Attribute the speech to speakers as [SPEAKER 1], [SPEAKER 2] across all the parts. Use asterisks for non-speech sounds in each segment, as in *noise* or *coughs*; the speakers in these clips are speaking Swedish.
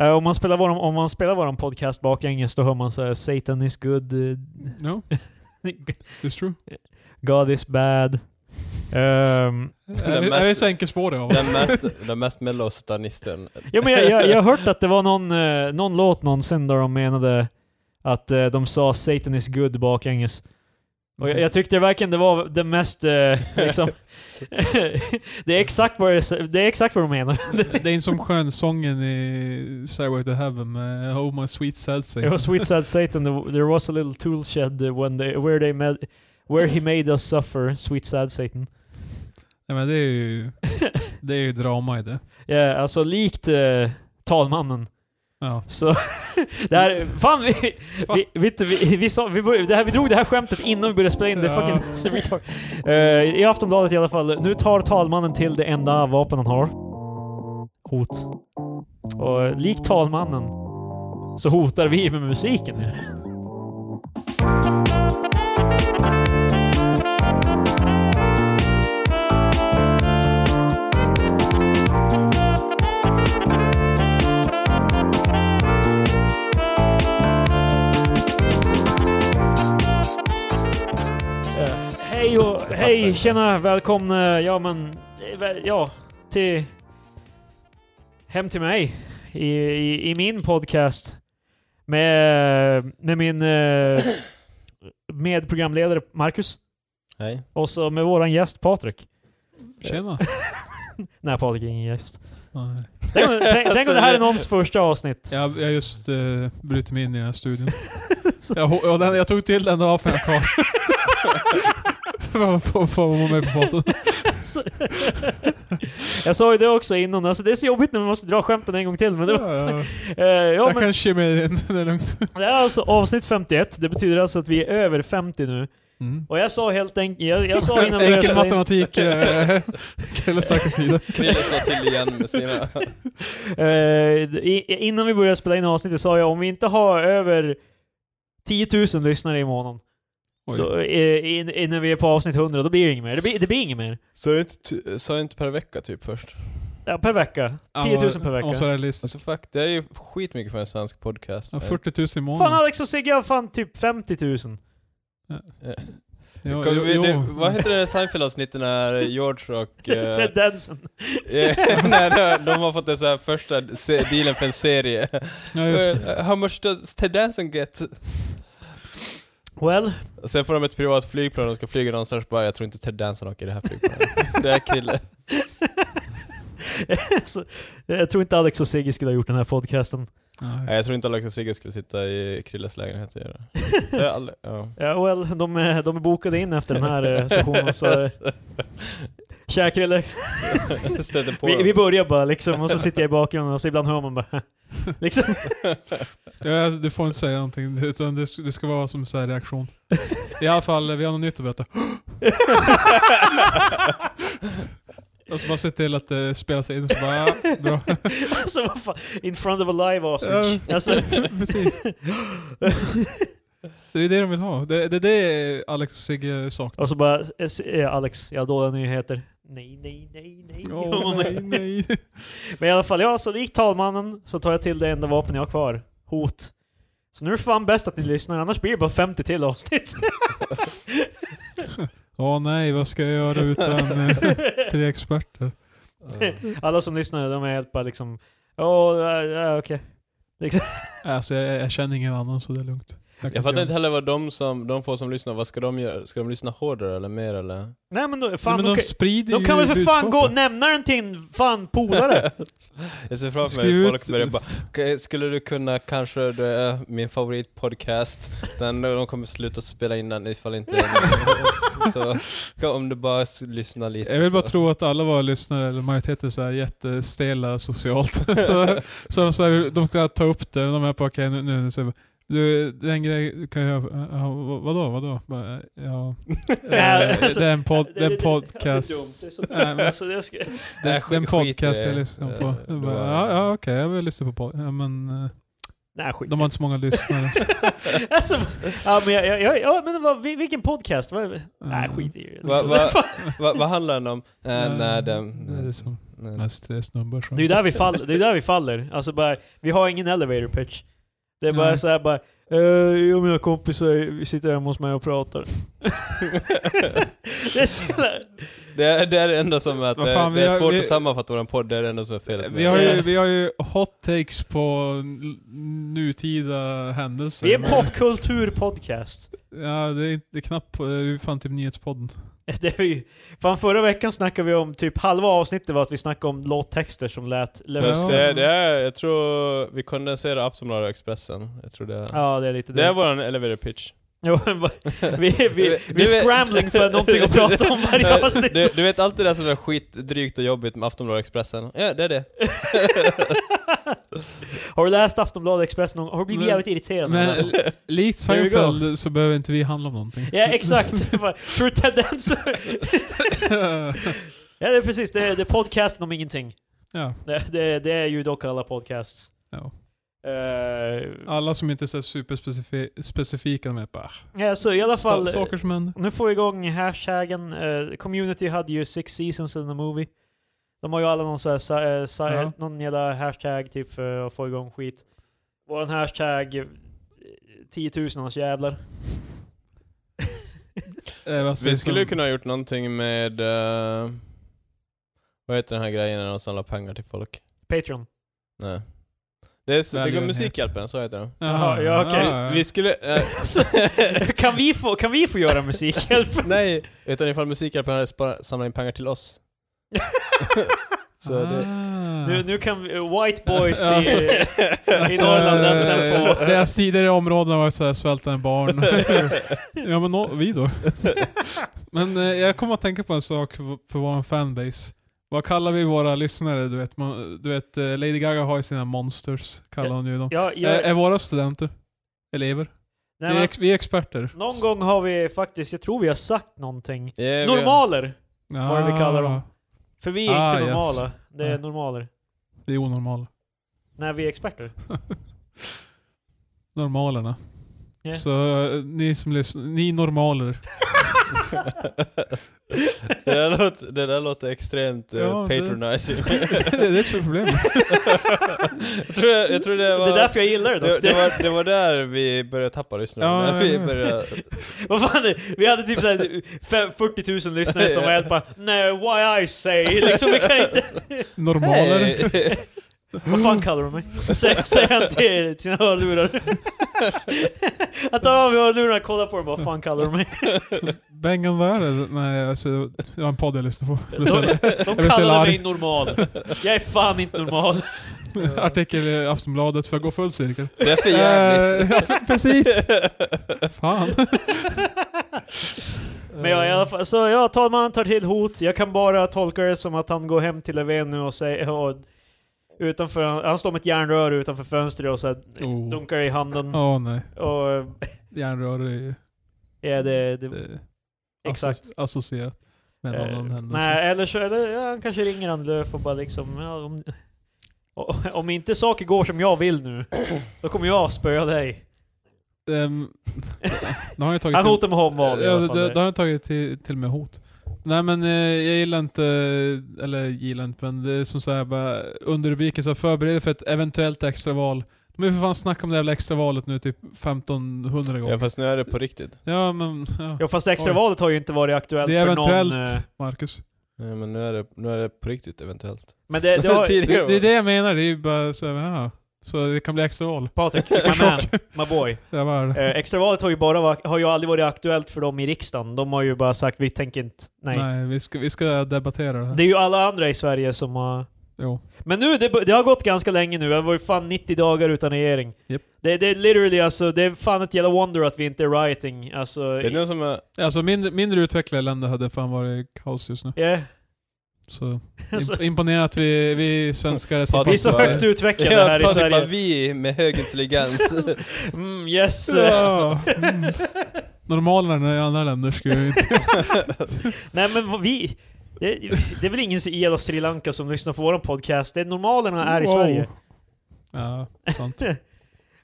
[SPEAKER 1] Eh, om, man spelar vår, om man spelar vår podcast baklänges då hör man så här Satan is good, eh,
[SPEAKER 2] No, it's true.
[SPEAKER 1] God is bad. Ehm,
[SPEAKER 2] Är
[SPEAKER 3] mest-
[SPEAKER 2] det, är det så enkelspårig av oss?
[SPEAKER 3] *laughs* Den mest, den mest mello satanisten.
[SPEAKER 1] ja, men jag, jag, jag har hört att det var någon, eh, någon låt någonsin där de menade att eh, de sa Satan is good baklänges. Och jag, jag tyckte verkligen det var det mest, eh, liksom, *laughs* det, är exakt vad det, det är exakt vad de menar.
[SPEAKER 2] Det är en som skönsången i Stairway to Heaven med Oh my sweet sad
[SPEAKER 1] It
[SPEAKER 2] saint.
[SPEAKER 1] was with sad Satan, the- there was a little tool shed uh, when they, where, they med, where he made us suffer, sweet sad Satan.
[SPEAKER 2] Nej men det är ju, det är ju drama i det.
[SPEAKER 1] Ja, alltså likt eh, talmannen.
[SPEAKER 2] Ja.
[SPEAKER 1] Så *laughs* det här, fan vi, vi, vet du, vi, vi, sa, vi, började, det här, vi drog det här skämtet innan vi började spela in det. är
[SPEAKER 2] Ja.
[SPEAKER 1] Fucking, *laughs* retard. Eh, I Aftonbladet i alla fall. Nu tar talmannen till det enda vapen han har. Hot. Och eh, likt talmannen så hotar vi med musiken. Eh, hej och hej,
[SPEAKER 3] inte.
[SPEAKER 1] tjena, välkomna, ja men, eh, väl- ja, till, hem till mig i, i, i min podcast med, med min eh, medprogramledare Marcus
[SPEAKER 3] Hej.
[SPEAKER 1] och så med våran gäst Patrik.
[SPEAKER 2] Tjena.
[SPEAKER 1] Nej, Patrik är ingen gäst.
[SPEAKER 2] Nej.
[SPEAKER 1] Tänk om, tänk, tänk om det här är någons första avsnitt.
[SPEAKER 2] Jag har just uh, brutit mig in i den
[SPEAKER 1] *laughs*
[SPEAKER 2] här studion. jag, ho- och den, jag tog till den vapen jag har kvar. För att vara med på båten.
[SPEAKER 1] Så- jag sa ju det också innan, alltså det är så jobbigt när man måste dra skämten en gång till. Men det var,
[SPEAKER 2] Ja,
[SPEAKER 1] eh, ja,
[SPEAKER 2] jag
[SPEAKER 1] men,
[SPEAKER 2] kan kimma in, det är lugnt.
[SPEAKER 1] Det här är alltså avsnitt 51, det betyder alltså att vi är över 50 nu.
[SPEAKER 2] Mm.
[SPEAKER 1] Och jag sa helt enkelt, jag, jag sa innan vi började
[SPEAKER 2] Enkel
[SPEAKER 1] spela in,
[SPEAKER 2] matematik, eh, *laughs* Krille starka sida.
[SPEAKER 3] Krille slår till igen med sina... *laughs*
[SPEAKER 1] eh, i- innan vi började spela in avsnittet sa jag om vi inte har över 10 000 lyssnare i månaden,
[SPEAKER 2] Oj.
[SPEAKER 1] då, eh, in, innan vi är på avsnitt 100, då blir det inget mer. Det blir, det blir inget mer.
[SPEAKER 3] Sa du inte, ty- sa du inte per vecka typ först?
[SPEAKER 1] Ja, per vecka. 10 000 per vecka.
[SPEAKER 2] Och så är det listan.
[SPEAKER 3] Alltså fuck, det är ju skitmycket för en svensk podcast.
[SPEAKER 2] Ja, 40 000 i
[SPEAKER 1] Fan
[SPEAKER 2] månaden.
[SPEAKER 1] Alex och Sigge har fan typ 50 000.
[SPEAKER 3] Ja.
[SPEAKER 2] Jo,
[SPEAKER 3] Kommer
[SPEAKER 2] jo,
[SPEAKER 3] vi- Eh, det,
[SPEAKER 2] jo.
[SPEAKER 3] vad heter det Seinfeld-avsnittet när George *laughs* och... eh,
[SPEAKER 1] Ted Danson.
[SPEAKER 3] eh, *laughs* när de- de har fått den så här första se- dealen för en serie.
[SPEAKER 2] Ja, just det.
[SPEAKER 3] Eh, How much does Ted Danson get?
[SPEAKER 1] Well, *laughs*
[SPEAKER 3] Och sen får de ett privat flygplan och ska flyga någonstans bara jag tror inte Ted Danson åker i det här
[SPEAKER 2] *laughs*
[SPEAKER 3] flygplanet. det är Krille.
[SPEAKER 1] så, jag tror inte Alex och Sigge skulle ha gjort den här podcasten.
[SPEAKER 3] Nej,
[SPEAKER 2] Nej.
[SPEAKER 3] jag tror inte Alex och Sigge skulle sitta i Krilles lägenhet och göra det. Så jag aldrig, ja. *laughs*
[SPEAKER 1] Ja, well, de, är- de är bokade in efter den här eh, sessionen, så... eh, Tja Krille,
[SPEAKER 3] Stöter på
[SPEAKER 1] vi,
[SPEAKER 3] dem.
[SPEAKER 1] vi börjar bara liksom, och så sitter jag i bakgrunden och så ibland hör man bara... *laughs* liksom.
[SPEAKER 2] Ja, du får inte säga någonting, utan det, det ska vara som så här reaktion. I alla fall, vi har något nytt att berätta. Och så bara se till att det spelas in, så bara, ja, bra.
[SPEAKER 1] alltså vad fan, in front of a live ostrich.
[SPEAKER 2] Ja.
[SPEAKER 1] Alltså,
[SPEAKER 2] Precis. Det är det de vill ha. Det, det, det är Alex och Sigge saknar.
[SPEAKER 1] och så bara, eh, s- eh, Alex, jag har dåliga nyheter. Nej, nej, nej, nej.
[SPEAKER 2] Åh, nej, nej.
[SPEAKER 1] Men i alla fall, ja, så likt talmannen så tar jag till det enda vapen jag har kvar. Hot. Så nu är det fan bäst att ni lyssnar, annars blir det bara 50 till avsnitt.
[SPEAKER 2] Åh nej, vad ska jag göra utan
[SPEAKER 3] *laughs*
[SPEAKER 2] eh, tre experter? *laughs*
[SPEAKER 1] Alla som lyssnar, de är helt bara liksom... Åh, ja, ja, okej.
[SPEAKER 2] Alltså jag, jag känner ingen annan så det är lugnt. kan
[SPEAKER 3] Jag fattar
[SPEAKER 2] göra-
[SPEAKER 3] inte heller vad de som, de få som lyssnar, vad ska de göra? Ska de lyssna hårdare eller mer eller?
[SPEAKER 1] Nej men då, fan,
[SPEAKER 2] Nej, men
[SPEAKER 1] de,
[SPEAKER 2] de
[SPEAKER 1] kan-
[SPEAKER 2] sprider
[SPEAKER 1] de
[SPEAKER 2] ju
[SPEAKER 1] kan väl för fan gå och
[SPEAKER 2] budskapet.
[SPEAKER 1] nämna den till en fan polare?
[SPEAKER 3] *laughs* Jag ser framför
[SPEAKER 2] Skriv
[SPEAKER 3] mig folk
[SPEAKER 2] ut-
[SPEAKER 3] börjar bara, "Okej, skulle du kunna kanske, det är min favoritpodcast, den de kommer sluta spela in den ifall inte
[SPEAKER 2] *laughs*
[SPEAKER 3] Så om du bara s- lyssnar lite
[SPEAKER 2] Jag vill bara
[SPEAKER 3] så.
[SPEAKER 2] tro att alla våra lyssnare, eller majoriteten, så här jättestela
[SPEAKER 3] *laughs*
[SPEAKER 2] socialt. så, så, så här, de kan ta upp det, de är på okej nu, nu, så, jag bara, du, den grejen kan jag, ja, vadå, vadå? Bara, *laughs*
[SPEAKER 1] *laughs*
[SPEAKER 2] Ja, eh, det är en, pod, det är en podcast.
[SPEAKER 1] Alltså, det är så
[SPEAKER 3] *laughs*
[SPEAKER 2] Nej,
[SPEAKER 1] dumt.
[SPEAKER 2] men-
[SPEAKER 1] Alltså, det ska-
[SPEAKER 2] Det
[SPEAKER 3] Nej,
[SPEAKER 2] är
[SPEAKER 3] skit-
[SPEAKER 2] en
[SPEAKER 3] skit i
[SPEAKER 2] podcast
[SPEAKER 3] det.
[SPEAKER 2] jag lyssnar på.
[SPEAKER 3] Eh,
[SPEAKER 2] Jag
[SPEAKER 3] det
[SPEAKER 2] bara,
[SPEAKER 3] var-
[SPEAKER 2] ja, ja okej, jag vill lyssna på podcast. Ja, men, eh,
[SPEAKER 1] Nej, skit
[SPEAKER 2] De har inte så många lyssnare. så-
[SPEAKER 1] alltså, ja, men, jag, jag, jag, ja, men vad, vil- vilken podcast? Vad, *laughs* Nej,
[SPEAKER 2] eh,
[SPEAKER 1] skit i det.
[SPEAKER 3] Va-
[SPEAKER 1] Liksom. *laughs*
[SPEAKER 3] va- Vad vad handlar den om? Eh,
[SPEAKER 2] Nej,
[SPEAKER 3] nej, den...
[SPEAKER 2] Det är som
[SPEAKER 3] nej.
[SPEAKER 2] mest stressnummer. så.
[SPEAKER 1] Det är ju där vi faller. Det är där vi faller. Alltså bara, vi har ingen elevator pitch. Det är bara
[SPEAKER 2] Nej.
[SPEAKER 1] såhär bara, eh, jag och mina kompisar sitter hemma hos mig och pratar. *laughs* det är så jävla-
[SPEAKER 3] Det, är- det är det enda som är att
[SPEAKER 2] Vad
[SPEAKER 3] det,
[SPEAKER 2] fan,
[SPEAKER 3] det
[SPEAKER 2] vi
[SPEAKER 3] är
[SPEAKER 2] har-
[SPEAKER 3] svårt
[SPEAKER 2] vi-
[SPEAKER 3] att sammanfatta våran podd, det är det enda som är felet med
[SPEAKER 2] Vi har, ju,
[SPEAKER 1] *laughs* Ja.
[SPEAKER 2] vi har ju hot takes på n- nutida händelser.
[SPEAKER 1] Vi är en
[SPEAKER 2] men-
[SPEAKER 1] popkulturpodcast.
[SPEAKER 2] Ja, det är, inte, det är knappt... på- Det är ju fan typ Nyhetspodden.
[SPEAKER 1] Det är ju, fan förra veckan snackade vi om, typ halva avsnittet var att vi snackade om låttexter som lät...
[SPEAKER 3] Fast
[SPEAKER 2] Ja.
[SPEAKER 3] det, det är, jag tror vi kondenserar Aftonbladet och Expressen. Jag tror det är...
[SPEAKER 1] Ja, det är lite
[SPEAKER 3] Det är våran elevator pitch.
[SPEAKER 1] *laughs* Jo, men bara- vi,
[SPEAKER 3] *laughs*
[SPEAKER 1] vi, vi
[SPEAKER 3] Du
[SPEAKER 1] är
[SPEAKER 3] vet-
[SPEAKER 1] scrambling för någonting
[SPEAKER 3] *laughs*
[SPEAKER 1] att prata om varje avsnitt.
[SPEAKER 3] Du, du vet alltid det som är skitdrygt och jobbigt med Aftonbladet och Expressen? Ja, det är det.
[SPEAKER 1] *laughs* har du läst Aftonbladet Express någon gång? Har du blivit
[SPEAKER 2] Men-
[SPEAKER 1] jävligt irriterad?
[SPEAKER 2] Men
[SPEAKER 1] någon gång?
[SPEAKER 2] *laughs* li- likt
[SPEAKER 1] Here we go.
[SPEAKER 2] Seinfeld så behöver inte vi handla om någonting.
[SPEAKER 1] Ja, exakt. *laughs* Bara, Tror du Ted Danson... ja, det är precis. Det är, det är podcasten om ingenting.
[SPEAKER 2] *laughs* ja,
[SPEAKER 1] Det, det, det är ju dock alla podcasts.
[SPEAKER 2] Ja.
[SPEAKER 1] Eh,
[SPEAKER 2] alla som inte är så superspecifika, de är bara...
[SPEAKER 1] ja, så i alla fall... eh,
[SPEAKER 2] sta- Saker som händer.
[SPEAKER 1] Nu får vi igång hashtaggen. eh, community hade ju six seasons in the movie. De har ju alla någon, så här, sa, eh, sa,
[SPEAKER 2] Ja.
[SPEAKER 1] någon jävla hashtag typ för att få igång skit. Våran hashtag eh, 10 000 annars jävlar.
[SPEAKER 2] Eh, vad
[SPEAKER 3] Vi
[SPEAKER 2] sägs
[SPEAKER 3] skulle ju
[SPEAKER 2] om-
[SPEAKER 3] kunna ha gjort någonting med... eh, vad heter den här grejen när de samlar pengar till folk?
[SPEAKER 1] Patreon.
[SPEAKER 3] Nej. Det, är, så- det går
[SPEAKER 2] Välgörenhet.
[SPEAKER 3] Musikhjälpen, så heter den.
[SPEAKER 1] Jaha, ja, okej.
[SPEAKER 2] ja, ja.
[SPEAKER 3] Vi skulle... eh,
[SPEAKER 1] *laughs* Så,
[SPEAKER 3] *laughs*
[SPEAKER 1] kan, vi få, kan vi få göra
[SPEAKER 2] *laughs*
[SPEAKER 1] musikhjälp?
[SPEAKER 3] nej, utan ifall Musikhjälpen hade spar- samlat in pengar till oss. Så det...
[SPEAKER 2] Ah.
[SPEAKER 1] *laughs* Nu, nu kan vi, eh, White Boys i,
[SPEAKER 2] Alltså,
[SPEAKER 1] i Norrland den, den
[SPEAKER 2] eh,
[SPEAKER 1] får...
[SPEAKER 2] Deras tidigare områden har varit såhär
[SPEAKER 1] *laughs*
[SPEAKER 2] svältande barn. ja men nå- vi då. men eh, jag kommer att tänka på en sak v- för vår fanbase. Vad kallar vi våra lyssnare? Du vet, man, du vet eh, Lady Gaga har ju sina monsters, kallar hon ju dem.
[SPEAKER 1] Ja,
[SPEAKER 2] Eh,
[SPEAKER 1] jag,
[SPEAKER 2] Är våra studenter? Elever?
[SPEAKER 1] nej,
[SPEAKER 2] vi, är
[SPEAKER 1] men,
[SPEAKER 2] ex- vi är experter.
[SPEAKER 1] någon gång har vi faktiskt, jag tror vi har sagt någonting.
[SPEAKER 3] Yeah,
[SPEAKER 1] Normaler! vad är det vi kallar dem?
[SPEAKER 2] Ah,
[SPEAKER 1] För vi är
[SPEAKER 2] Ah,
[SPEAKER 1] inte
[SPEAKER 2] yes.
[SPEAKER 1] normala. Det är
[SPEAKER 2] Nej.
[SPEAKER 1] normaler.
[SPEAKER 2] Det är onormala.
[SPEAKER 1] När vi är experter.
[SPEAKER 2] Normalerna.
[SPEAKER 1] Ja.
[SPEAKER 2] Så eh, ni som lyssnar, ni normaler.
[SPEAKER 3] *laughs*
[SPEAKER 2] *laughs*
[SPEAKER 3] det, där låter, det där låter extremt eh,
[SPEAKER 2] Ja, det-
[SPEAKER 3] patronizing.
[SPEAKER 2] det är det som är problemet.
[SPEAKER 3] jag, tror, jag tror det var...
[SPEAKER 1] Det är därför jag gillar det dock.
[SPEAKER 3] det, det, var, det var där vi började tappa lyssnare.
[SPEAKER 2] Ja,
[SPEAKER 3] När vi
[SPEAKER 2] ja, ja.
[SPEAKER 3] började...
[SPEAKER 1] Vad fan, är- vi hade typ såhär fem- 40 000 lyssnare som var helt bara Nej, why I say? Liksom, vi kan inte...
[SPEAKER 2] Normaler.
[SPEAKER 3] Hey.
[SPEAKER 1] Vad fan kallar de mig? Sä- Säger han till sina hörlurar. Han tar av mig hörlurarna och kollar på dem vad fan kallar de mig?
[SPEAKER 2] Bengan, vad är det? Nej, alltså, det var en podd jag lyssnade på. Eller så-
[SPEAKER 1] *laughs* De
[SPEAKER 2] blir så
[SPEAKER 1] kallade mig
[SPEAKER 2] arg.
[SPEAKER 1] normal. Jag är fan inte normal.
[SPEAKER 2] *laughs* Artikel i Aftonbladet för att gå full cirkel.
[SPEAKER 3] Det är för jävligt.
[SPEAKER 2] Eh, *laughs* ja,
[SPEAKER 1] *laughs*
[SPEAKER 2] precis! Fan.
[SPEAKER 1] Men jag, i alla fall, så ja, talmannen tar till hot. Jag kan bara tolka det som att han går hem till Löfven nu och säger... Och, utanför, han står med ett järnrör utanför fönstret och så här,
[SPEAKER 2] Oh.
[SPEAKER 1] dunkar i handen.
[SPEAKER 2] Åh nej.
[SPEAKER 1] Och
[SPEAKER 2] Järnrör är ju
[SPEAKER 1] ja, det, det,
[SPEAKER 2] eh,
[SPEAKER 1] exakt.
[SPEAKER 2] asso- associerat med en
[SPEAKER 1] Eh,
[SPEAKER 2] annan händelse.
[SPEAKER 1] nej, eller så eller, ja, han kanske ringer Annie Lööf och bara liksom... Ja, om, o- om inte saker går som jag vill
[SPEAKER 2] *clears throat*
[SPEAKER 1] nu, då kommer jag spöa dig.
[SPEAKER 2] Ehm, *laughs* det har jag tagit
[SPEAKER 1] Han
[SPEAKER 2] till-
[SPEAKER 1] hotar med omval i
[SPEAKER 2] Ja,
[SPEAKER 1] alla
[SPEAKER 2] det,
[SPEAKER 1] fall.
[SPEAKER 2] det har jag tagit till, till med hot. Nej men eh, jag gillar inte, eller gillar inte men det är som såhär bara underrubriken så här, förbereder för ett eventuellt extraval. De har ju för fan snackat om det jävla extravalet nu typ 1500 gånger.
[SPEAKER 3] Ja, fast nu är det på riktigt.
[SPEAKER 2] Ja men... Ja.
[SPEAKER 1] Ja, fast extravalet har ju inte varit aktuellt
[SPEAKER 2] Det är
[SPEAKER 1] för någon...
[SPEAKER 2] eventuellt,
[SPEAKER 1] eh,
[SPEAKER 2] Marcus.
[SPEAKER 3] Nej, men nu är, det, nu är det på riktigt eventuellt.
[SPEAKER 1] Men det, det
[SPEAKER 2] *laughs*
[SPEAKER 1] har...
[SPEAKER 3] Tidigare
[SPEAKER 2] Det,
[SPEAKER 3] var-
[SPEAKER 2] det är det jag menar, det är ju bara såhär, ja. Så det kan bli extraval. *laughs*
[SPEAKER 1] Patrik, my man, my boy.
[SPEAKER 2] Det var det.
[SPEAKER 1] Eh, extravalet har ju, bara var, har ju aldrig varit aktuellt för dem i riksdagen. De har ju bara sagt vi tänker inte, nej.
[SPEAKER 2] Nej, vi, ska, vi ska debattera det här.
[SPEAKER 1] Det är ju alla andra i Sverige som har...
[SPEAKER 2] Jo.
[SPEAKER 1] Men nu, det, det har gått ganska länge nu. Det har varit fan 90 dagar utan regering.
[SPEAKER 2] Japp.
[SPEAKER 1] Det, det är literally alltså, det är fan ett jävla wonder att vi inte är rioting. Alltså,
[SPEAKER 3] Vet ni vad som är...
[SPEAKER 2] Alltså mindre, mindre utvecklade länder hade fan varit kaos just nu.
[SPEAKER 1] yeah.
[SPEAKER 2] Så
[SPEAKER 1] *laughs* Så-
[SPEAKER 2] imp- imponerande att vi, vi svenskar är så
[SPEAKER 1] Alltså, vi är så
[SPEAKER 2] pass
[SPEAKER 3] Patrik
[SPEAKER 2] bra.
[SPEAKER 3] bara-
[SPEAKER 1] högt utvecklade
[SPEAKER 3] Ja,
[SPEAKER 1] här i
[SPEAKER 3] Patrik bara,
[SPEAKER 1] Sverige.
[SPEAKER 3] vi med
[SPEAKER 1] *laughs*
[SPEAKER 3] hög intelligens.
[SPEAKER 1] Mm, yes.
[SPEAKER 2] Ja, mm. Normalerna i andra länder skulle ju inte...
[SPEAKER 1] Nej men vad vi... Det, det är väl ingen i hela Sri Lanka som lyssnar på våran podcast. Det är normalerna är i
[SPEAKER 2] Wow.
[SPEAKER 1] Sverige.
[SPEAKER 2] Ja, sant.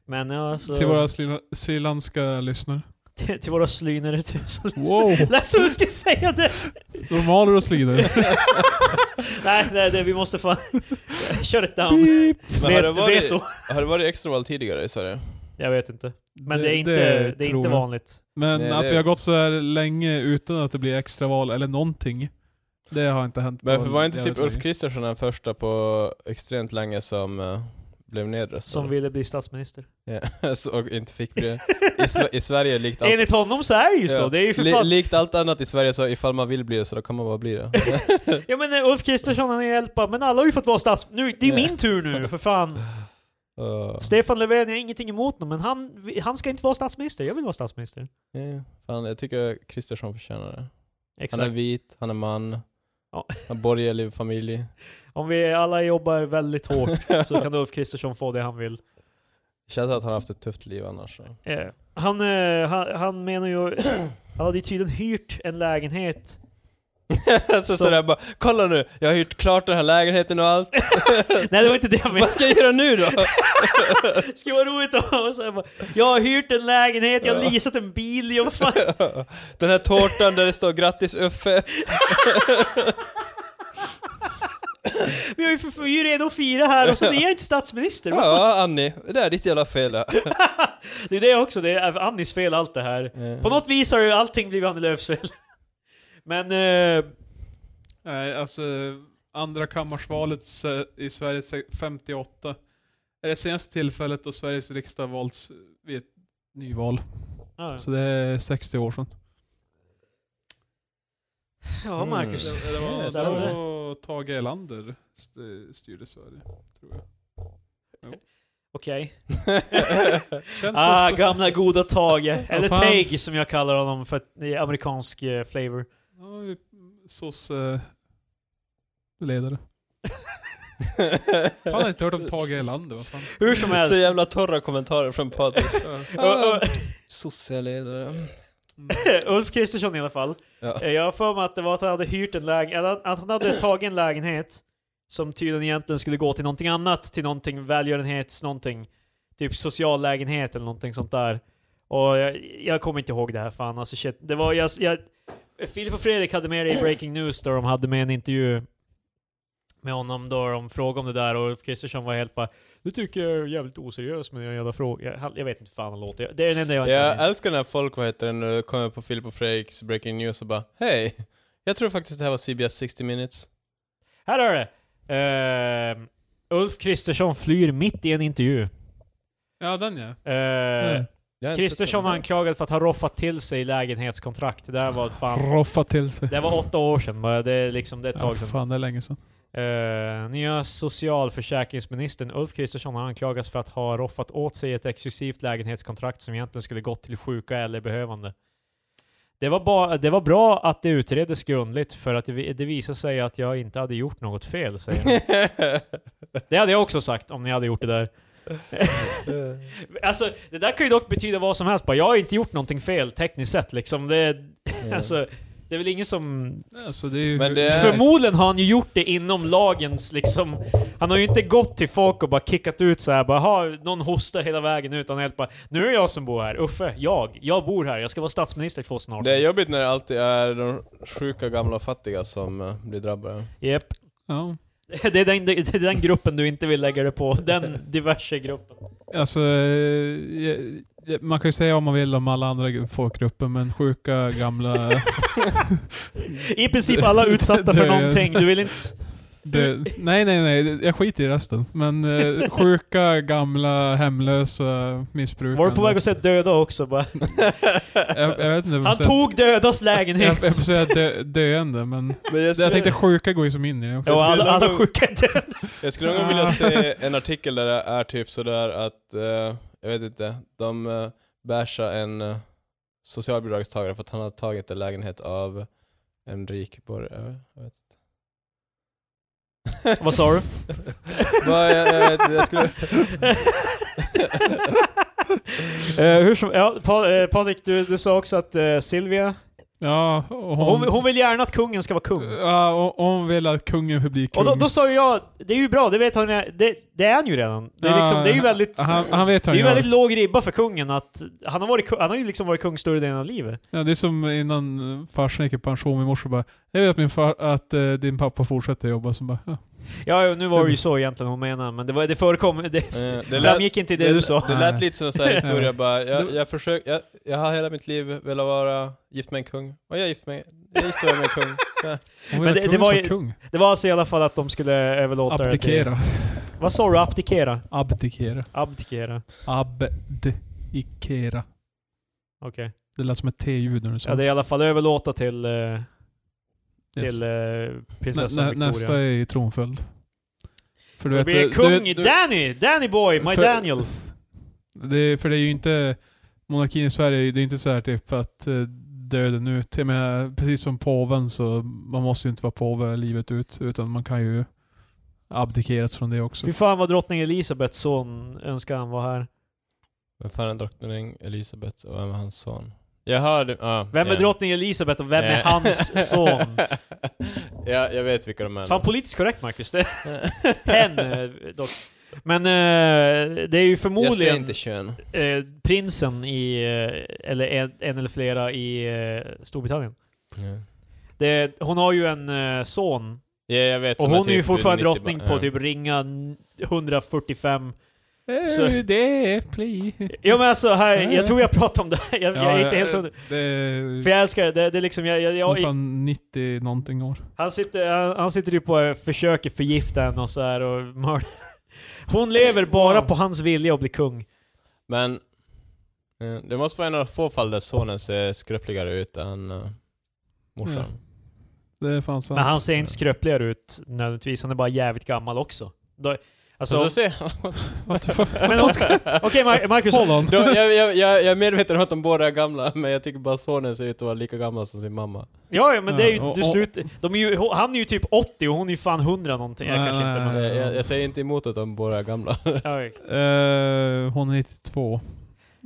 [SPEAKER 1] Men ja, så...
[SPEAKER 2] Till våra sri- srilanska lyssnare.
[SPEAKER 1] till, till våra slynare. till-
[SPEAKER 2] Wow!
[SPEAKER 1] Lät som du skulle säga det!
[SPEAKER 2] Romaner och slider.
[SPEAKER 3] *laughs*
[SPEAKER 1] nej, nej, nej, vi måste
[SPEAKER 2] *laughs*
[SPEAKER 1] fan... Shut it down.
[SPEAKER 3] Men har det
[SPEAKER 1] Vet,
[SPEAKER 3] varit,
[SPEAKER 1] veto.
[SPEAKER 3] har det varit extraval tidigare i Sverige?
[SPEAKER 1] Jag vet inte. Men det,
[SPEAKER 2] Det-
[SPEAKER 1] är inte,
[SPEAKER 2] det
[SPEAKER 1] det, är
[SPEAKER 2] tror
[SPEAKER 1] inte
[SPEAKER 2] jag.
[SPEAKER 1] vanligt.
[SPEAKER 2] Men
[SPEAKER 3] Nej,
[SPEAKER 2] att
[SPEAKER 3] det-
[SPEAKER 2] vi har gått så här länge utan att det blir extraval eller någonting. Det har inte hänt.
[SPEAKER 3] Men
[SPEAKER 2] på
[SPEAKER 3] för var inte typ
[SPEAKER 2] jävligt
[SPEAKER 3] Ulf
[SPEAKER 2] länge.
[SPEAKER 3] Kristersson den första på extremt länge som eh, blev nedröstad?
[SPEAKER 1] Som ville bli statsminister.
[SPEAKER 3] Ja, *laughs* så- och inte fick bli... I, Sve- I
[SPEAKER 1] *laughs*
[SPEAKER 3] Sverige likt allt...
[SPEAKER 1] Enligt honom så är det ju så.
[SPEAKER 3] Ja.
[SPEAKER 1] Det är ju för
[SPEAKER 3] Li,
[SPEAKER 1] fan...
[SPEAKER 3] likt allt annat i Sverige så ifall man vill bli det så då kan man bara
[SPEAKER 1] *laughs*
[SPEAKER 3] bli det.
[SPEAKER 1] Ja men eh, Ulf Kristersson han är hjälpa, men alla har ju fått vara stats... Nu, det är
[SPEAKER 3] Ja.
[SPEAKER 1] min tur nu, för
[SPEAKER 3] *laughs*
[SPEAKER 1] fan.
[SPEAKER 3] Uh,
[SPEAKER 1] Stefan Löfven, jag har ingenting emot honom, men han, han ska inte vara statsminister. Jag vill vara statsminister.
[SPEAKER 3] ja, fan, jag tycker Kristersson förtjänar det. Han
[SPEAKER 1] Exakt.
[SPEAKER 3] är vit, han är man,
[SPEAKER 1] Ja.
[SPEAKER 3] han har borgerlig familj.
[SPEAKER 1] Om vi alla jobbar väldigt
[SPEAKER 3] *laughs*
[SPEAKER 1] hårt så kan Ulf Kristersson få det han vill.
[SPEAKER 3] Känns att han har haft ett tufft liv
[SPEAKER 1] *laughs*
[SPEAKER 3] annars. så.
[SPEAKER 1] Eh, han, eh, han, han menar ju... *clears throat* Han hade ju tydligen hyrt en lägenhet.
[SPEAKER 3] så
[SPEAKER 1] Så-
[SPEAKER 3] sådär bara, kolla nu, jag har hyrt klart den här lägenheten och
[SPEAKER 1] *laughs*
[SPEAKER 3] allt.
[SPEAKER 1] Nej det var inte det jag menade.
[SPEAKER 3] Vad ska jag göra nu då?
[SPEAKER 1] Skulle vara roligt att och så här bara, Jag har hyrt en lägenhet, jag har leasat en bil, jag vad fan.
[SPEAKER 3] den här tårtan där det står grattis Uffe.
[SPEAKER 1] Vi har ju för, vi är ju redo att fira här och så är jag inte statsminister. Vad fan?
[SPEAKER 3] Ja, Annie, det där är ditt jävla fel. då.
[SPEAKER 1] Det är det också, det är Annis fel allt det här. På något vis har ju allting blivit Annie Lööfs fel. Men... Eh,
[SPEAKER 2] Nej, alltså andra kammarsvalet se- i Sverige se- 58 är det senaste tillfället då Sveriges riksdag valts vid ett nyval.
[SPEAKER 1] ja.
[SPEAKER 2] Så det är 60 år sedan. Mm.
[SPEAKER 1] ja, Marcus.
[SPEAKER 2] Det, det var
[SPEAKER 3] Yes,
[SPEAKER 1] det var det.
[SPEAKER 2] då Tage Erlander st- eh, styrde Sverige, tror jag.
[SPEAKER 1] Okej.
[SPEAKER 2] Känns
[SPEAKER 1] Ah,
[SPEAKER 2] också-
[SPEAKER 1] gamla goda Tage. Eller
[SPEAKER 2] fan.
[SPEAKER 1] Tage som jag kallar honom för att det är amerikansk eh, flavor.
[SPEAKER 2] Ja, vi- SOS eh, ledare. Fan, Jag har inte hört om Tage Erlander,
[SPEAKER 1] *laughs*
[SPEAKER 2] vad fan.
[SPEAKER 1] Hur
[SPEAKER 2] *laughs*
[SPEAKER 1] som helst.
[SPEAKER 3] Så jävla torra kommentarer från Patrik.
[SPEAKER 1] Och- och-
[SPEAKER 3] Socialledare.
[SPEAKER 2] Mm.
[SPEAKER 1] *laughs* Ulf Kristersson i alla fall.
[SPEAKER 3] Ja.
[SPEAKER 1] Eh, Jag har för mig att det var att han hade hyrt en lägenhet, att han hade tagit en lägenhet som tydligen egentligen skulle gå till någonting annat, till någonting välgörenhets, någonting. Typ social lägenhet eller någonting sånt där. Och jag, jag kommer inte ihåg det här fan alltså shit. Det var, jag, jag, Filip och Fredrik hade med det i Breaking News där de hade med en intervju med honom då de frågade om det där och Ulf Kristersson var helt bara Du tycker jag är jävligt oseriös med den jävla frågan. Jag, han- jag vet inte fan han låter. Det är den enda jag inte
[SPEAKER 3] Jag älskar när folk, vad heter det nu, kommer på Filip och Fredriks Breaking News och bara Hej! Jag tror faktiskt det här var CBS 60 minutes.
[SPEAKER 1] Här är det! Ehm, Ulf Kristersson flyr mitt i en intervju.
[SPEAKER 2] Ja, den ja.
[SPEAKER 1] Ehm,
[SPEAKER 2] Mm.
[SPEAKER 3] Jag har inte sett
[SPEAKER 1] Kristersson
[SPEAKER 3] *laughs* den.
[SPEAKER 1] anklagad för att ha roffat till sig lägenhetskontrakt. Det där var fan...
[SPEAKER 2] Roffa till sig.
[SPEAKER 1] Det var åtta år sedan, bara. det är liksom det är ett
[SPEAKER 2] Ja,
[SPEAKER 1] tag sedan.
[SPEAKER 2] fan, det är länge sedan.
[SPEAKER 1] Eh, nya socialförsäkringsministern Ulf Kristersson har anklagats för att ha roffat åt sig ett exklusivt lägenhetskontrakt som egentligen skulle gått till sjuka eller behövande. Det var, ba- det var bra att det utreddes grundligt för att det, vi- det visade sig att jag inte hade gjort något fel, säger han. Det hade jag också sagt om ni hade gjort det där. Alltså, det där kan ju dock betyda vad som helst. Bara, jag har inte gjort någonting fel tekniskt sett liksom. Det, alltså, det är väl ingen som...
[SPEAKER 2] Alltså, det är ju...
[SPEAKER 3] Men det är-
[SPEAKER 1] Förmodligen har han ju gjort det inom lagens liksom... Han har ju inte gått till folk och bara kickat ut så här, bara ha någon hostar hela vägen ut. Han är helt bara Nu är det jag som bor här. Uffe, jag. Jag bor här. Jag ska vara statsminister 2018.
[SPEAKER 3] Det är jobbigt när det alltid är de sjuka, gamla och fattiga som eh, blir drabbade.
[SPEAKER 1] Japp.
[SPEAKER 2] Ja.
[SPEAKER 1] *laughs* Det är, den, det är den gruppen du inte vill lägga dig på. Den diverse gruppen.
[SPEAKER 2] Alltså, eh, jag- jag- man kan ju säga vad man vill om alla andra gru- folkgrupper, men sjuka, gamla,
[SPEAKER 1] I princip alla utsatta för
[SPEAKER 2] Det är-
[SPEAKER 1] någonting. Du vill inte...
[SPEAKER 2] dö- Nej, nej, nej. Jag skiter i resten. Men eh, sjuka, gamla, hemlösa, missbrukare.
[SPEAKER 1] Var du på väg att säga döda också bara?
[SPEAKER 2] Jag, jag vet inte.
[SPEAKER 1] Han
[SPEAKER 2] Jag får säga-
[SPEAKER 1] tog dödas
[SPEAKER 2] jag,
[SPEAKER 1] lägenhet!
[SPEAKER 2] jag får säga dö, döende, men...
[SPEAKER 3] Men jag
[SPEAKER 2] Jag
[SPEAKER 3] skulle,
[SPEAKER 1] Eh.
[SPEAKER 2] tänkte sjuka går ju som in i det också.
[SPEAKER 1] Ja, alla,
[SPEAKER 3] skulle
[SPEAKER 1] alla
[SPEAKER 3] nog-
[SPEAKER 1] sjuka är döda.
[SPEAKER 3] jag skulle någon gång
[SPEAKER 1] Ah.
[SPEAKER 3] vilja se en artikel där det är typ sådär att, eh, jag vet inte, de uh, bärsar en eh, socialbidragstagare för att han har tagit en lägenhet av en rik borgare. Jag vet inte.
[SPEAKER 1] Vad sa du?
[SPEAKER 3] *laughs* Vad, jag, jag, vet inte,
[SPEAKER 1] *laughs*
[SPEAKER 3] jag skulle...
[SPEAKER 1] Eh, hur som, ja, pa, eh, Patrik, du, du sa också att eh, Silvia
[SPEAKER 2] Ja, och
[SPEAKER 1] Och Hon,
[SPEAKER 2] hon,
[SPEAKER 1] hon vill gärna att kungen ska vara kung.
[SPEAKER 2] ja, och hon vill att kungen får bli kung.
[SPEAKER 1] Och då, då sa ju jag, det är ju bra, det vet han ju- det, det är han ju redan. Det är,
[SPEAKER 2] Ja,
[SPEAKER 1] liksom, det är ju väldigt...
[SPEAKER 2] han, han vet
[SPEAKER 1] det
[SPEAKER 2] hur
[SPEAKER 1] är
[SPEAKER 2] han
[SPEAKER 1] ju
[SPEAKER 2] gör.
[SPEAKER 1] väldigt låg ribba för kungen att han har, varit, ku- han har ju liksom varit kung större delen av livet.
[SPEAKER 2] Ja, det är som innan eh, farsan gick i pension i morse bara Jag vet att, min far, att eh, din pappa fortsätter jobba. Som bara, ja.
[SPEAKER 1] Ja, jo, nu var det ju så egentligen hon menade, men det, var, det förekom... Det
[SPEAKER 3] Eh, Det lät,
[SPEAKER 1] framgick inte i det du sa.
[SPEAKER 3] det lät lite som en
[SPEAKER 1] *laughs*
[SPEAKER 3] sån här historia bara, jag,
[SPEAKER 2] Det-
[SPEAKER 3] jag, försök, jag, jag har hela mitt liv velat vara gift med en kung, och jag är gift med, jag gifte mig med
[SPEAKER 1] *laughs*
[SPEAKER 3] en kung. Så här.
[SPEAKER 2] Hon vill
[SPEAKER 1] det-
[SPEAKER 2] att
[SPEAKER 1] det
[SPEAKER 2] kungen
[SPEAKER 1] var
[SPEAKER 2] ska
[SPEAKER 1] ju-
[SPEAKER 2] vara kung.
[SPEAKER 1] Det var alltså i alla fall att de skulle överlåta det till-
[SPEAKER 2] Abdikera.
[SPEAKER 1] Vad sa du? Abdikera?
[SPEAKER 2] Abdikera.
[SPEAKER 1] Abdikera.
[SPEAKER 2] Abdikera.
[SPEAKER 1] Okej.
[SPEAKER 2] Det lät som ett T-ljud när du sa
[SPEAKER 1] Ja, det är i alla fall överlåta till, eh,
[SPEAKER 2] Yes.
[SPEAKER 1] till eh,
[SPEAKER 2] Nä,
[SPEAKER 1] prinsessan
[SPEAKER 2] nä,
[SPEAKER 1] Victoria.
[SPEAKER 2] nästa är tronföljd. För du
[SPEAKER 1] Det
[SPEAKER 2] vet,
[SPEAKER 1] blir
[SPEAKER 2] du-
[SPEAKER 1] kung
[SPEAKER 2] du-
[SPEAKER 1] Danny! Danny boy! My
[SPEAKER 2] För-
[SPEAKER 1] Daniel!
[SPEAKER 2] Det, för det är ju inte... Monarkin i Sverige, det är inte så här typ att eh, döden ut. Jag menar, precis som påven så man måste ju inte vara påve livet ut. Utan man kan ju abdikeras från det också.
[SPEAKER 1] Fy fan vad drottning Elisabeths son önskar han var här.
[SPEAKER 3] Vem fan är drottning Elisabeth och vem är hans son? Jag hörde... ja,
[SPEAKER 1] Vem är
[SPEAKER 3] igen.
[SPEAKER 1] drottning Elisabeth och vem är
[SPEAKER 3] Eh.
[SPEAKER 1] hans
[SPEAKER 3] *laughs*
[SPEAKER 1] son?
[SPEAKER 3] ja, jag vet vilka de är.
[SPEAKER 1] Fan politiskt korrekt Marcus. Det hen eh, dock. Men eh, det är ju
[SPEAKER 3] jag säger
[SPEAKER 1] förmodligen
[SPEAKER 3] inte kön.
[SPEAKER 1] eh, prinsen i, eh, eller en, en eller flera i eh, Storbritannien.
[SPEAKER 3] Ja.
[SPEAKER 1] Det, hon har ju en eh, son,
[SPEAKER 3] Ja, jag vet.
[SPEAKER 1] och
[SPEAKER 3] som är
[SPEAKER 1] hon är ju
[SPEAKER 3] typ
[SPEAKER 1] fortfarande
[SPEAKER 3] 90
[SPEAKER 1] drottning
[SPEAKER 3] ba-
[SPEAKER 1] på
[SPEAKER 3] ja.
[SPEAKER 1] typ ringa n- 145. Så-
[SPEAKER 2] Eh, Det är please.
[SPEAKER 1] Ja men alltså, här, jag tror jag pratade om det här. jag, jag är inte helt
[SPEAKER 2] eh,
[SPEAKER 1] hundra.
[SPEAKER 2] Det är...
[SPEAKER 1] För jag älskar det, det, det är liksom, jag, jag,
[SPEAKER 2] hon är
[SPEAKER 1] jag,
[SPEAKER 2] fan 90 någonting år.
[SPEAKER 1] Han sitter, han, han sitter ju på eh, försöker förgifta henne och så här och mörda. Hon lever bara på hans vilja att bli kung.
[SPEAKER 3] Men... eh, Det måste vara en av de få fall där sonen ser skröpligare ut än eh, morsan.
[SPEAKER 2] Ja.
[SPEAKER 1] Mm.
[SPEAKER 2] Det är fan sant.
[SPEAKER 1] Men han ser inte skröpligare ut nödvändigtvis, han är bara jävligt gammal också. Då,
[SPEAKER 3] Så,
[SPEAKER 1] alltså,
[SPEAKER 3] så ser
[SPEAKER 2] What
[SPEAKER 3] *laughs*
[SPEAKER 2] the fuck?
[SPEAKER 1] men hon ska- Okej Mar- Marcus,
[SPEAKER 2] Hold on.
[SPEAKER 3] Då, jag, jag, jag, jag är medveten om att de båda är gamla, men jag tycker bara sonen ser ut att vara lika gammal som sin mamma.
[SPEAKER 1] ja, ja men det är ju,
[SPEAKER 2] Ja, och-
[SPEAKER 1] du slut, de är ju, han är ju typ 80 och hon är ju fan 100 någonting. Jag
[SPEAKER 2] Nej,
[SPEAKER 1] kanske inte,
[SPEAKER 2] nej,
[SPEAKER 1] men,
[SPEAKER 3] Eh,
[SPEAKER 2] nej.
[SPEAKER 3] Jag, jag säger inte emot att de båda är gamla.
[SPEAKER 1] ja.
[SPEAKER 2] Eh, hon är 92.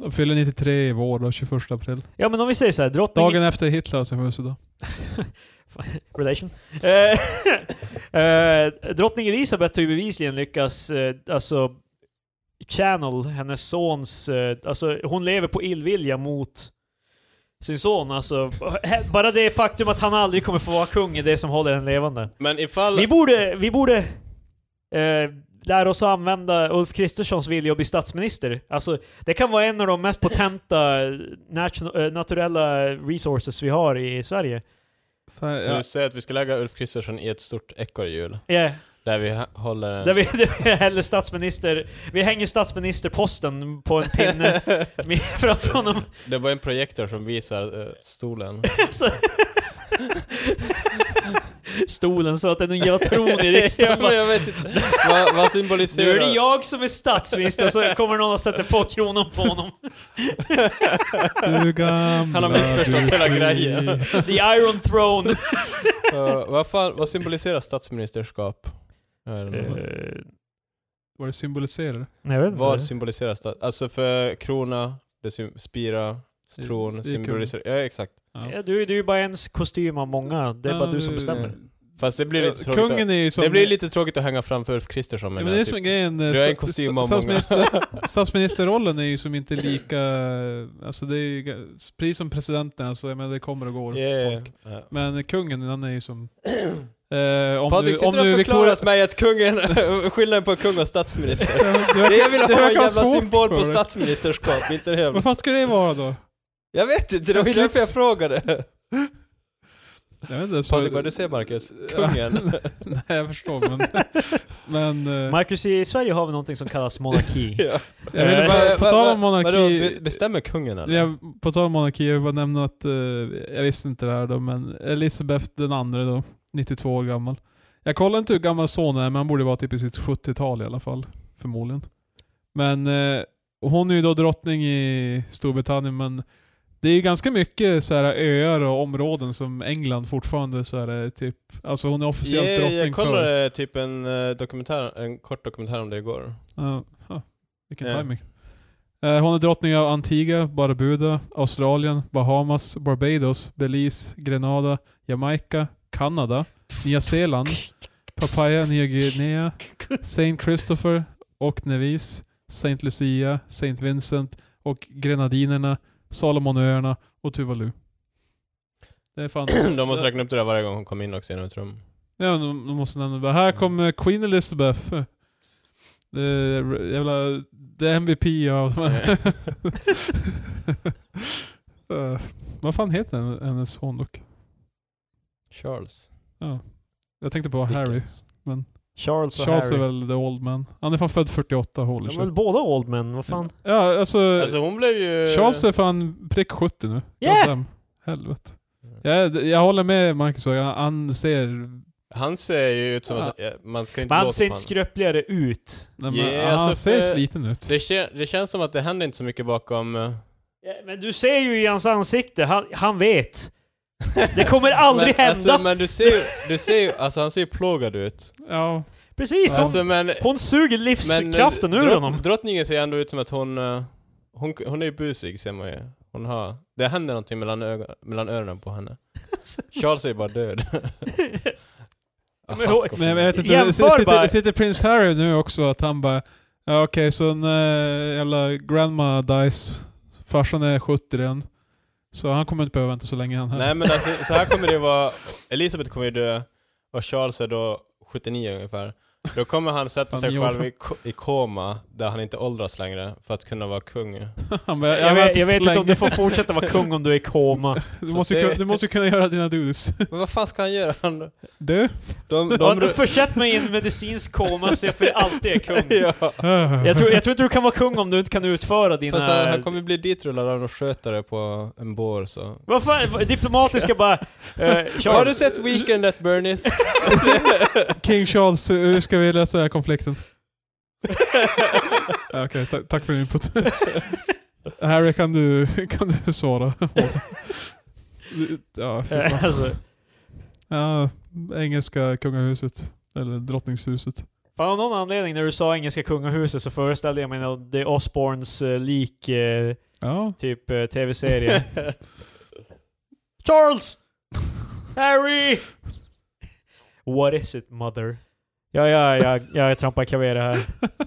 [SPEAKER 2] Hon fyller 93 i vår då, 21 april.
[SPEAKER 1] ja men om vi säger såhär, drottning...
[SPEAKER 2] Dagen efter Hitler som födelsedag.
[SPEAKER 1] Relation. *laughs* Eh, eh, drottning Elisabeth har ju bevisligen lyckats, eh, alltså, channel hennes sons, eh, alltså hon lever på illvilja mot sin son. Alltså, *laughs* he- bara det faktum att han aldrig kommer få vara kung är det som håller henne levande.
[SPEAKER 3] Men ifall...
[SPEAKER 1] Vi borde, vi borde eh, lära oss att använda Ulf Kristerssons vilja att bli statsminister. Alltså, det kan vara en av de mest potenta nation- eh, naturella resources vi har i Sverige.
[SPEAKER 2] Fan,
[SPEAKER 3] Så
[SPEAKER 2] ja.
[SPEAKER 3] du säger att vi ska lägga Ulf Kristersson i ett stort ekorrhjul,
[SPEAKER 1] Yeah.
[SPEAKER 3] där vi ha- håller en...
[SPEAKER 1] Där vi, där vi häller statsminister... Vi hänger statsministerposten på en pinne med- framför honom.
[SPEAKER 3] Det var en projektor som visar eh,
[SPEAKER 2] *laughs*
[SPEAKER 3] stolen.
[SPEAKER 1] Så. Stolen så att den jävla tron
[SPEAKER 3] *laughs*
[SPEAKER 1] i riksdagen
[SPEAKER 3] ja, men
[SPEAKER 1] bara,
[SPEAKER 3] jag vet inte. Vad, vad
[SPEAKER 1] Nu
[SPEAKER 3] symboliserar...
[SPEAKER 1] är det jag som är statsminister, så kommer någon och sätter på kronan på honom.
[SPEAKER 2] Du gamla,
[SPEAKER 3] *laughs* Han har missförstått
[SPEAKER 2] du
[SPEAKER 3] hela
[SPEAKER 2] fri.
[SPEAKER 3] grejen.
[SPEAKER 1] The Iron Throne.
[SPEAKER 3] Eh, vad, fan, vad symboliserar statsministerskap? Jag vet inte.
[SPEAKER 1] Eh,
[SPEAKER 2] Vad det symboliserar.
[SPEAKER 1] nej, jag vet inte.
[SPEAKER 3] Vad
[SPEAKER 2] eh.
[SPEAKER 3] symboliserar stat... Alltså för krona, det sym- spira,
[SPEAKER 2] Det är
[SPEAKER 3] tron,
[SPEAKER 2] kung.
[SPEAKER 3] symboliserar... Ja, exakt.
[SPEAKER 1] Ja, du, du är ju bara en kostym av många, det är bara
[SPEAKER 2] Ja,
[SPEAKER 1] du som bestämmer.
[SPEAKER 3] Fast det blir lite tråkigt. att-
[SPEAKER 2] Eh, Kungen är ju som...
[SPEAKER 3] det blir lite tråkigt att hänga framför Ulf Kristersson
[SPEAKER 2] Ja,
[SPEAKER 3] med
[SPEAKER 2] men
[SPEAKER 3] den
[SPEAKER 2] det är
[SPEAKER 3] här
[SPEAKER 2] som
[SPEAKER 3] typen.
[SPEAKER 2] grejen. eh,
[SPEAKER 3] Du är en
[SPEAKER 2] sta-
[SPEAKER 3] kostym
[SPEAKER 2] sta-
[SPEAKER 3] av många.
[SPEAKER 2] statsminister- Statsministerrollen är ju som inte lika... Alltså det är ju ga- precis som presidenten, alltså, jag menar, det kommer och går
[SPEAKER 3] *laughs* Yeah.
[SPEAKER 2] folk.
[SPEAKER 3] Ja.
[SPEAKER 2] Men kungen, han är ju
[SPEAKER 3] *clears throat*
[SPEAKER 2] som... Eh, om
[SPEAKER 3] Patrik,
[SPEAKER 2] du,
[SPEAKER 3] sitter
[SPEAKER 2] om
[SPEAKER 3] du och
[SPEAKER 2] du Victoria... *laughs*
[SPEAKER 3] förklarat mig att kungen, *laughs* skillnaden på kung och statsminister?
[SPEAKER 2] Du
[SPEAKER 3] *laughs* Det jag vill
[SPEAKER 2] verkar-
[SPEAKER 3] ha
[SPEAKER 2] det
[SPEAKER 3] är en
[SPEAKER 2] verkar
[SPEAKER 3] jävla
[SPEAKER 2] svårt
[SPEAKER 3] symbol
[SPEAKER 2] för
[SPEAKER 3] på
[SPEAKER 2] dig.
[SPEAKER 3] statsministerskap, inte en jävla...
[SPEAKER 2] Vad fan ska det vara då?
[SPEAKER 3] Jag vet inte, det var
[SPEAKER 2] Jag
[SPEAKER 3] därför jag
[SPEAKER 2] slips.
[SPEAKER 3] frågade.
[SPEAKER 2] Jag vet inte. så-
[SPEAKER 3] Patrik, vad du ser Marcus?
[SPEAKER 2] *laughs*
[SPEAKER 3] Kungen.
[SPEAKER 2] Nej, jag förstår men... *laughs* men eh,
[SPEAKER 1] Marcus, i Sverige har vi någonting som kallas
[SPEAKER 3] *laughs*
[SPEAKER 1] monarki.
[SPEAKER 3] Ja.
[SPEAKER 2] jag ville bara,
[SPEAKER 3] Vad-
[SPEAKER 2] Eh, på
[SPEAKER 3] vad-
[SPEAKER 2] tal
[SPEAKER 3] vad-
[SPEAKER 2] om
[SPEAKER 3] Eh, vadå,
[SPEAKER 2] monarki...
[SPEAKER 3] be- bestämmer kungen eller?
[SPEAKER 2] Jag, på tal om monarki, jag vill bara nämna att, eh, jag visste inte det här då, men Elisabeth den andra då, 92 år gammal. Jag kollar inte hur gammal sonen är, men han borde vara typ i sitt 70-tal i alla fall. Förmodligen. Men eh, och hon är ju då drottning i Storbritannien, men det är ju ganska mycket så här öar och områden som England fortfarande så här, eh, typ, alltså hon är officiellt
[SPEAKER 3] Jag,
[SPEAKER 2] drottning
[SPEAKER 3] jag
[SPEAKER 2] för...
[SPEAKER 3] kollade typ en, eh, dokumentär, en kort dokumentär om det igår. *clears throat*
[SPEAKER 2] Ja, ja, vilken
[SPEAKER 3] Ja.
[SPEAKER 2] timing. Eh, Hon är drottning av Antigua, Barbuda, Australien, Bahamas, Barbados, Belize, Grenada, Jamaica, Kanada, Nya Zeeland, Papaya, Nya Guinea, Saint Christopher och Nevis, Saint Lucia, Saint Vincent och Grenadinerna, Salomonöarna och Tuvalu. Det är fan...
[SPEAKER 3] *clears throat* De måste räkna upp det där varje gång hon kom in också genom ett rum.
[SPEAKER 2] Ja, men de, de måste nämna det. Här kommer Queen Elizabeth. Det är, jävla, det är MVP av de *laughs* här. Eh, Vad fan heter hennes- hennes son dock?
[SPEAKER 3] Charles.
[SPEAKER 2] Jag tänkte på Harry.
[SPEAKER 3] Dickens.
[SPEAKER 1] Charles
[SPEAKER 3] Alltså
[SPEAKER 1] och
[SPEAKER 2] Charles
[SPEAKER 1] Harry.
[SPEAKER 2] är väl the old man. Han är fan född 48, holy
[SPEAKER 1] De
[SPEAKER 2] shit.
[SPEAKER 1] är väl båda old men, vad fan?
[SPEAKER 2] Ja, alltså,
[SPEAKER 3] Alltså hon blev ju...
[SPEAKER 2] Charles är fan prick 70 nu.
[SPEAKER 1] Yeah!
[SPEAKER 2] Goddamn. Helvete. Jag, jag håller med Marcus. Han, han ser...
[SPEAKER 3] Han ser ju ut som...
[SPEAKER 2] Ja.
[SPEAKER 3] ja, Man ska inte
[SPEAKER 1] Men han
[SPEAKER 3] låta
[SPEAKER 1] ser inte
[SPEAKER 3] på
[SPEAKER 1] skröpligare ut.
[SPEAKER 2] nej, men
[SPEAKER 3] Yeah,
[SPEAKER 2] han
[SPEAKER 3] alltså,
[SPEAKER 2] ser
[SPEAKER 3] för-
[SPEAKER 2] sliten ut.
[SPEAKER 3] det, kän, det känns som att det händer inte så mycket bakom... eh,
[SPEAKER 1] Ja, Men du ser ju i hans ansikte, han, han *laughs* vet. Det kommer aldrig
[SPEAKER 3] men,
[SPEAKER 1] hända.
[SPEAKER 3] Alltså, men du ser ju, du ser ju, alltså han ser ju
[SPEAKER 1] *laughs*
[SPEAKER 3] plågad ut.
[SPEAKER 2] Ja.
[SPEAKER 1] Precis! hon-
[SPEAKER 3] Alltså men...
[SPEAKER 1] Hon suger
[SPEAKER 3] men eh,
[SPEAKER 1] livskraften ur
[SPEAKER 3] drott-
[SPEAKER 1] honom.
[SPEAKER 3] Drottningen ser ändå ut som att hon, eh, hon... Hon är ju busig ser man ju. Hon har... Det händer någonting mellan, ögon, mellan öronen
[SPEAKER 1] *laughs*
[SPEAKER 3] på henne. Charles är ju bara död. Ah,
[SPEAKER 1] Men hon-
[SPEAKER 3] han ska få-
[SPEAKER 2] Men jag vet inte,
[SPEAKER 1] Jämför
[SPEAKER 2] det sitter,
[SPEAKER 1] bara.
[SPEAKER 2] det sitter prins Harry nu också att han bara ja, okej så när jävla grandma dies, farsan är 70 redan. Så han kommer inte behöva vänta så länge han här.
[SPEAKER 3] Nej men alltså, så här kommer det vara, Elisabeth kommer ju dö och Charles är då 79 ungefär. Då kommer han sätta
[SPEAKER 2] Fan,
[SPEAKER 3] sig
[SPEAKER 2] jo.
[SPEAKER 3] själv i, ko- i koma där han inte åldras längre för att kunna vara kung.
[SPEAKER 2] Han bara,
[SPEAKER 1] Jag, vet,
[SPEAKER 2] väntar
[SPEAKER 1] jag
[SPEAKER 2] så
[SPEAKER 1] vet inte om
[SPEAKER 2] länge.
[SPEAKER 1] du får fortsätta vara kung om du är i
[SPEAKER 3] *laughs*
[SPEAKER 1] koma.
[SPEAKER 2] Du måste, ju
[SPEAKER 3] Fast det-
[SPEAKER 2] kunna- du måste ju kunna göra
[SPEAKER 1] *laughs*
[SPEAKER 2] dina doodles.
[SPEAKER 3] Men vad fan ska han göra? Han, de,
[SPEAKER 2] Du?
[SPEAKER 3] de,
[SPEAKER 1] Ja, då
[SPEAKER 3] *laughs*
[SPEAKER 1] Försätt mig i en medicinsk koma så jag för alltid är kung.
[SPEAKER 3] ja.
[SPEAKER 1] Jag tror, jag tror inte du kan vara kung om du inte kan utföra dina...
[SPEAKER 3] Fast han, han kommer bli ditrullad av någon skötare på en bår så.
[SPEAKER 1] Vad fan, diplomatiska bara... eh,
[SPEAKER 3] Har du
[SPEAKER 1] Charles,
[SPEAKER 3] sett Weekend at Bernies?
[SPEAKER 2] King Charles, hur ska vi lösa den
[SPEAKER 1] *laughs*
[SPEAKER 2] här konflikten? Ja, Okej, ta- tack för din input. Harry, kan du, kan
[SPEAKER 1] *laughs*
[SPEAKER 2] du svara? ja, fy fan.
[SPEAKER 1] *laughs* Eh, alltså,
[SPEAKER 2] Ja, engelska kungahuset. Eller drottningshuset.
[SPEAKER 1] fan, av någon anledning när du sa engelska kungahuset så föreställde jag mig när The Osborns eh, lik, eh,
[SPEAKER 2] Ja.
[SPEAKER 1] typ eh, tv-serie. *laughs* Charles! Harry! What is it mother? Ja, ja, ja, jag trampar klaveret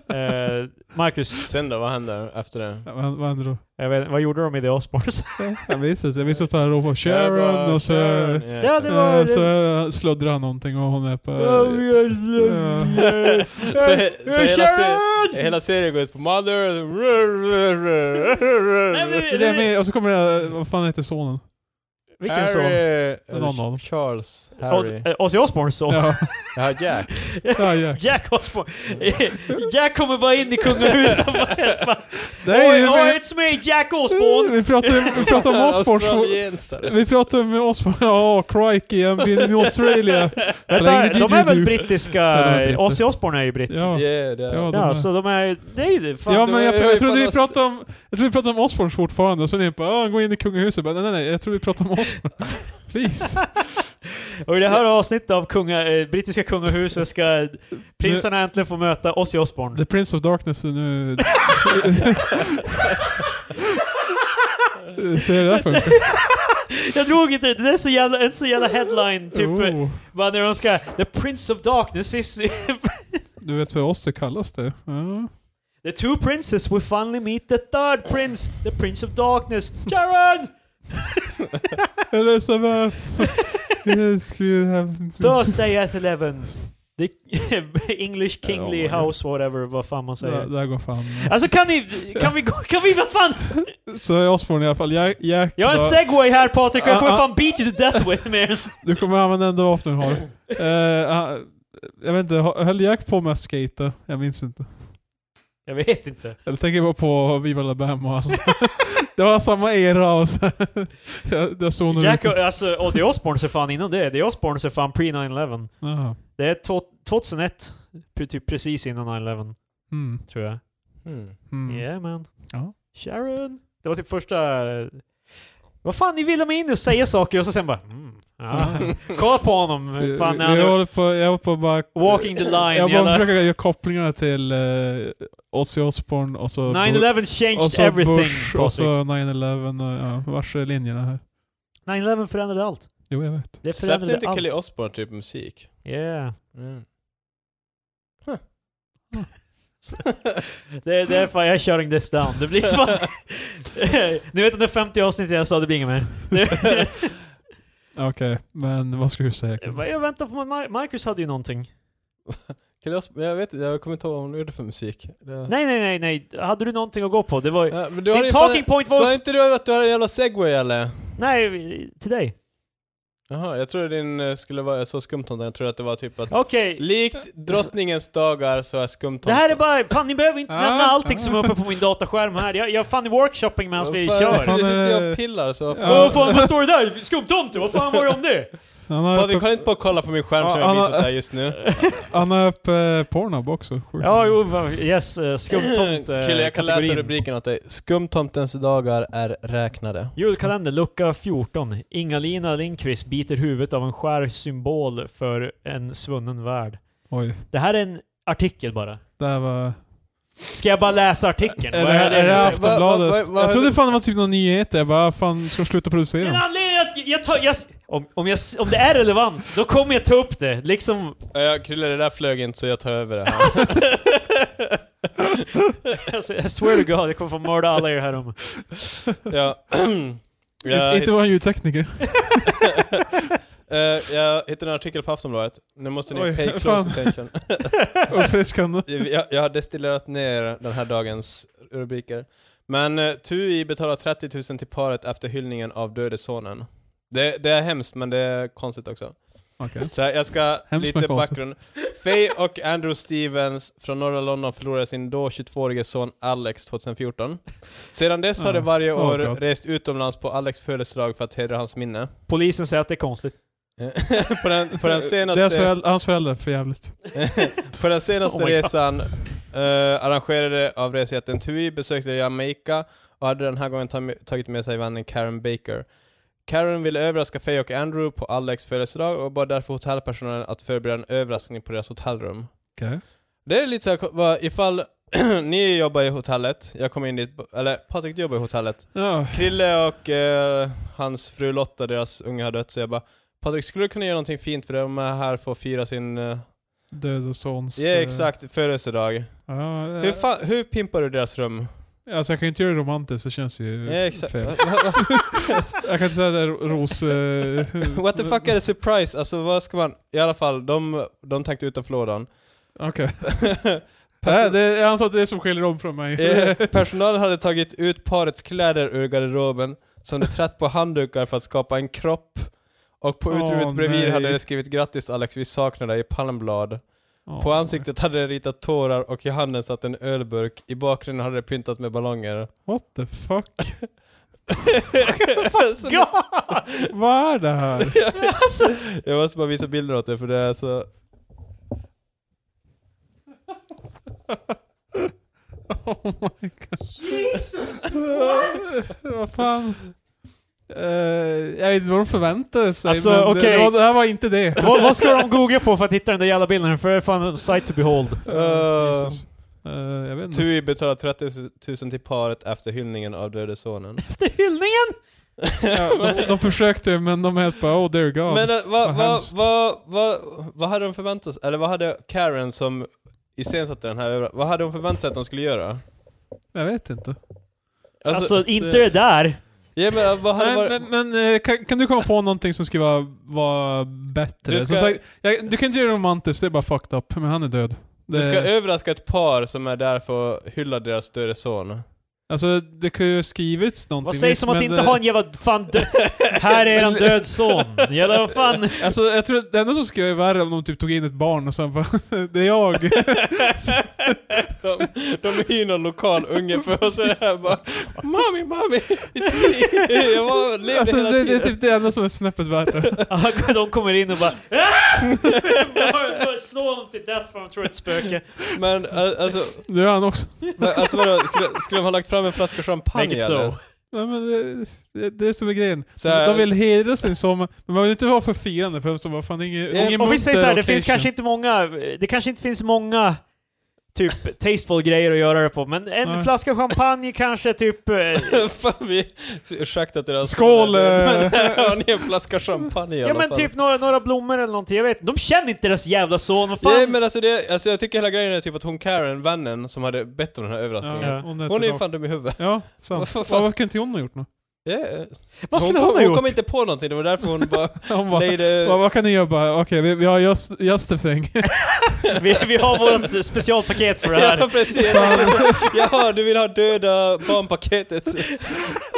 [SPEAKER 1] här. Eh, Marcus,
[SPEAKER 3] *laughs* Sen då, vad händer efter det?
[SPEAKER 2] *laughs* Ja, Vad, vad händer då?
[SPEAKER 1] jag vet, vad gjorde de i The *laughs* Osborns?
[SPEAKER 2] Jag minns inte. Jag minns att han ropade
[SPEAKER 3] Jag är
[SPEAKER 2] Sharon
[SPEAKER 3] bara,
[SPEAKER 2] och så,
[SPEAKER 3] Sharon.
[SPEAKER 1] Ja,
[SPEAKER 3] exakt.
[SPEAKER 1] det var-
[SPEAKER 2] eh, så sluddrar han någonting och hon är på...
[SPEAKER 3] Så he- så hela
[SPEAKER 1] Sharon!
[SPEAKER 3] *laughs* Hela serien går ut på Mother...
[SPEAKER 1] Nej, men-
[SPEAKER 2] Det där med, och så kommer det, vad fan heter sonen?
[SPEAKER 1] Vilken son?
[SPEAKER 3] Harry,
[SPEAKER 2] Någon av dem.
[SPEAKER 3] Charles, Harry.
[SPEAKER 1] O- eh, Ozzy Osbournes son?
[SPEAKER 2] Ja,
[SPEAKER 3] Ja, Jack.
[SPEAKER 2] ja,
[SPEAKER 1] *laughs*
[SPEAKER 2] Jack.
[SPEAKER 1] Jack Osbourne. *laughs* Jack kommer bara in i kungahuset och
[SPEAKER 3] *laughs*
[SPEAKER 1] bara- bara
[SPEAKER 2] Det är ju-
[SPEAKER 1] Oj, oj, it's me, Jack Osbourne!
[SPEAKER 2] Mm, vi, pratar, vi pratar
[SPEAKER 3] *laughs*
[SPEAKER 2] om Osborns...
[SPEAKER 3] Australiensare.
[SPEAKER 2] Vi pratar om Osborn... Ja, crikey, I'm been in Australia.
[SPEAKER 1] Vänta, de är väl
[SPEAKER 2] Du. Ja, de är
[SPEAKER 1] brittiska?
[SPEAKER 2] britter.
[SPEAKER 1] Ozzy Osbourne är ju britt.
[SPEAKER 2] Ja, ja,
[SPEAKER 3] Yeah, det är-
[SPEAKER 2] de är.
[SPEAKER 1] Ja, så de är ju... Det är ju det. Fan.
[SPEAKER 2] Ja
[SPEAKER 3] det
[SPEAKER 2] men
[SPEAKER 3] var-
[SPEAKER 2] jag,
[SPEAKER 3] det
[SPEAKER 2] jag,
[SPEAKER 3] var ju
[SPEAKER 2] trodde vi
[SPEAKER 3] fan
[SPEAKER 2] pratade om, jag trodde vi pratade om Osborns fortfarande, och så är ni på "Ah, han går in i kungahuset. Bara, nej nej nej, jag trodde vi pratade om Osborn. *laughs* Please.
[SPEAKER 1] Och i det här avsnittet av kunga, eh, brittiska kungahuset ska prinsarna äntligen få möta Ozzy Osbourne.
[SPEAKER 2] The Prince of Darkness är nu... *laughs* Ser du det *laughs* där funkar?
[SPEAKER 1] Jag drog inte det. Det är så jävla, en så jävla headline typ. Oh.
[SPEAKER 2] Oh,
[SPEAKER 1] Bara när de ska... The Prince of Darkness is... *laughs*
[SPEAKER 2] du vet för oss det kallas det. *laughs*
[SPEAKER 1] the
[SPEAKER 2] Ja.
[SPEAKER 1] two princes will finally meet the third prince. The Prince of Darkness. Sharon!
[SPEAKER 2] Elisabeth! *laughs* Yes, you have...
[SPEAKER 1] Thursday at 11. The *laughs* English kingly
[SPEAKER 3] Ja,
[SPEAKER 1] house, whatever, vad fan man
[SPEAKER 2] Ja,
[SPEAKER 1] säger.
[SPEAKER 2] det här går fan...
[SPEAKER 1] Alltså kan ni, kan vi gå, kan vi, vad fan?
[SPEAKER 2] Så är Osborn i alla fall. Jack, Jack
[SPEAKER 1] Jag har en
[SPEAKER 2] var-
[SPEAKER 1] segway här Patrik och jag kommer
[SPEAKER 2] Ah, ah.
[SPEAKER 1] fan beat you to death with me.
[SPEAKER 2] Du kommer använda den enda vapen du *laughs* har. Eh, ah, jag vet inte, höll Jack på med att skata? Jag minns inte.
[SPEAKER 1] Jag vet inte.
[SPEAKER 2] Eller tänker bara på Viva La Bam och alla. *laughs* det var samma era och så. *laughs* jag, jag såg nu...
[SPEAKER 1] Jack och, alltså, och The Osbournes är fan innan det. The Osbournes är fan pre-9-11.
[SPEAKER 2] Jaha.
[SPEAKER 1] Det är två- 2001, pre- typ precis innan 9-11,
[SPEAKER 2] Mm.
[SPEAKER 1] tror jag.
[SPEAKER 3] Mm.
[SPEAKER 2] Mm.
[SPEAKER 1] Yeah man.
[SPEAKER 2] Ja.
[SPEAKER 1] Sharon. Det var typ första... eh, Vad fan, ni vill ha mig in och säga saker och så sen bara mm, ja. Kolla på honom. Fan, när
[SPEAKER 2] jag, jag
[SPEAKER 1] han,
[SPEAKER 2] håller på, jag håller på att bara...
[SPEAKER 1] walking the line.
[SPEAKER 2] jag bara
[SPEAKER 1] jävla.
[SPEAKER 2] försöker göra kopplingarna till uh, Ozzy Osbourne och så...
[SPEAKER 1] 9-11
[SPEAKER 2] och
[SPEAKER 1] changed
[SPEAKER 2] så
[SPEAKER 1] everything.
[SPEAKER 2] Bush och
[SPEAKER 1] Patrik.
[SPEAKER 2] så 9-11 och ja, vars är linjerna här?
[SPEAKER 1] 9-11 förändrade allt.
[SPEAKER 2] Jo, jag vet.
[SPEAKER 1] Det
[SPEAKER 3] Släppte
[SPEAKER 1] förändrade
[SPEAKER 3] inte Kelly
[SPEAKER 1] allt.
[SPEAKER 3] Osbourne typ musik?
[SPEAKER 1] Yeah.
[SPEAKER 3] Mm.
[SPEAKER 1] Det, det är fan, jag är shutting this down. Det blir fan...
[SPEAKER 3] *laughs*
[SPEAKER 1] Ni vet att det 50 avsnitt jag sa, det blir inget mer. Det-
[SPEAKER 2] Okej, men vad ska du säga?
[SPEAKER 1] jag bara, jag väntar på mig. Marcus hade ju någonting.
[SPEAKER 3] Kelly Osbourne, jag vet inte, jag kommer inte ihåg vad hon gjorde för musik. Det...
[SPEAKER 1] Nej, nej, nej, nej. Hade du någonting att gå på? Det var ju...
[SPEAKER 3] Ja, men du
[SPEAKER 1] Din
[SPEAKER 3] har ju
[SPEAKER 1] talking point var-
[SPEAKER 3] Sa inte du att du hade en jävla segway eller?
[SPEAKER 1] Nej, till dig.
[SPEAKER 3] Jaha, jag trodde din eh, skulle vara så skumtomten, jag trodde att det var typ att
[SPEAKER 1] Okej.
[SPEAKER 3] Likt drottningens dagar så är skumtomten...
[SPEAKER 1] Det här är bara... Fan, ni behöver inte
[SPEAKER 2] Ah.
[SPEAKER 1] nämna allting som är uppe på min dataskärm här. Jag, jag är fan i workshopping medan vi
[SPEAKER 3] Vad fan,
[SPEAKER 1] kör.
[SPEAKER 2] Fan,
[SPEAKER 3] sitter jag
[SPEAKER 2] eh,
[SPEAKER 3] och pillar så...
[SPEAKER 2] ja.
[SPEAKER 1] Åh fan, vad står det där? Skumtomte? Vad fan var det om
[SPEAKER 3] *laughs*
[SPEAKER 1] det?
[SPEAKER 2] Han har,
[SPEAKER 3] Patrik,
[SPEAKER 2] uppe,
[SPEAKER 3] kolla inte på att kolla på min skärm som
[SPEAKER 2] Ja,
[SPEAKER 3] jag
[SPEAKER 2] han har-
[SPEAKER 3] visat där just nu.
[SPEAKER 2] han har uppe Pornhub också. Sjukt.
[SPEAKER 1] Ja, jo, va- yes. eh, Skumtomte.
[SPEAKER 3] Kille, jag kan läsa
[SPEAKER 1] kategorin.
[SPEAKER 3] rubriken åt dig. Skumtomtens dagar är räknade.
[SPEAKER 1] Julkalender lucka 14. Inga-Lina Lindqvist biter huvudet av en skär symbol för en svunnen värld.
[SPEAKER 2] Oj,
[SPEAKER 1] Det här är en artikel bara.
[SPEAKER 2] där var...
[SPEAKER 1] Ska jag bara läsa artikeln?
[SPEAKER 2] Är
[SPEAKER 1] Vad
[SPEAKER 2] det, är det
[SPEAKER 1] nu?
[SPEAKER 2] Aftonbladet?
[SPEAKER 3] vad- vad- vad-
[SPEAKER 2] jag trodde fan det var typ någon nyhet. Jag bara, fan ska de sluta
[SPEAKER 1] Men
[SPEAKER 2] producera?
[SPEAKER 1] anledningen att jag tar... Jag, om, om, jag, om det är relevant, då kommer jag ta upp det. Liksom... *laughs*
[SPEAKER 3] Ja, jag- Krille, det där flög inte så jag tar över det här.
[SPEAKER 1] Alltså, I swear to God, jag kommer få mörda alla i det här rummet.
[SPEAKER 3] ja.
[SPEAKER 2] Ja,
[SPEAKER 3] *clears throat* jag,
[SPEAKER 2] inte
[SPEAKER 3] hitt,
[SPEAKER 2] var en ljudtekniker. *laughs*
[SPEAKER 3] eh, jag hittade en artikel på Aftonbladet. Nu måste ni
[SPEAKER 2] Oj,
[SPEAKER 3] pay close
[SPEAKER 2] fan.
[SPEAKER 3] attention.
[SPEAKER 2] Uppfriskande.
[SPEAKER 3] jag, jag har destillerat ner den här dagens rubriker. Men eh, Tui betalar 30 000 till paret efter hyllningen av döde sonen. Det, det är hemskt, men det är konstigt också.
[SPEAKER 2] Okej.
[SPEAKER 3] Så här, jag ska
[SPEAKER 2] Hemskt
[SPEAKER 3] lite
[SPEAKER 2] men konstigt.
[SPEAKER 3] bakgrund. Faye och Andrew Stevens från norra London förlorade sin då 22-årige son Alex 2014. Sedan dess har de
[SPEAKER 2] Ja,
[SPEAKER 3] varje
[SPEAKER 2] vad
[SPEAKER 3] år
[SPEAKER 2] bra.
[SPEAKER 3] rest utomlands på Alex födelsedag för att hedra hans minne. *laughs*
[SPEAKER 1] Polisen säger att det är konstigt.
[SPEAKER 3] på, den, på den
[SPEAKER 2] Deras
[SPEAKER 3] senaste,
[SPEAKER 2] föräldrar- hans föräldrar, för jävligt.
[SPEAKER 3] *laughs* på den senaste
[SPEAKER 1] Oh my God.
[SPEAKER 3] resan eh, arrangerade av resejätten TUI besökte Jamaica och hade den här gången ta- tagit med sig vännen Karen Baker. Karen ville överraska Faye och Andrew på Alex födelsedag och bad därför hotellpersonalen att förbereda en överraskning på deras hotellrum.
[SPEAKER 2] Okej.
[SPEAKER 3] Det är lite såhär, vad- ifall *clears throat* ni jobbar i hotellet, jag kommer in dit, eller Patrik du jobbar i hotellet.
[SPEAKER 2] Ja.
[SPEAKER 3] Krille och eh, hans fru Lotta, deras unge har dött, så jag bara Patrik, skulle du kunna göra någonting fint för de är här för att fira sin, eh,
[SPEAKER 2] Döda sons...
[SPEAKER 3] ja
[SPEAKER 2] eh,
[SPEAKER 3] exakt, födelsedag.
[SPEAKER 2] Ja, eh,
[SPEAKER 3] Hur, fan, hur pimpar du deras rum?
[SPEAKER 2] alltså jag kan ju inte göra det romantiskt, det känns ju
[SPEAKER 3] Ja exakt.
[SPEAKER 2] fel. *laughs* Jag kan inte säga det är ro- ros...
[SPEAKER 3] *laughs*
[SPEAKER 2] eh,
[SPEAKER 3] What the fuck är det surprise? Alltså vad ska man, i alla fall, de, de tänkte utanför lådan.
[SPEAKER 2] Okej. Nej, det- Jag antar att det är som skiljer dem från mig.
[SPEAKER 3] *laughs* Eh, Personalen hade tagit ut parets kläder ur garderoben som de trätt på handdukar för att skapa en kropp. Och på
[SPEAKER 2] Åh,
[SPEAKER 3] utrymmet bredvid
[SPEAKER 2] nej.
[SPEAKER 3] hade de skrivit grattis Alex, vi saknar dig i palmblad.
[SPEAKER 2] *laughs* Ja.
[SPEAKER 3] På ansiktet hade de ritat tårar och i handen satt en ölburk. I bakgrunden hade de pyntat med ballonger.
[SPEAKER 2] What the fuck?
[SPEAKER 3] *laughs* Så-
[SPEAKER 1] God!
[SPEAKER 2] Vad är det här?
[SPEAKER 1] Alltså,
[SPEAKER 3] Jag måste bara visa bilder åt dig för det är så...
[SPEAKER 2] *laughs* Oh my god.
[SPEAKER 1] Jesus!
[SPEAKER 2] *laughs* vad fan? Eh, jag vet inte vad de förväntade sig,
[SPEAKER 1] Alltså,
[SPEAKER 2] men det-
[SPEAKER 1] okej.
[SPEAKER 2] det, var, det här var inte
[SPEAKER 3] *laughs*
[SPEAKER 2] det.
[SPEAKER 1] vad, vad ska de googla på för att hitta den där jävla bilden? För det är fan en sight to behold.
[SPEAKER 3] Eh,
[SPEAKER 2] Jesus. Eh, jag vet inte.
[SPEAKER 3] Tui betalar 30 000 till paret efter hyllningen av döde sonen.
[SPEAKER 1] Efter hyllningen!
[SPEAKER 2] *laughs* Ja, de, de försökte men de helt bara oh dear god.
[SPEAKER 3] Men eh,
[SPEAKER 2] vad
[SPEAKER 3] vad vad
[SPEAKER 2] hemskt.
[SPEAKER 3] vad vad vad hade de förväntat sig, eller vad hade Karen som iscensatte den här, över- vad hade hon förväntat sig att de skulle göra?
[SPEAKER 2] jag vet inte.
[SPEAKER 1] Alltså, inte
[SPEAKER 3] det-
[SPEAKER 1] det där.
[SPEAKER 3] Ja, men, eh, vad hade
[SPEAKER 2] Nej,
[SPEAKER 3] varit,
[SPEAKER 2] men men eh, kan, kan du komma på någonting som skulle vara, vara bättre?
[SPEAKER 3] Du
[SPEAKER 2] Du,
[SPEAKER 3] ska-
[SPEAKER 2] sagt, jag, du kan inte göra det romantiskt, det är bara fucked up. Men han är död. Det,
[SPEAKER 3] Du ska överraska ett par som är där för att hylla deras
[SPEAKER 2] *laughs*
[SPEAKER 3] större son.
[SPEAKER 2] alltså, det kunde ju ha skrivits någonting.
[SPEAKER 1] Vad sägs om att
[SPEAKER 2] men eh,
[SPEAKER 1] inte
[SPEAKER 2] det-
[SPEAKER 1] ha en eh, jävla fan *laughs* dö- Här är en död son. Jävla vad fan.
[SPEAKER 2] Alltså jag tror att det enda som skulle vara värre om de typ tog in ett barn och sen bara *laughs* Det är jag.
[SPEAKER 3] de, de hyr någon lokal unge för och så är det här bara Mami, mami! It's me! *laughs* Jag var, levde
[SPEAKER 2] alltså,
[SPEAKER 3] hela
[SPEAKER 2] det, det är
[SPEAKER 3] tiden.
[SPEAKER 2] typ det enda som är snäppet värre.
[SPEAKER 1] *laughs* Ja, De kommer in och bara "Ah!" *laughs* Bara Slå honom till death för de tror det är ett spöke.
[SPEAKER 3] Men eh, alltså,
[SPEAKER 2] Nu är han också.
[SPEAKER 3] men, alltså vadå, skulle, skulle de ha lagt fram en flaska champagne
[SPEAKER 1] Make it so.
[SPEAKER 3] eller?
[SPEAKER 2] Nej, men det, det, det är som är grejen.
[SPEAKER 3] Så här-
[SPEAKER 2] de vill hedra sin sommar, men man vill inte vara för firande för som bara fan det är ingen,
[SPEAKER 3] Ja,
[SPEAKER 2] ingen
[SPEAKER 1] Om vi
[SPEAKER 2] munter
[SPEAKER 1] säger så här, det
[SPEAKER 2] occasion.
[SPEAKER 1] finns kanske inte många, det kanske inte finns många typ tasteful grejer att göra det på, men en
[SPEAKER 2] Nej.
[SPEAKER 1] flaska champagne kanske *laughs* typ... eh,
[SPEAKER 3] *laughs* Fan, vi, ursäkta att jag
[SPEAKER 2] Skål,
[SPEAKER 3] Men
[SPEAKER 2] eh.
[SPEAKER 3] *laughs* här har ni en flaska champagne i
[SPEAKER 1] ja
[SPEAKER 3] alla
[SPEAKER 1] men
[SPEAKER 3] fall.
[SPEAKER 1] typ några, några blommor eller någonting, jag vet inte. De känner inte deras jävla son, vad fan!
[SPEAKER 3] Nej men alltså, det, alltså jag tycker hela grejen är typ att hon Karen, vännen som hade bett om den här överraskningen.
[SPEAKER 1] Ja.
[SPEAKER 2] hon, är
[SPEAKER 3] Hon är ju
[SPEAKER 2] tillbaka.
[SPEAKER 3] fan dum i huvudet.
[SPEAKER 2] Ja, sant.
[SPEAKER 3] Vad fan-
[SPEAKER 2] Ja, Varför kan inte hon ha gjort något?
[SPEAKER 3] Ja, ja.
[SPEAKER 1] vad skulle
[SPEAKER 3] hon,
[SPEAKER 1] hon,
[SPEAKER 3] kom-
[SPEAKER 1] ha gjort?
[SPEAKER 3] Hon kom inte på någonting, det var därför hon bara
[SPEAKER 2] Hon bara,
[SPEAKER 3] lejde...
[SPEAKER 2] *laughs* vad, vad kan ni göra? Bara, Okej, vi, vi har just, just the *laughs* thing.
[SPEAKER 1] Vi, vi har vårt specialpaket *laughs* för det
[SPEAKER 3] *laughs* Ja
[SPEAKER 1] här.
[SPEAKER 3] precis! liksom, Jaha, du vill ha döda barnpaketet? *laughs*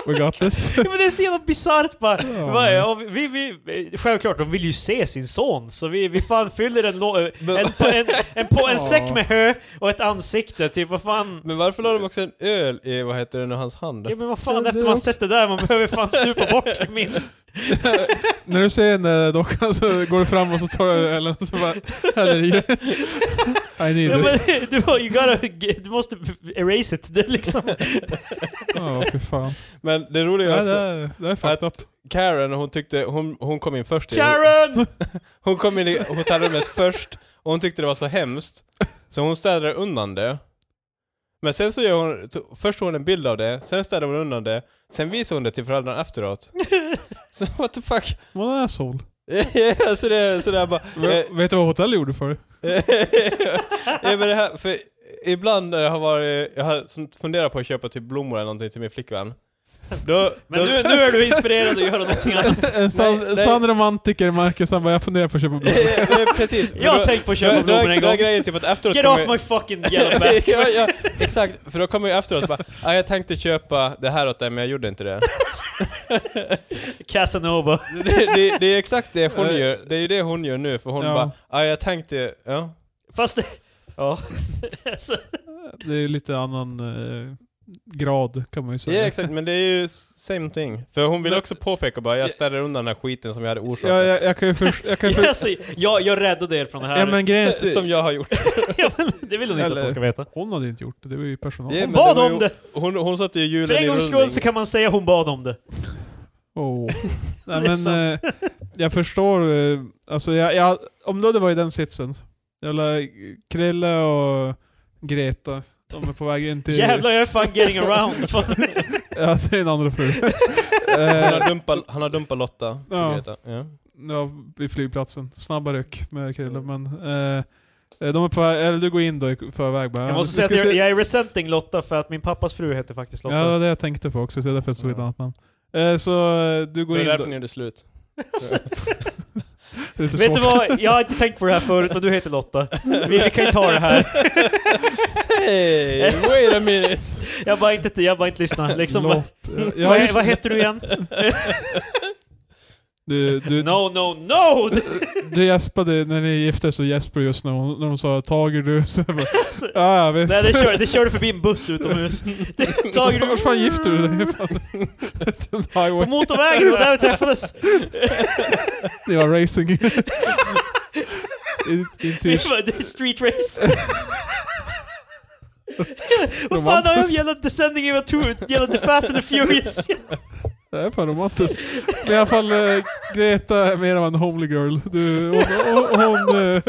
[SPEAKER 2] We got this.
[SPEAKER 1] Ja, men det är så jävla bisarrt bara.
[SPEAKER 2] Ja.
[SPEAKER 1] Vad är- och vi, vi, självklart, de vill ju se sin son, så vi, vi fan fyller en, lå- en, en, en, på, en säck med hö och ett ansikte, typ vad fan.
[SPEAKER 3] Men varför la de också en öl i, vad heter det nu, hans hand?
[SPEAKER 1] Ja men vad
[SPEAKER 2] Ja,
[SPEAKER 1] fan,
[SPEAKER 2] det
[SPEAKER 1] efter man
[SPEAKER 2] också.
[SPEAKER 1] sett det där, man behöver fan supa bort min...
[SPEAKER 2] När du ser den där dockan så går du fram och så tar du ölen och så bara häller i *laughs* det. I
[SPEAKER 1] Ja,
[SPEAKER 2] need this.
[SPEAKER 1] men, du, har- you gotta, get- du måste erase it, det är liksom...
[SPEAKER 3] *laughs*
[SPEAKER 2] Ja, fy fan.
[SPEAKER 3] Men det roliga är
[SPEAKER 2] Ja, det,
[SPEAKER 3] också,
[SPEAKER 2] är- det är fucked up.
[SPEAKER 3] Karen hon tyckte, hon, hon kom in först i
[SPEAKER 1] Karen!
[SPEAKER 3] Hon kom in i hotellrummet först och hon tyckte det var så hemskt. Så hon städade undan det. Men sen så gör hon, to- först tog hon en bild av det, sen städade hon undan det, sen visade hon det till
[SPEAKER 1] *laughs*
[SPEAKER 3] föräldrarna efteråt. Så what the fuck? *laughs*
[SPEAKER 2] Vad är
[SPEAKER 3] Eh,
[SPEAKER 2] asshole.
[SPEAKER 3] så det är sådär bara... eh, *laughs*
[SPEAKER 2] Vet- Vet du vad hotell gjorde för dig?
[SPEAKER 3] ja, men det här, för ibland när jag har varit, jag har som- funderat på att köpa typ blommor eller någonting till min flickvän. Då,
[SPEAKER 1] *laughs* Men
[SPEAKER 3] då, *laughs*
[SPEAKER 1] nu, nu är du inspirerad att göra någonting annat.
[SPEAKER 2] En sann
[SPEAKER 3] nej.
[SPEAKER 2] sann romantiker, Marcus, han bara jag funderar på att köpa
[SPEAKER 3] *laughs*
[SPEAKER 2] blommor.
[SPEAKER 3] Eh, eh, Precis. för
[SPEAKER 1] Jag har
[SPEAKER 3] då-
[SPEAKER 1] tänkt på att köpa
[SPEAKER 3] då- då är-
[SPEAKER 1] blommor en
[SPEAKER 3] då är
[SPEAKER 1] gång.
[SPEAKER 3] grejen typ att efteråt
[SPEAKER 1] Get off
[SPEAKER 3] kommer-
[SPEAKER 1] my fucking yellow back.
[SPEAKER 3] *laughs* ja, ja, exakt, för då kommer jag efteråt och bara ah, jag tänkte köpa det här åt dig men jag gjorde inte det.
[SPEAKER 1] Casanova.
[SPEAKER 3] Det, det, det är exakt det hon gör, det är ju det hon gör nu för hon
[SPEAKER 2] Ja.
[SPEAKER 3] bara ah, jag tänkte, ja.
[SPEAKER 1] Fast det... Ja. *laughs* Så,
[SPEAKER 2] Det är ju lite annan eh, grad kan man ju
[SPEAKER 3] Ja
[SPEAKER 2] säga.
[SPEAKER 3] exakt, men det är ju same thing. För hon vill också påpeka bara jag städade undan den här skiten som jag hade orsakat.
[SPEAKER 2] Ja, jag, jag kan ju först... Jag
[SPEAKER 3] *laughs*
[SPEAKER 2] kan ju *laughs* för,
[SPEAKER 1] alltså, jag, jag räddade er från det här.
[SPEAKER 2] ja, men grejen är att-
[SPEAKER 3] Som jag har gjort.
[SPEAKER 1] *laughs* Ja, men det vill hon inte att
[SPEAKER 2] Eller-
[SPEAKER 1] de ska veta.
[SPEAKER 2] Hon hade ju inte gjort det, det var ju personal.
[SPEAKER 3] Ja,
[SPEAKER 1] Hon
[SPEAKER 3] men
[SPEAKER 1] bad
[SPEAKER 3] det var ju-
[SPEAKER 1] om det!
[SPEAKER 3] Hon, hon satte ju
[SPEAKER 1] För
[SPEAKER 3] hjulen
[SPEAKER 1] en
[SPEAKER 3] i
[SPEAKER 1] gångs skull så
[SPEAKER 3] rullning.
[SPEAKER 1] kan man säga hon bad om det.
[SPEAKER 3] *laughs*
[SPEAKER 2] Oh. Nej,
[SPEAKER 1] Det är
[SPEAKER 2] men,
[SPEAKER 1] sant.
[SPEAKER 2] eh, jag förstår. Eh, alltså, jag, jag, om du hade varit i den sitsen. Jävla Krille och Greta. De är på väg in till...
[SPEAKER 1] Jävlar, jag är fan getting
[SPEAKER 2] *laughs*
[SPEAKER 1] around. Fan.
[SPEAKER 2] Ja, det är en andra fru.
[SPEAKER 3] Han har
[SPEAKER 2] eh,
[SPEAKER 3] dumpat, han har dumpat Lotta. får
[SPEAKER 2] Ja.
[SPEAKER 3] vi veta. Ja.
[SPEAKER 2] ja, vid flygplatsen. Snabba ryck med Krille, men... Eh, de är på väg, eller du går in då i förväg bara.
[SPEAKER 1] Jag
[SPEAKER 2] "Ja,
[SPEAKER 1] måste
[SPEAKER 2] vi
[SPEAKER 1] säga
[SPEAKER 2] ska
[SPEAKER 1] att jag,
[SPEAKER 2] se-
[SPEAKER 1] jag är resenting Lotta för att min pappas fru heter faktiskt Lotta.
[SPEAKER 2] Ja, det var det jag tänkte på också, så det är därför jag såg ett
[SPEAKER 1] Ja.
[SPEAKER 2] annat namn. Eh, så eh, du går
[SPEAKER 3] Det är
[SPEAKER 2] in
[SPEAKER 3] därför ni
[SPEAKER 2] då.
[SPEAKER 3] gjorde slut.
[SPEAKER 2] Det är lite
[SPEAKER 1] Vet
[SPEAKER 2] svårt.
[SPEAKER 1] du vad? Jag har inte tänkt på det här förut, men du heter Lotta. Vi, vi kan ju ta det
[SPEAKER 2] *laughs*
[SPEAKER 1] här.
[SPEAKER 3] *laughs* Hey, wait a minute!
[SPEAKER 1] Jag bara inte, jag bara inte lyssnar. Liksom, vad,
[SPEAKER 2] Låt-
[SPEAKER 1] *laughs*
[SPEAKER 2] eh, ja,
[SPEAKER 1] vad,
[SPEAKER 2] just
[SPEAKER 1] vad
[SPEAKER 2] det.
[SPEAKER 1] heter du igen?
[SPEAKER 2] Du, du,
[SPEAKER 1] No, no, no!
[SPEAKER 2] du gäspade när ni gifte er så gäspade du just när hon, när hon sa 'Tager du?' Så
[SPEAKER 1] *laughs*
[SPEAKER 2] jag bara, ja ja, visst.
[SPEAKER 1] Nej, det
[SPEAKER 2] *laughs*
[SPEAKER 1] körde, det körde förbi en buss utomhus. Det- Tager
[SPEAKER 2] Vart fan gifter du
[SPEAKER 1] *laughs*
[SPEAKER 2] dig? Fan. Till en
[SPEAKER 1] På
[SPEAKER 2] highway.
[SPEAKER 1] motorvägen, det var där vi träffades.
[SPEAKER 2] *laughs* Det var
[SPEAKER 1] *laughs*
[SPEAKER 2] racing. *laughs* In-
[SPEAKER 1] Vi *laughs*
[SPEAKER 2] Intuition.
[SPEAKER 1] var, det är street
[SPEAKER 2] *laughs*
[SPEAKER 1] race. *laughs* Vad fan har jag
[SPEAKER 2] Romantiskt.
[SPEAKER 1] gällande sändning i gällande Fast and the
[SPEAKER 2] *laughs*
[SPEAKER 1] Furious?
[SPEAKER 2] Det är fan romantiskt. Men i alla fall, eh, Greta är mer av en homely girl. Du, hon, hon, hon, eh,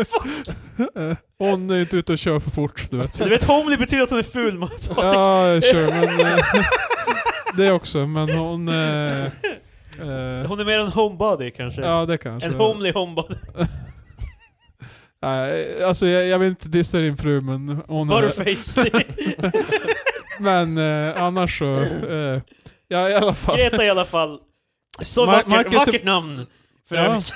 [SPEAKER 2] eh, hon är inte ute och kör för fort, du vet.
[SPEAKER 1] Du vet, homely betyder att hon är ful. man.
[SPEAKER 2] Ja, sure, men... eh, *laughs* Det också, men hon... eh, eh,
[SPEAKER 1] Hon är mer en homebody kanske.
[SPEAKER 2] Ja, det kanske.
[SPEAKER 1] en homely homebody.
[SPEAKER 2] Nej, alltså jag, jag vill inte dissa din fru, men hon... är-
[SPEAKER 1] Butterface.
[SPEAKER 2] *laughs*
[SPEAKER 1] *laughs*
[SPEAKER 2] Men eh, annars så... Eh, ja, i alla fall.
[SPEAKER 1] Greta i alla fall. Så
[SPEAKER 2] Ma-
[SPEAKER 1] vackert,
[SPEAKER 2] Marcus-
[SPEAKER 1] vackert namn. För
[SPEAKER 2] Ja.
[SPEAKER 1] övrigt.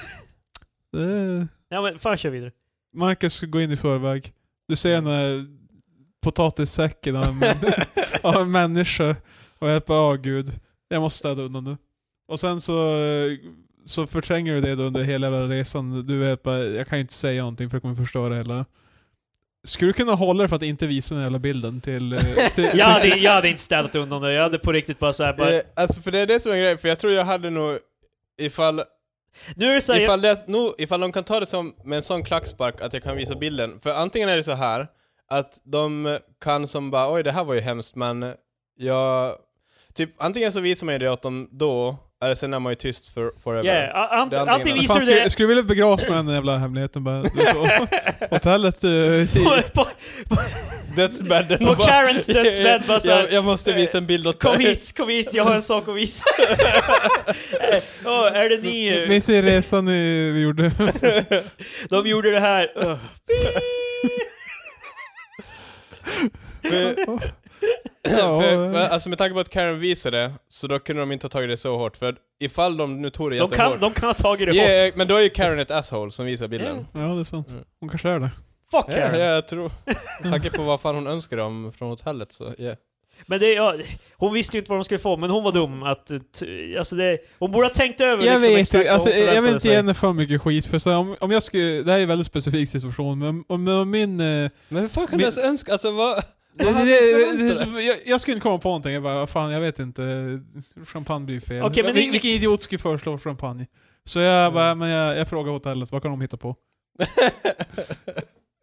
[SPEAKER 2] Eh,
[SPEAKER 1] Ja men fan kör
[SPEAKER 2] *laughs*
[SPEAKER 1] vidare.
[SPEAKER 2] Marcus ska gå in i förväg. Du ser en eh, potatissäck i den här män- av en människa. Och jag bara, åh gud. Jag måste städa undan nu. Och sen så, eh, så förtränger du det då under hela jävla resan. Du vet bara, jag kan ju inte säga någonting för jag kommer förstöra hela. Skulle du kunna hålla det för att inte visa den jävla bilden
[SPEAKER 1] *laughs*
[SPEAKER 2] till... eh, till
[SPEAKER 1] Jag hade, jag hade inte städat undan det, jag hade på riktigt bara såhär bara...
[SPEAKER 3] Eh, alltså för det är det som är grejen, för jag tror jag hade nog Ifall,
[SPEAKER 1] Nu är det såhär...
[SPEAKER 3] ifall, det, no, ifall de kan ta det som, med en sån klackspark att jag kan visa bilden. För antingen är det så här att de kan som bara oj det här var ju hemskt men jag... Typ, antingen så visar man ju det åt dem då, eller sen är man ju tyst för, forever.
[SPEAKER 1] Yeah, a- ant-
[SPEAKER 3] Det är antingen-
[SPEAKER 1] antingen visar
[SPEAKER 2] Fan,
[SPEAKER 1] du
[SPEAKER 2] skulle,
[SPEAKER 1] det...
[SPEAKER 2] jag skulle vilja begravas med den jävla hemligheten bara. Liksom.
[SPEAKER 1] *laughs*
[SPEAKER 2] Hotellet eh, i-
[SPEAKER 1] på, på,
[SPEAKER 3] Dödsbädden.
[SPEAKER 1] på Karens dödsbädd bara såhär...
[SPEAKER 3] *laughs* jag, jag måste visa en bild åt
[SPEAKER 1] Kom
[SPEAKER 3] dig.
[SPEAKER 1] hit, kom hit, jag har en sak att
[SPEAKER 2] *laughs*
[SPEAKER 1] visa. Åh, är det ni? eh,
[SPEAKER 2] Minns ni resan i, vi gjorde?
[SPEAKER 1] De gjorde det här. Ugh.
[SPEAKER 3] *laughs* För,
[SPEAKER 2] Ja,
[SPEAKER 3] för,
[SPEAKER 2] eh,
[SPEAKER 3] alltså med tanke på att Karen visade det, så då kunde de inte ha tagit det så hårt. För ifall de nu tog det
[SPEAKER 1] De kan,
[SPEAKER 3] jättehårt.
[SPEAKER 1] de kan ha tagit det hårt.
[SPEAKER 3] yeah, men då är ju Karen ett asshole som visar bilden.
[SPEAKER 2] ja, det är sant.
[SPEAKER 3] Mm.
[SPEAKER 2] Hon kanske är det.
[SPEAKER 1] Fuck
[SPEAKER 3] Ja,
[SPEAKER 1] Karen.
[SPEAKER 3] ja,
[SPEAKER 1] *laughs*
[SPEAKER 3] jag tror. Med tanke på vad fan hon önskar dem från hotellet så, yeah.
[SPEAKER 1] Men det, ja, hon visste ju inte vad de skulle få, men hon var dum. Att, eh, t- alltså det, hon borde ha tänkt över
[SPEAKER 2] Jag
[SPEAKER 1] liksom
[SPEAKER 2] vet,
[SPEAKER 1] exakt
[SPEAKER 2] inte,
[SPEAKER 1] vad
[SPEAKER 2] alltså,
[SPEAKER 1] hon
[SPEAKER 2] jag vill
[SPEAKER 1] förväntade
[SPEAKER 2] inte
[SPEAKER 1] sig.
[SPEAKER 2] ge henne för mycket skit, för så här, om, om jag skulle, det här är en väldigt specifik situation, men om, om, om min... eh,
[SPEAKER 3] Men hur fan kan
[SPEAKER 2] Men-
[SPEAKER 3] du ens önska, alltså vad?
[SPEAKER 2] det,
[SPEAKER 3] hade
[SPEAKER 2] det,
[SPEAKER 3] du
[SPEAKER 2] det,
[SPEAKER 3] förväntat
[SPEAKER 2] det,
[SPEAKER 3] dig?
[SPEAKER 2] så- jag, jag skulle inte komma på någonting, jag bara, vad fan jag vet inte, champagne blir fel.
[SPEAKER 1] Okej, men Mm.
[SPEAKER 2] Vil,
[SPEAKER 1] det-
[SPEAKER 2] Vilken idiot skulle föreslå champagne? Så jag bara, men jag, jag frågar hotellet, vad kan de hitta på? *laughs*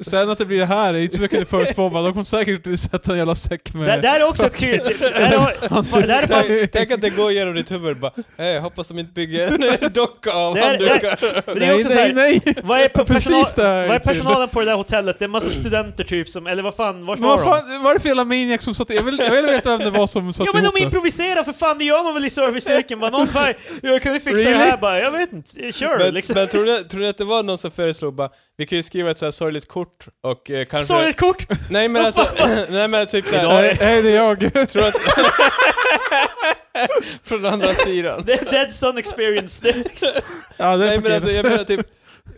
[SPEAKER 2] Sen att det blir det här, det är inte så mycket det förutspå, bara, de kommer säkert sätta en jävla säck med...
[SPEAKER 1] Det, det här är också kul. Det, det, här har- fan, det här är fan
[SPEAKER 3] *laughs*
[SPEAKER 2] *laughs*
[SPEAKER 3] tänk, tänk att det går genom ditt huvud bara, hey, hoppas de inte bygger en *laughs* docka av
[SPEAKER 1] Det är- det är-
[SPEAKER 3] handdukar.
[SPEAKER 1] Men det är
[SPEAKER 2] nej,
[SPEAKER 1] också så
[SPEAKER 2] nej,
[SPEAKER 1] här,
[SPEAKER 2] nej!
[SPEAKER 1] vad är, på personal,
[SPEAKER 2] Precis typ. det här är
[SPEAKER 1] vad är
[SPEAKER 2] kul.
[SPEAKER 1] personalen på det där hotellet? Det är en massa studenter typ som, eller vad fan, vart
[SPEAKER 2] Men
[SPEAKER 1] var
[SPEAKER 2] vad
[SPEAKER 1] de?
[SPEAKER 2] fan, var det för jävla maniac som satte... Jag vill, jag vill veta vem det var som satte
[SPEAKER 1] Ja men
[SPEAKER 2] ihop
[SPEAKER 1] de
[SPEAKER 2] det.
[SPEAKER 1] improviserar för fan, det gör man väl i serviceyrken? Bara någon bara, jag kan ju fixa det här
[SPEAKER 2] Really?
[SPEAKER 1] bara, jag vet inte, kör
[SPEAKER 3] Men,
[SPEAKER 1] liksom.
[SPEAKER 3] men tror, du, tror du att det var någon som föreslog bara, vi kan ju skriva ett så här sorgligt kort och eh, kanske...
[SPEAKER 1] Sorgligt kort!
[SPEAKER 3] Nej men alltså, *laughs* nej men typ såhär,
[SPEAKER 2] Nej, nej, det är
[SPEAKER 3] *laughs*
[SPEAKER 2] jag.
[SPEAKER 3] tror
[SPEAKER 1] *laughs*
[SPEAKER 3] att... Från andra sidan.
[SPEAKER 1] Det är Dead Sun Experience. Det är liksom,
[SPEAKER 2] Ja, det är
[SPEAKER 3] Nej men alltså
[SPEAKER 2] paketet.
[SPEAKER 3] jag
[SPEAKER 1] *laughs*
[SPEAKER 3] menar typ,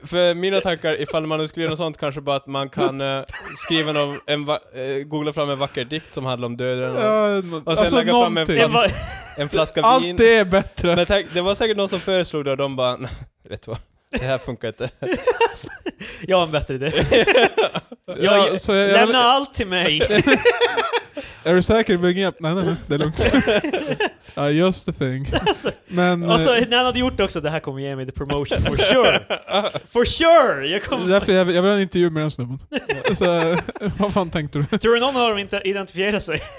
[SPEAKER 3] för mina tankar ifall man nu skulle göra något sånt kanske bara att man kan eh, skriva någon, en va- eh, googla fram en vacker dikt som handlar om döden och
[SPEAKER 2] *laughs* Ja, nå-
[SPEAKER 3] sen
[SPEAKER 2] alltså
[SPEAKER 3] lägga fram en
[SPEAKER 2] någonting.
[SPEAKER 1] det var,
[SPEAKER 3] en flaska vin.
[SPEAKER 2] Allt det är bättre.
[SPEAKER 3] Men tack, det var säkert någon som föreslog det och de bara, "Nej, vet du vad? Det här
[SPEAKER 1] *laughs*
[SPEAKER 3] funkar inte.
[SPEAKER 1] *laughs* jag har en bättre idé.
[SPEAKER 2] Ja,
[SPEAKER 1] jag-
[SPEAKER 2] så jag, jag,
[SPEAKER 1] Lämna allt till mig! *laughs*
[SPEAKER 2] är du säker? Bygg upp. Nej, nej, nej, det
[SPEAKER 1] *laughs*
[SPEAKER 2] är lugnt. Ja, just the thing.
[SPEAKER 1] Alltså,
[SPEAKER 2] Men...
[SPEAKER 1] och så
[SPEAKER 2] eh,
[SPEAKER 1] när han hade gjort det också, det här kommer ge mig the promotion for sure! For sure! Jag
[SPEAKER 3] *laughs*
[SPEAKER 2] det är
[SPEAKER 1] kommer,
[SPEAKER 2] Därför jag, jag vill ha en intervju med den snubben. Så, *laughs* vad fan tänkte du?
[SPEAKER 1] tror du någon av dem inte identifierar sig? *laughs*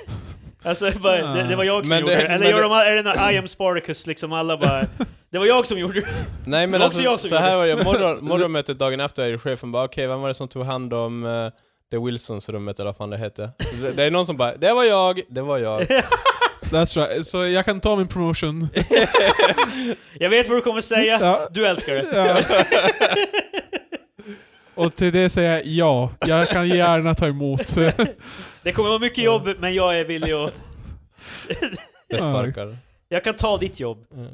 [SPEAKER 1] Alltså, bara, det, det var jag som
[SPEAKER 3] Men
[SPEAKER 1] gjorde
[SPEAKER 3] det-
[SPEAKER 1] det. Eller
[SPEAKER 3] men
[SPEAKER 1] gör
[SPEAKER 3] det-
[SPEAKER 1] de, är det när I am Spartacus liksom alla
[SPEAKER 3] *laughs*
[SPEAKER 1] bara... Det var jag som gjorde det.
[SPEAKER 3] Nej men
[SPEAKER 1] Också
[SPEAKER 3] alltså,
[SPEAKER 1] jag som
[SPEAKER 3] så här
[SPEAKER 1] gjorde.
[SPEAKER 3] var det,
[SPEAKER 1] *laughs*
[SPEAKER 3] morgon, morgonmötet dagen efter är chefen bara okej, vem var det som tog hand om eh, det Wilsons-rummet eller vad fan det hette? Det, det är någon som bara, det var jag, det var jag.
[SPEAKER 1] *laughs*
[SPEAKER 2] That's right. Så jag kan ta min
[SPEAKER 3] *laughs*
[SPEAKER 2] promotion.
[SPEAKER 1] Jag vet vad du kommer säga,
[SPEAKER 2] Ja.
[SPEAKER 1] du älskar det.
[SPEAKER 3] *laughs*
[SPEAKER 2] Ja. Och till det säger jag ja. Jag kan gärna
[SPEAKER 1] *laughs*
[SPEAKER 2] ta emot.
[SPEAKER 1] Det kommer vara mycket jobb, men jag är villig att...
[SPEAKER 3] Det sparkar.
[SPEAKER 1] Jag kan ta ditt jobb.
[SPEAKER 3] Mm.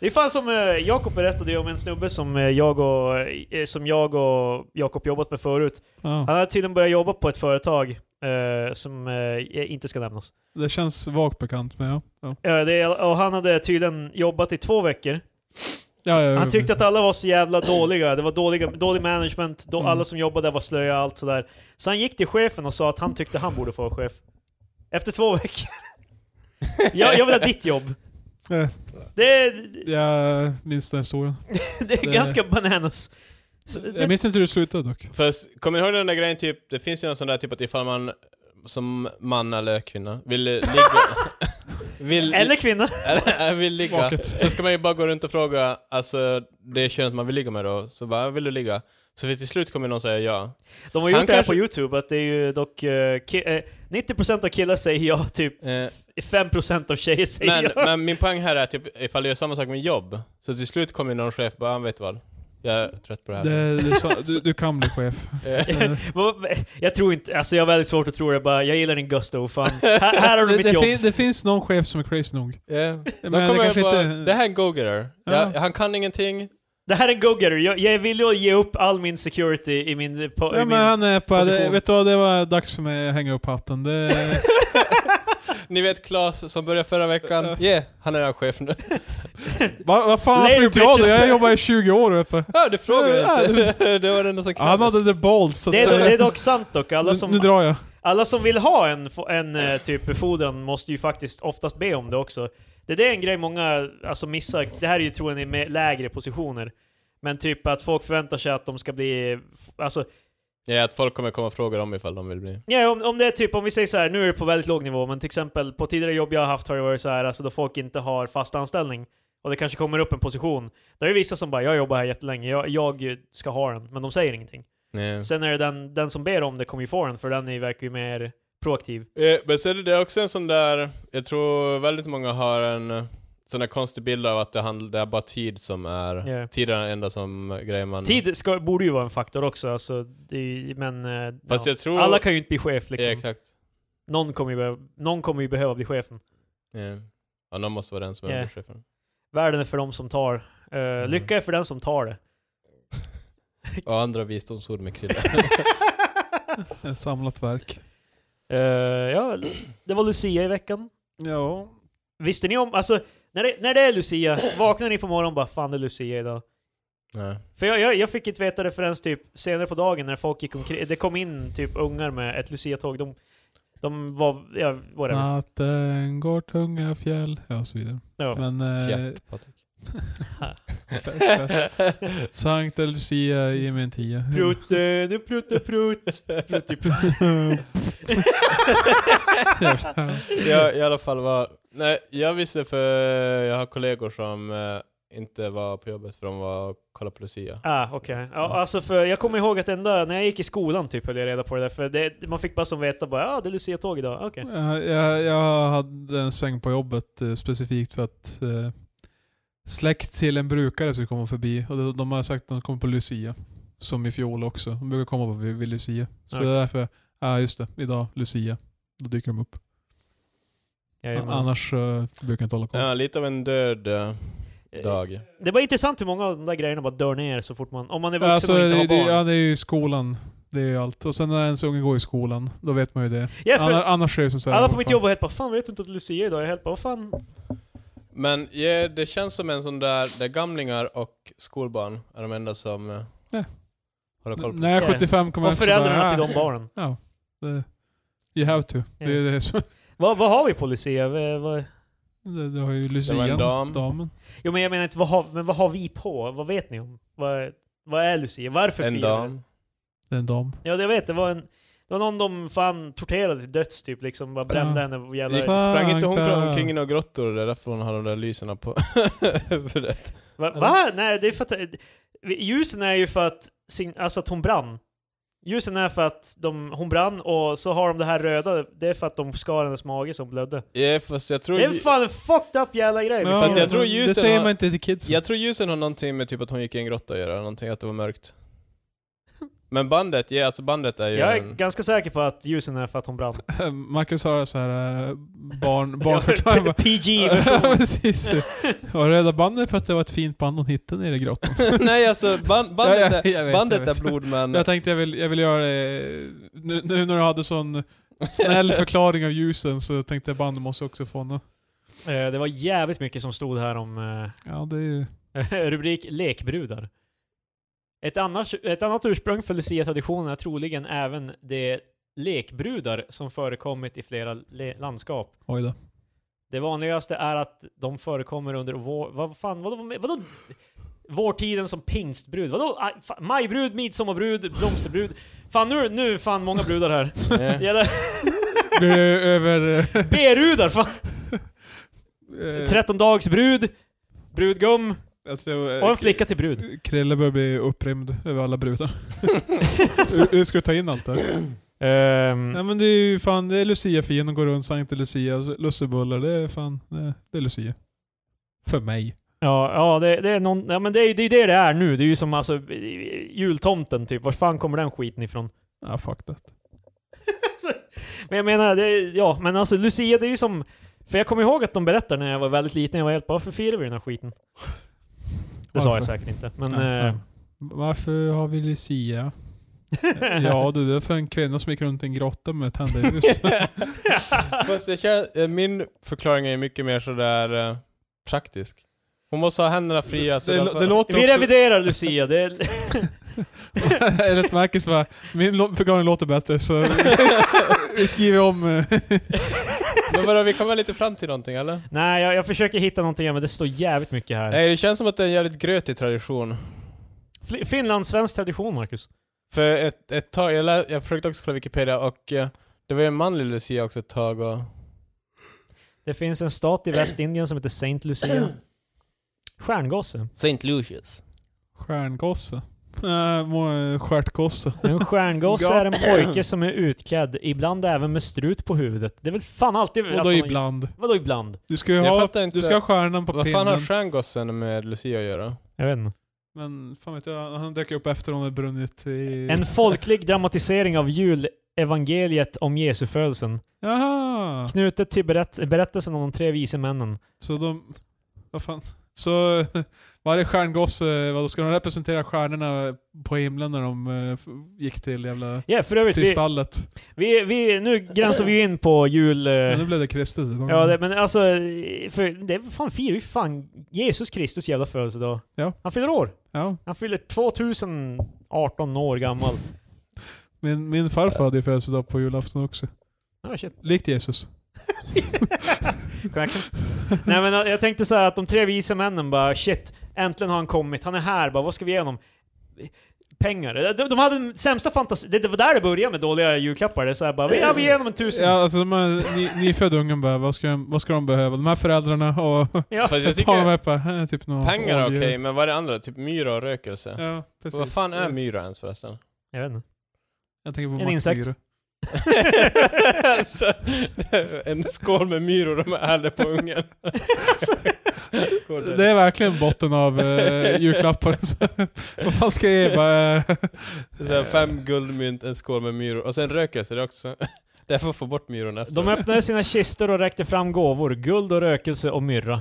[SPEAKER 1] Det är fan som eh, Jakob berättade ju om en snubbe som eh, jag och, eh, som jag och Jakob jobbat med förut.
[SPEAKER 2] Ja.
[SPEAKER 1] Han hade tydligen börjat jobba på ett företag eh, som eh, inte ska nämnas.
[SPEAKER 2] Det känns vagt bekant, men ja. ja.
[SPEAKER 1] Eh, det, och han hade tydligen jobbat i två veckor.
[SPEAKER 2] ja, ja
[SPEAKER 1] Han tyckte att alla var så jävla dåliga. Det var dåliga, dålig management, då,
[SPEAKER 2] Mm.
[SPEAKER 1] alla som jobbade där var slöja och allt sådär. Så han gick till chefen och sa att han tyckte han borde få vara chef. Efter två veckor. *laughs* jag, jag vill ha ditt jobb.
[SPEAKER 2] Eh.
[SPEAKER 1] Det,
[SPEAKER 2] Jag minns den historien.
[SPEAKER 1] *laughs* det är
[SPEAKER 2] Det-
[SPEAKER 1] ganska bananas. Så det-
[SPEAKER 2] Jag minns inte hur det slutade dock.
[SPEAKER 3] Fast, kommer ni ihåg den där grejen typ, det finns ju någon sån där typ att ifall man som man eller kvinna vill eh, ligga... vill,
[SPEAKER 1] Eller kvinna.
[SPEAKER 3] eller *laughs* vill ligga.
[SPEAKER 2] Vaket.
[SPEAKER 3] Så ska man ju bara gå runt och fråga, alltså det könet man vill ligga med då, så bara, vill du ligga? Så till slut kommer någon säga ja.
[SPEAKER 1] De har
[SPEAKER 3] Han
[SPEAKER 1] gjort det här
[SPEAKER 3] kanske-
[SPEAKER 1] på YouTube, att det är ju dock... eh, ki- eh, 90% av killar säger ja, typ
[SPEAKER 3] Eh,
[SPEAKER 1] 5% av tjejer säger
[SPEAKER 3] men,
[SPEAKER 1] ja.
[SPEAKER 3] men min poäng här är att typ, ifall jag gör samma sak med jobb, så till slut kommer någon chef bara, "Ah, vet du vad? Jag är trött på det här.
[SPEAKER 2] Det, det, sa- du, du kan bli
[SPEAKER 3] *laughs*
[SPEAKER 2] chef.
[SPEAKER 3] Eh,
[SPEAKER 1] *laughs* Vad- jag tror inte, alltså jag har väldigt svårt att tro det bara, jag gillar din Gusto,
[SPEAKER 2] *laughs*
[SPEAKER 1] fan. Här, här har du
[SPEAKER 2] Det,
[SPEAKER 1] mitt
[SPEAKER 2] det,
[SPEAKER 1] jobb.
[SPEAKER 2] fin, det finns någon chef som är crazy nog.
[SPEAKER 3] eh, Då
[SPEAKER 2] Men det
[SPEAKER 3] kommer jag
[SPEAKER 2] kanske
[SPEAKER 3] bara,
[SPEAKER 2] inte-
[SPEAKER 3] det här är en go-getter.
[SPEAKER 2] Ja.
[SPEAKER 3] Ja, han kan ingenting.
[SPEAKER 1] Det här är en go-getter, jag, jag är villig att ge upp all min security i min... eh, På,
[SPEAKER 2] Ja,
[SPEAKER 1] i
[SPEAKER 2] men
[SPEAKER 1] min
[SPEAKER 2] han är på, det,
[SPEAKER 1] position.
[SPEAKER 2] vet du vad, det var dags för mig att hänga upp hatten. Det,
[SPEAKER 1] *laughs*
[SPEAKER 3] Ni vet Klas som började förra veckan, yeah, han är en chef nu.
[SPEAKER 2] vad vad fan
[SPEAKER 1] Later,
[SPEAKER 2] varför inte jag då?
[SPEAKER 1] bitches.
[SPEAKER 2] Jag jobbar i 20 år uppe.
[SPEAKER 3] Ja, du frågar
[SPEAKER 2] Ja,
[SPEAKER 3] inte. *laughs* det var det enda som krävdes.
[SPEAKER 2] Han hade the balls. Så
[SPEAKER 1] det, är,
[SPEAKER 2] så-
[SPEAKER 1] dock- det är dock sant dock, alla
[SPEAKER 2] nu, nu
[SPEAKER 1] som,
[SPEAKER 2] drar jag.
[SPEAKER 1] alla som vill ha en, fo- en eh, typ befordran måste ju faktiskt oftast be om det också. Det där är en grej många alltså, missar, det här är ju troligen i me- lägre positioner. Men typ att folk förväntar sig att de ska bli, alltså
[SPEAKER 3] Ja, att folk kommer komma och fråga dem ifall de vill bli.
[SPEAKER 1] Ja, om, om det är typ, om vi säger så här, nu är det på väldigt låg nivå, men till exempel på tidigare jobb jag har haft har det varit så här, alltså då folk inte har fast anställning och det kanske kommer upp en position. Då är det vissa som bara, jag jobbar här jättelänge, jag, jag ska ha den, men de säger ingenting.
[SPEAKER 3] Nej.
[SPEAKER 1] Sen är det den, den som ber om det kommer ju få den, för den är, verkar ju mer proaktiv.
[SPEAKER 3] Eh, Men sen är det också en sån där, jag tror väldigt många har en eh, sån där konstig bild av att det, handl- det är bara tid som är,
[SPEAKER 1] Ja.
[SPEAKER 3] tid är den enda som eh, grejen man...
[SPEAKER 1] Tid ska, borde ju vara en faktor också, alltså, det är, ju- men eh,
[SPEAKER 3] Fast
[SPEAKER 1] ja.
[SPEAKER 3] jag tror...
[SPEAKER 1] alla kan ju inte bli chef
[SPEAKER 3] Ja,
[SPEAKER 1] liksom.
[SPEAKER 3] exakt.
[SPEAKER 1] någon, kommer ju behöva, någon kommer ju behöva bli chefen.
[SPEAKER 3] Ja. Ja, någon måste vara den som är
[SPEAKER 1] Ja.
[SPEAKER 3] chefen.
[SPEAKER 1] Världen är för dem som tar. Eh,
[SPEAKER 3] Mm.
[SPEAKER 1] Lycka är för den som tar det.
[SPEAKER 3] Och andra visdomsord med krydda.
[SPEAKER 1] *laughs*
[SPEAKER 2] Ett samlat verk.
[SPEAKER 1] Eh, ja, det var Lucia i veckan.
[SPEAKER 2] Ja.
[SPEAKER 1] Visste ni om, alltså när det, när det är Lucia, vaknar ni på morgonen och bara 'Fan det är Lucia idag'
[SPEAKER 3] Nej.
[SPEAKER 1] För jag, jag, jag fick inte veta det förrän typ senare på dagen när folk gick omkring, det kom in typ ungar med ett Lucia-tåg. De, de var, ja, whatever.
[SPEAKER 2] Natten går tunga fjäll. Ja, och så vidare.
[SPEAKER 1] Ja.
[SPEAKER 2] Men... Eh,
[SPEAKER 3] Fjärt, Patrik.
[SPEAKER 2] Sankta Lucia, ge mig en tia.
[SPEAKER 1] Prutte, du prutte, eh, prutt.
[SPEAKER 2] typ.
[SPEAKER 1] Prutti, prutt.
[SPEAKER 2] *laughs*
[SPEAKER 3] jag, I alla fall var... Nej, jag visste för jag har kollegor som eh, inte var på jobbet för de var och kollade på Lucia.
[SPEAKER 1] *laughs* Ah, okej. Ja, alltså för jag kommer ihåg att ända när jag gick i skolan typ höll jag reda på det där, för det, man fick bara som veta bara ja ah, det är Lucia-tåg idag, okej.
[SPEAKER 2] Ja, Eh, jag, jag hade en sväng på jobbet eh, specifikt för att eh, släkt till en brukare skulle komma förbi och de, de har sagt att de kommer på Lucia. Som i fjol också. De brukar komma på vid, vid Lucia. Så
[SPEAKER 1] Okej.
[SPEAKER 2] det är därför, ja ah, just det, idag Lucia. Då dyker de upp.
[SPEAKER 1] Jajamän.
[SPEAKER 2] Annars eh, brukar jag inte hålla koll.
[SPEAKER 3] Ja, lite av en död eh, dag.
[SPEAKER 1] Det var intressant hur många av de där grejerna bara dör ner så fort man, om man är vuxen
[SPEAKER 2] Alltså,
[SPEAKER 1] och inte
[SPEAKER 2] det,
[SPEAKER 1] har
[SPEAKER 2] det,
[SPEAKER 1] barn.
[SPEAKER 2] ja, det är ju skolan. Det är ju allt. Och sen när ens unge går i skolan, då vet man ju det.
[SPEAKER 1] Ja, för-
[SPEAKER 2] Anna- Annars är det som så här,
[SPEAKER 1] Alla
[SPEAKER 2] vad
[SPEAKER 1] på mitt
[SPEAKER 2] fan.
[SPEAKER 1] jobb var helt bara 'Fan vet du inte att Lucia är idag?' Jag är helt bara 'Vad fan?'
[SPEAKER 3] Men ja, det känns som en sån där, där gamlingar och skolbarn är de enda som eh,
[SPEAKER 2] Ja.
[SPEAKER 3] håller koll på
[SPEAKER 2] När jag
[SPEAKER 1] Ja.
[SPEAKER 2] är 75 kommer jag
[SPEAKER 1] Och
[SPEAKER 2] också bara,
[SPEAKER 1] föräldrarna
[SPEAKER 2] "Ah,
[SPEAKER 1] till de barnen.
[SPEAKER 2] Ja. Det, you have to. Det är det som...
[SPEAKER 1] Vad, vad har vi på Lucia? V- vad-
[SPEAKER 2] Det, det har ju
[SPEAKER 3] Det var
[SPEAKER 2] Lucian,
[SPEAKER 3] en dam.
[SPEAKER 2] damen.
[SPEAKER 1] Jo men jag menar inte vad har, men vad har vi på? Vad vet ni om? Vad, vad är Lucia? Varför
[SPEAKER 3] En
[SPEAKER 1] firar vi?
[SPEAKER 3] dam.
[SPEAKER 2] Det är en dam.
[SPEAKER 1] Ja det vet, det var en... Det var någon de fan torterade till döds typ liksom, bara brände
[SPEAKER 2] Ja.
[SPEAKER 1] henne och jävla...
[SPEAKER 3] Gick-
[SPEAKER 2] Sankta.
[SPEAKER 3] Sprang inte hon fram omkring i några grottor? Det är därför hon har de där lyserna på *laughs* huvudet.
[SPEAKER 1] Va? va? Nej, det är för att... Ljusen är ju för att, sign- alltså att hon brann. Ljusen är för att de, hon brann och så har de det här röda, det är för att de skar hennes mage som blödde.
[SPEAKER 3] Ja, fast jag tror...
[SPEAKER 1] Det är fan en fucked up jävla grej!
[SPEAKER 2] Ja,
[SPEAKER 3] Fast jag tror
[SPEAKER 2] men
[SPEAKER 3] ljusen
[SPEAKER 2] Det säger
[SPEAKER 3] har-
[SPEAKER 2] man inte till kidsen.
[SPEAKER 3] Jag tror ljusen har någonting med typ att hon gick i en grotta att göra, någonting att det var mörkt. Men bandet, ja alltså bandet är ju
[SPEAKER 1] Jag är
[SPEAKER 3] en...
[SPEAKER 1] ganska säker på att ljusen är för att hon brann.
[SPEAKER 2] *laughs* Marcus har så här eh,
[SPEAKER 3] *laughs*
[SPEAKER 2] barn,
[SPEAKER 1] *laughs* Ja,
[SPEAKER 2] barnförtal.
[SPEAKER 1] PG.
[SPEAKER 2] *laughs* Ja, precis. Och Röda bandet för att det var ett fint band hon hittade nere i grottan.
[SPEAKER 3] *laughs* *laughs* Nej alltså ban, bandet,
[SPEAKER 2] Ja, ja, jag
[SPEAKER 3] är,
[SPEAKER 2] vet,
[SPEAKER 3] bandet
[SPEAKER 2] jag vet.
[SPEAKER 3] är blod men...
[SPEAKER 2] Jag tänkte jag vill, jag vill göra det... Nu, nu när du hade sån
[SPEAKER 3] *laughs*
[SPEAKER 2] snäll förklaring av ljusen så tänkte jag bandet måste också få något.
[SPEAKER 1] Eh, Det var jävligt mycket som stod här om eh,
[SPEAKER 2] Ja, det är ju...
[SPEAKER 1] *laughs* rubrik lekbrudar. Ett, annars, ett annat ursprung för Lucia-traditionen är troligen även de lekbrudar som förekommit i flera le- landskap.
[SPEAKER 2] Oj
[SPEAKER 3] *laughs*
[SPEAKER 2] då.
[SPEAKER 1] Det vanligaste är att de förekommer under vår... Vad fan, vadå? vadå vårtiden som pingstbrud? Vadå? Ah, fa- Majbrud, midsommarbrud, blomsterbrud? Fan nu, nu fan många brudar
[SPEAKER 2] *laughs*
[SPEAKER 1] här.
[SPEAKER 3] Ja.
[SPEAKER 1] Jävla
[SPEAKER 2] Blir det över...
[SPEAKER 1] B-rudar! Fan!
[SPEAKER 2] eh,
[SPEAKER 1] 13-dagsbrud, brudgum
[SPEAKER 2] alltså, eh,
[SPEAKER 1] och en flicka till brud.
[SPEAKER 2] Krille börjar bli upprymd över alla brudar. Hur- Hur ska du ta in allt det här?
[SPEAKER 1] Ehm.
[SPEAKER 2] Nej men det är ju fan, det är Lucia-fin och går runt Sankte Lucia, lussebullar, det är fan, det, det är Lucia. För mig.
[SPEAKER 1] Ja, ja, det, det är någon, ja men det är ju det, är det det är nu. Det är ju som alltså jultomten typ. Var fan kommer den skiten ifrån?
[SPEAKER 2] Ja, fuck that.
[SPEAKER 1] Men jag menar, det, ja, men alltså Lucia det är ju som... För jag kommer ihåg att de berättade när jag var väldigt liten, jag var helt bara varför firar vi den här skiten? Det sa jag
[SPEAKER 2] Varför?
[SPEAKER 1] säkert inte, men...
[SPEAKER 2] Nej,
[SPEAKER 1] eh,
[SPEAKER 2] nej. Varför har vi Lucia? ja du, det är för en kvinna som gick runt i en grotta med tända ljus.
[SPEAKER 3] Fast jag känner, eh, min förklaring är mycket mer sådär eh, praktisk. Hon måste ha händerna fria så
[SPEAKER 2] det,
[SPEAKER 3] därför-
[SPEAKER 2] det låter
[SPEAKER 1] vi
[SPEAKER 2] också...
[SPEAKER 1] reviderar Lucia, det är...
[SPEAKER 2] *laughs* Eller ett Marcus bara, min lo- förklaring låter bättre så vi skriver om... eh,
[SPEAKER 3] Men vadå, vi kommer lite fram till någonting eller?
[SPEAKER 1] Nej, jag, jag försöker hitta någonting men det står jävligt mycket
[SPEAKER 2] Eh.
[SPEAKER 1] här.
[SPEAKER 3] Nej det känns som att det är en jävligt grötig tradition.
[SPEAKER 1] Fl- Finlandssvensk tradition, Marcus.
[SPEAKER 3] För ett, ett tag, jag, lä, jag försökte också kolla Wikipedia och eh, det var ju en manlig Lucia också ett tag och...
[SPEAKER 1] Det finns en stat i Västindien som heter Saint Lucia. Stjärngosse.
[SPEAKER 4] Saint Lucius.
[SPEAKER 2] Stjärngosse. Äh, må- Stjärtgosse.
[SPEAKER 1] En stjärngosse är en pojke som är utklädd, ibland även med strut på huvudet. Det är väl fan alltid... att
[SPEAKER 2] Vadå
[SPEAKER 1] man-
[SPEAKER 2] ibland?
[SPEAKER 1] Vadå ibland?
[SPEAKER 2] Du ska ju
[SPEAKER 3] Jag
[SPEAKER 2] ha,
[SPEAKER 3] fattar inte-
[SPEAKER 2] du ska ha stjärnan på
[SPEAKER 3] Vad
[SPEAKER 2] pinnen.
[SPEAKER 3] fan har stjärngossen med Lucia att göra?
[SPEAKER 1] Jag vet inte.
[SPEAKER 2] Men fan vet jag, han dök upp efter hon hade brunnit i...
[SPEAKER 1] En folklig dramatisering av julevangeliet om Jesu födelsen.
[SPEAKER 2] Jaha!
[SPEAKER 1] Knutet till berätt- berättelsen om de tre vise männen.
[SPEAKER 2] Så de... Vad fan? Så *laughs* varje stjärngosse, vad ska de representera stjärnorna på himlen när de eh, f- gick till jävla...
[SPEAKER 1] Ja, för övrigt,
[SPEAKER 2] Till
[SPEAKER 1] vi,
[SPEAKER 2] stallet.
[SPEAKER 1] vi, vi, nu gränsar vi ju in på jul... eh,
[SPEAKER 2] Men nu blev det kristet.
[SPEAKER 1] Ja, det, men alltså, för det är fan firar ju fan Jesus Kristus jävla födelsedag.
[SPEAKER 2] Ja.
[SPEAKER 1] Han fyller år.
[SPEAKER 2] ja.
[SPEAKER 1] Han fyller 2018 år gammal.
[SPEAKER 2] Min, min farfar hade ju födelsedag på julafton också.
[SPEAKER 1] Ah, shit.
[SPEAKER 2] Likt Jesus.
[SPEAKER 1] Cracken. Nej men eh, jag tänkte så här att de tre vise männen bara shit, äntligen har han kommit, han är här, bara, vad ska vi ge honom? Pengar. Eh, De, de hade den sämsta fantasi, det, det var där det började med dåliga julklappar. Det är så här bara, vi, ja, vi ger honom en tusen.
[SPEAKER 2] Ja, alltså de här ny- nyfödda ungen bara, vad ska, de, vad ska de behöva? De här föräldrarna och...
[SPEAKER 1] Ja.
[SPEAKER 3] Fast jag
[SPEAKER 2] Ett par av dem bara,
[SPEAKER 3] tycker
[SPEAKER 2] här är typ någon
[SPEAKER 3] pengar är okej,
[SPEAKER 2] olja.
[SPEAKER 3] men vad är det andra? Typ myra och rökelse?
[SPEAKER 2] Ja, precis. Eh,
[SPEAKER 3] vad fan är myra ens förresten?
[SPEAKER 1] Jag vet inte.
[SPEAKER 2] Jag tänker på
[SPEAKER 1] En
[SPEAKER 2] Max
[SPEAKER 1] insekt.
[SPEAKER 2] Myhre.
[SPEAKER 3] *laughs* alltså, en skål med myror de häller på ungen.
[SPEAKER 2] Det är verkligen botten av eh,
[SPEAKER 3] *laughs*
[SPEAKER 2] julklappar. *laughs* Vad fan ska jag ge? Bara, eh,
[SPEAKER 3] Det är så här fem guldmynt, en skål med myror och sen rökelse det är också. *laughs* Det är för att få bort myrorna efter.
[SPEAKER 1] De öppnade sina kistor och räckte fram gåvor. Guld och rökelse och myrra.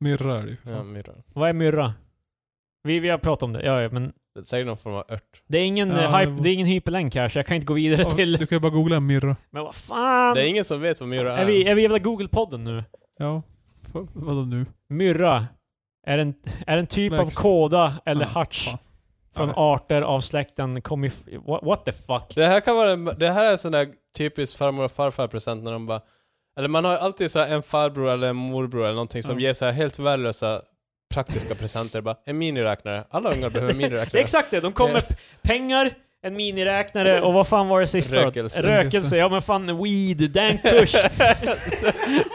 [SPEAKER 2] Myrra är det ju. för
[SPEAKER 3] Ja,
[SPEAKER 2] fan.
[SPEAKER 3] myror.
[SPEAKER 1] Vad är myrra? Vi, vi har pratat om det, ja, ja men
[SPEAKER 3] Det är Säkert någon form av ört.
[SPEAKER 1] det är ingen,
[SPEAKER 2] Ja,
[SPEAKER 1] eh, hype,
[SPEAKER 2] det var-
[SPEAKER 1] det är ingen hyperlänk här så jag kan inte gå vidare
[SPEAKER 2] Ja,
[SPEAKER 1] till...
[SPEAKER 2] Du kan ju bara googla myrra.
[SPEAKER 1] Men vad fan!
[SPEAKER 3] Det är ingen som vet vad myror är.
[SPEAKER 1] Är vi, är vi jävla Google-podden nu?
[SPEAKER 2] Ja. F- Vadå nu?
[SPEAKER 1] Myrra. Är en, är en typ av
[SPEAKER 2] Växt.
[SPEAKER 1] kåda eller
[SPEAKER 2] Ja,
[SPEAKER 1] harts
[SPEAKER 2] fan.
[SPEAKER 1] från
[SPEAKER 2] Ja.
[SPEAKER 1] arter av släkten komif- what, what the fuck?
[SPEAKER 3] Det här kan vara, en- det här är en sån där typisk farmor och farfar present när de bara Eller man har ju alltid så här en farbror eller en morbror eller någonting som
[SPEAKER 2] Ja.
[SPEAKER 3] ger så här helt värdelösa praktiska presenter bara En miniräknare, alla ungar behöver en
[SPEAKER 1] Det är
[SPEAKER 3] miniräknare
[SPEAKER 1] *laughs* exakt det, de kommer p- pengar, en miniräknare och vad fan var det sista?
[SPEAKER 3] Rökelse.
[SPEAKER 1] Rökelse, ja men fan weed, dank *laughs* push.
[SPEAKER 3] *laughs* så,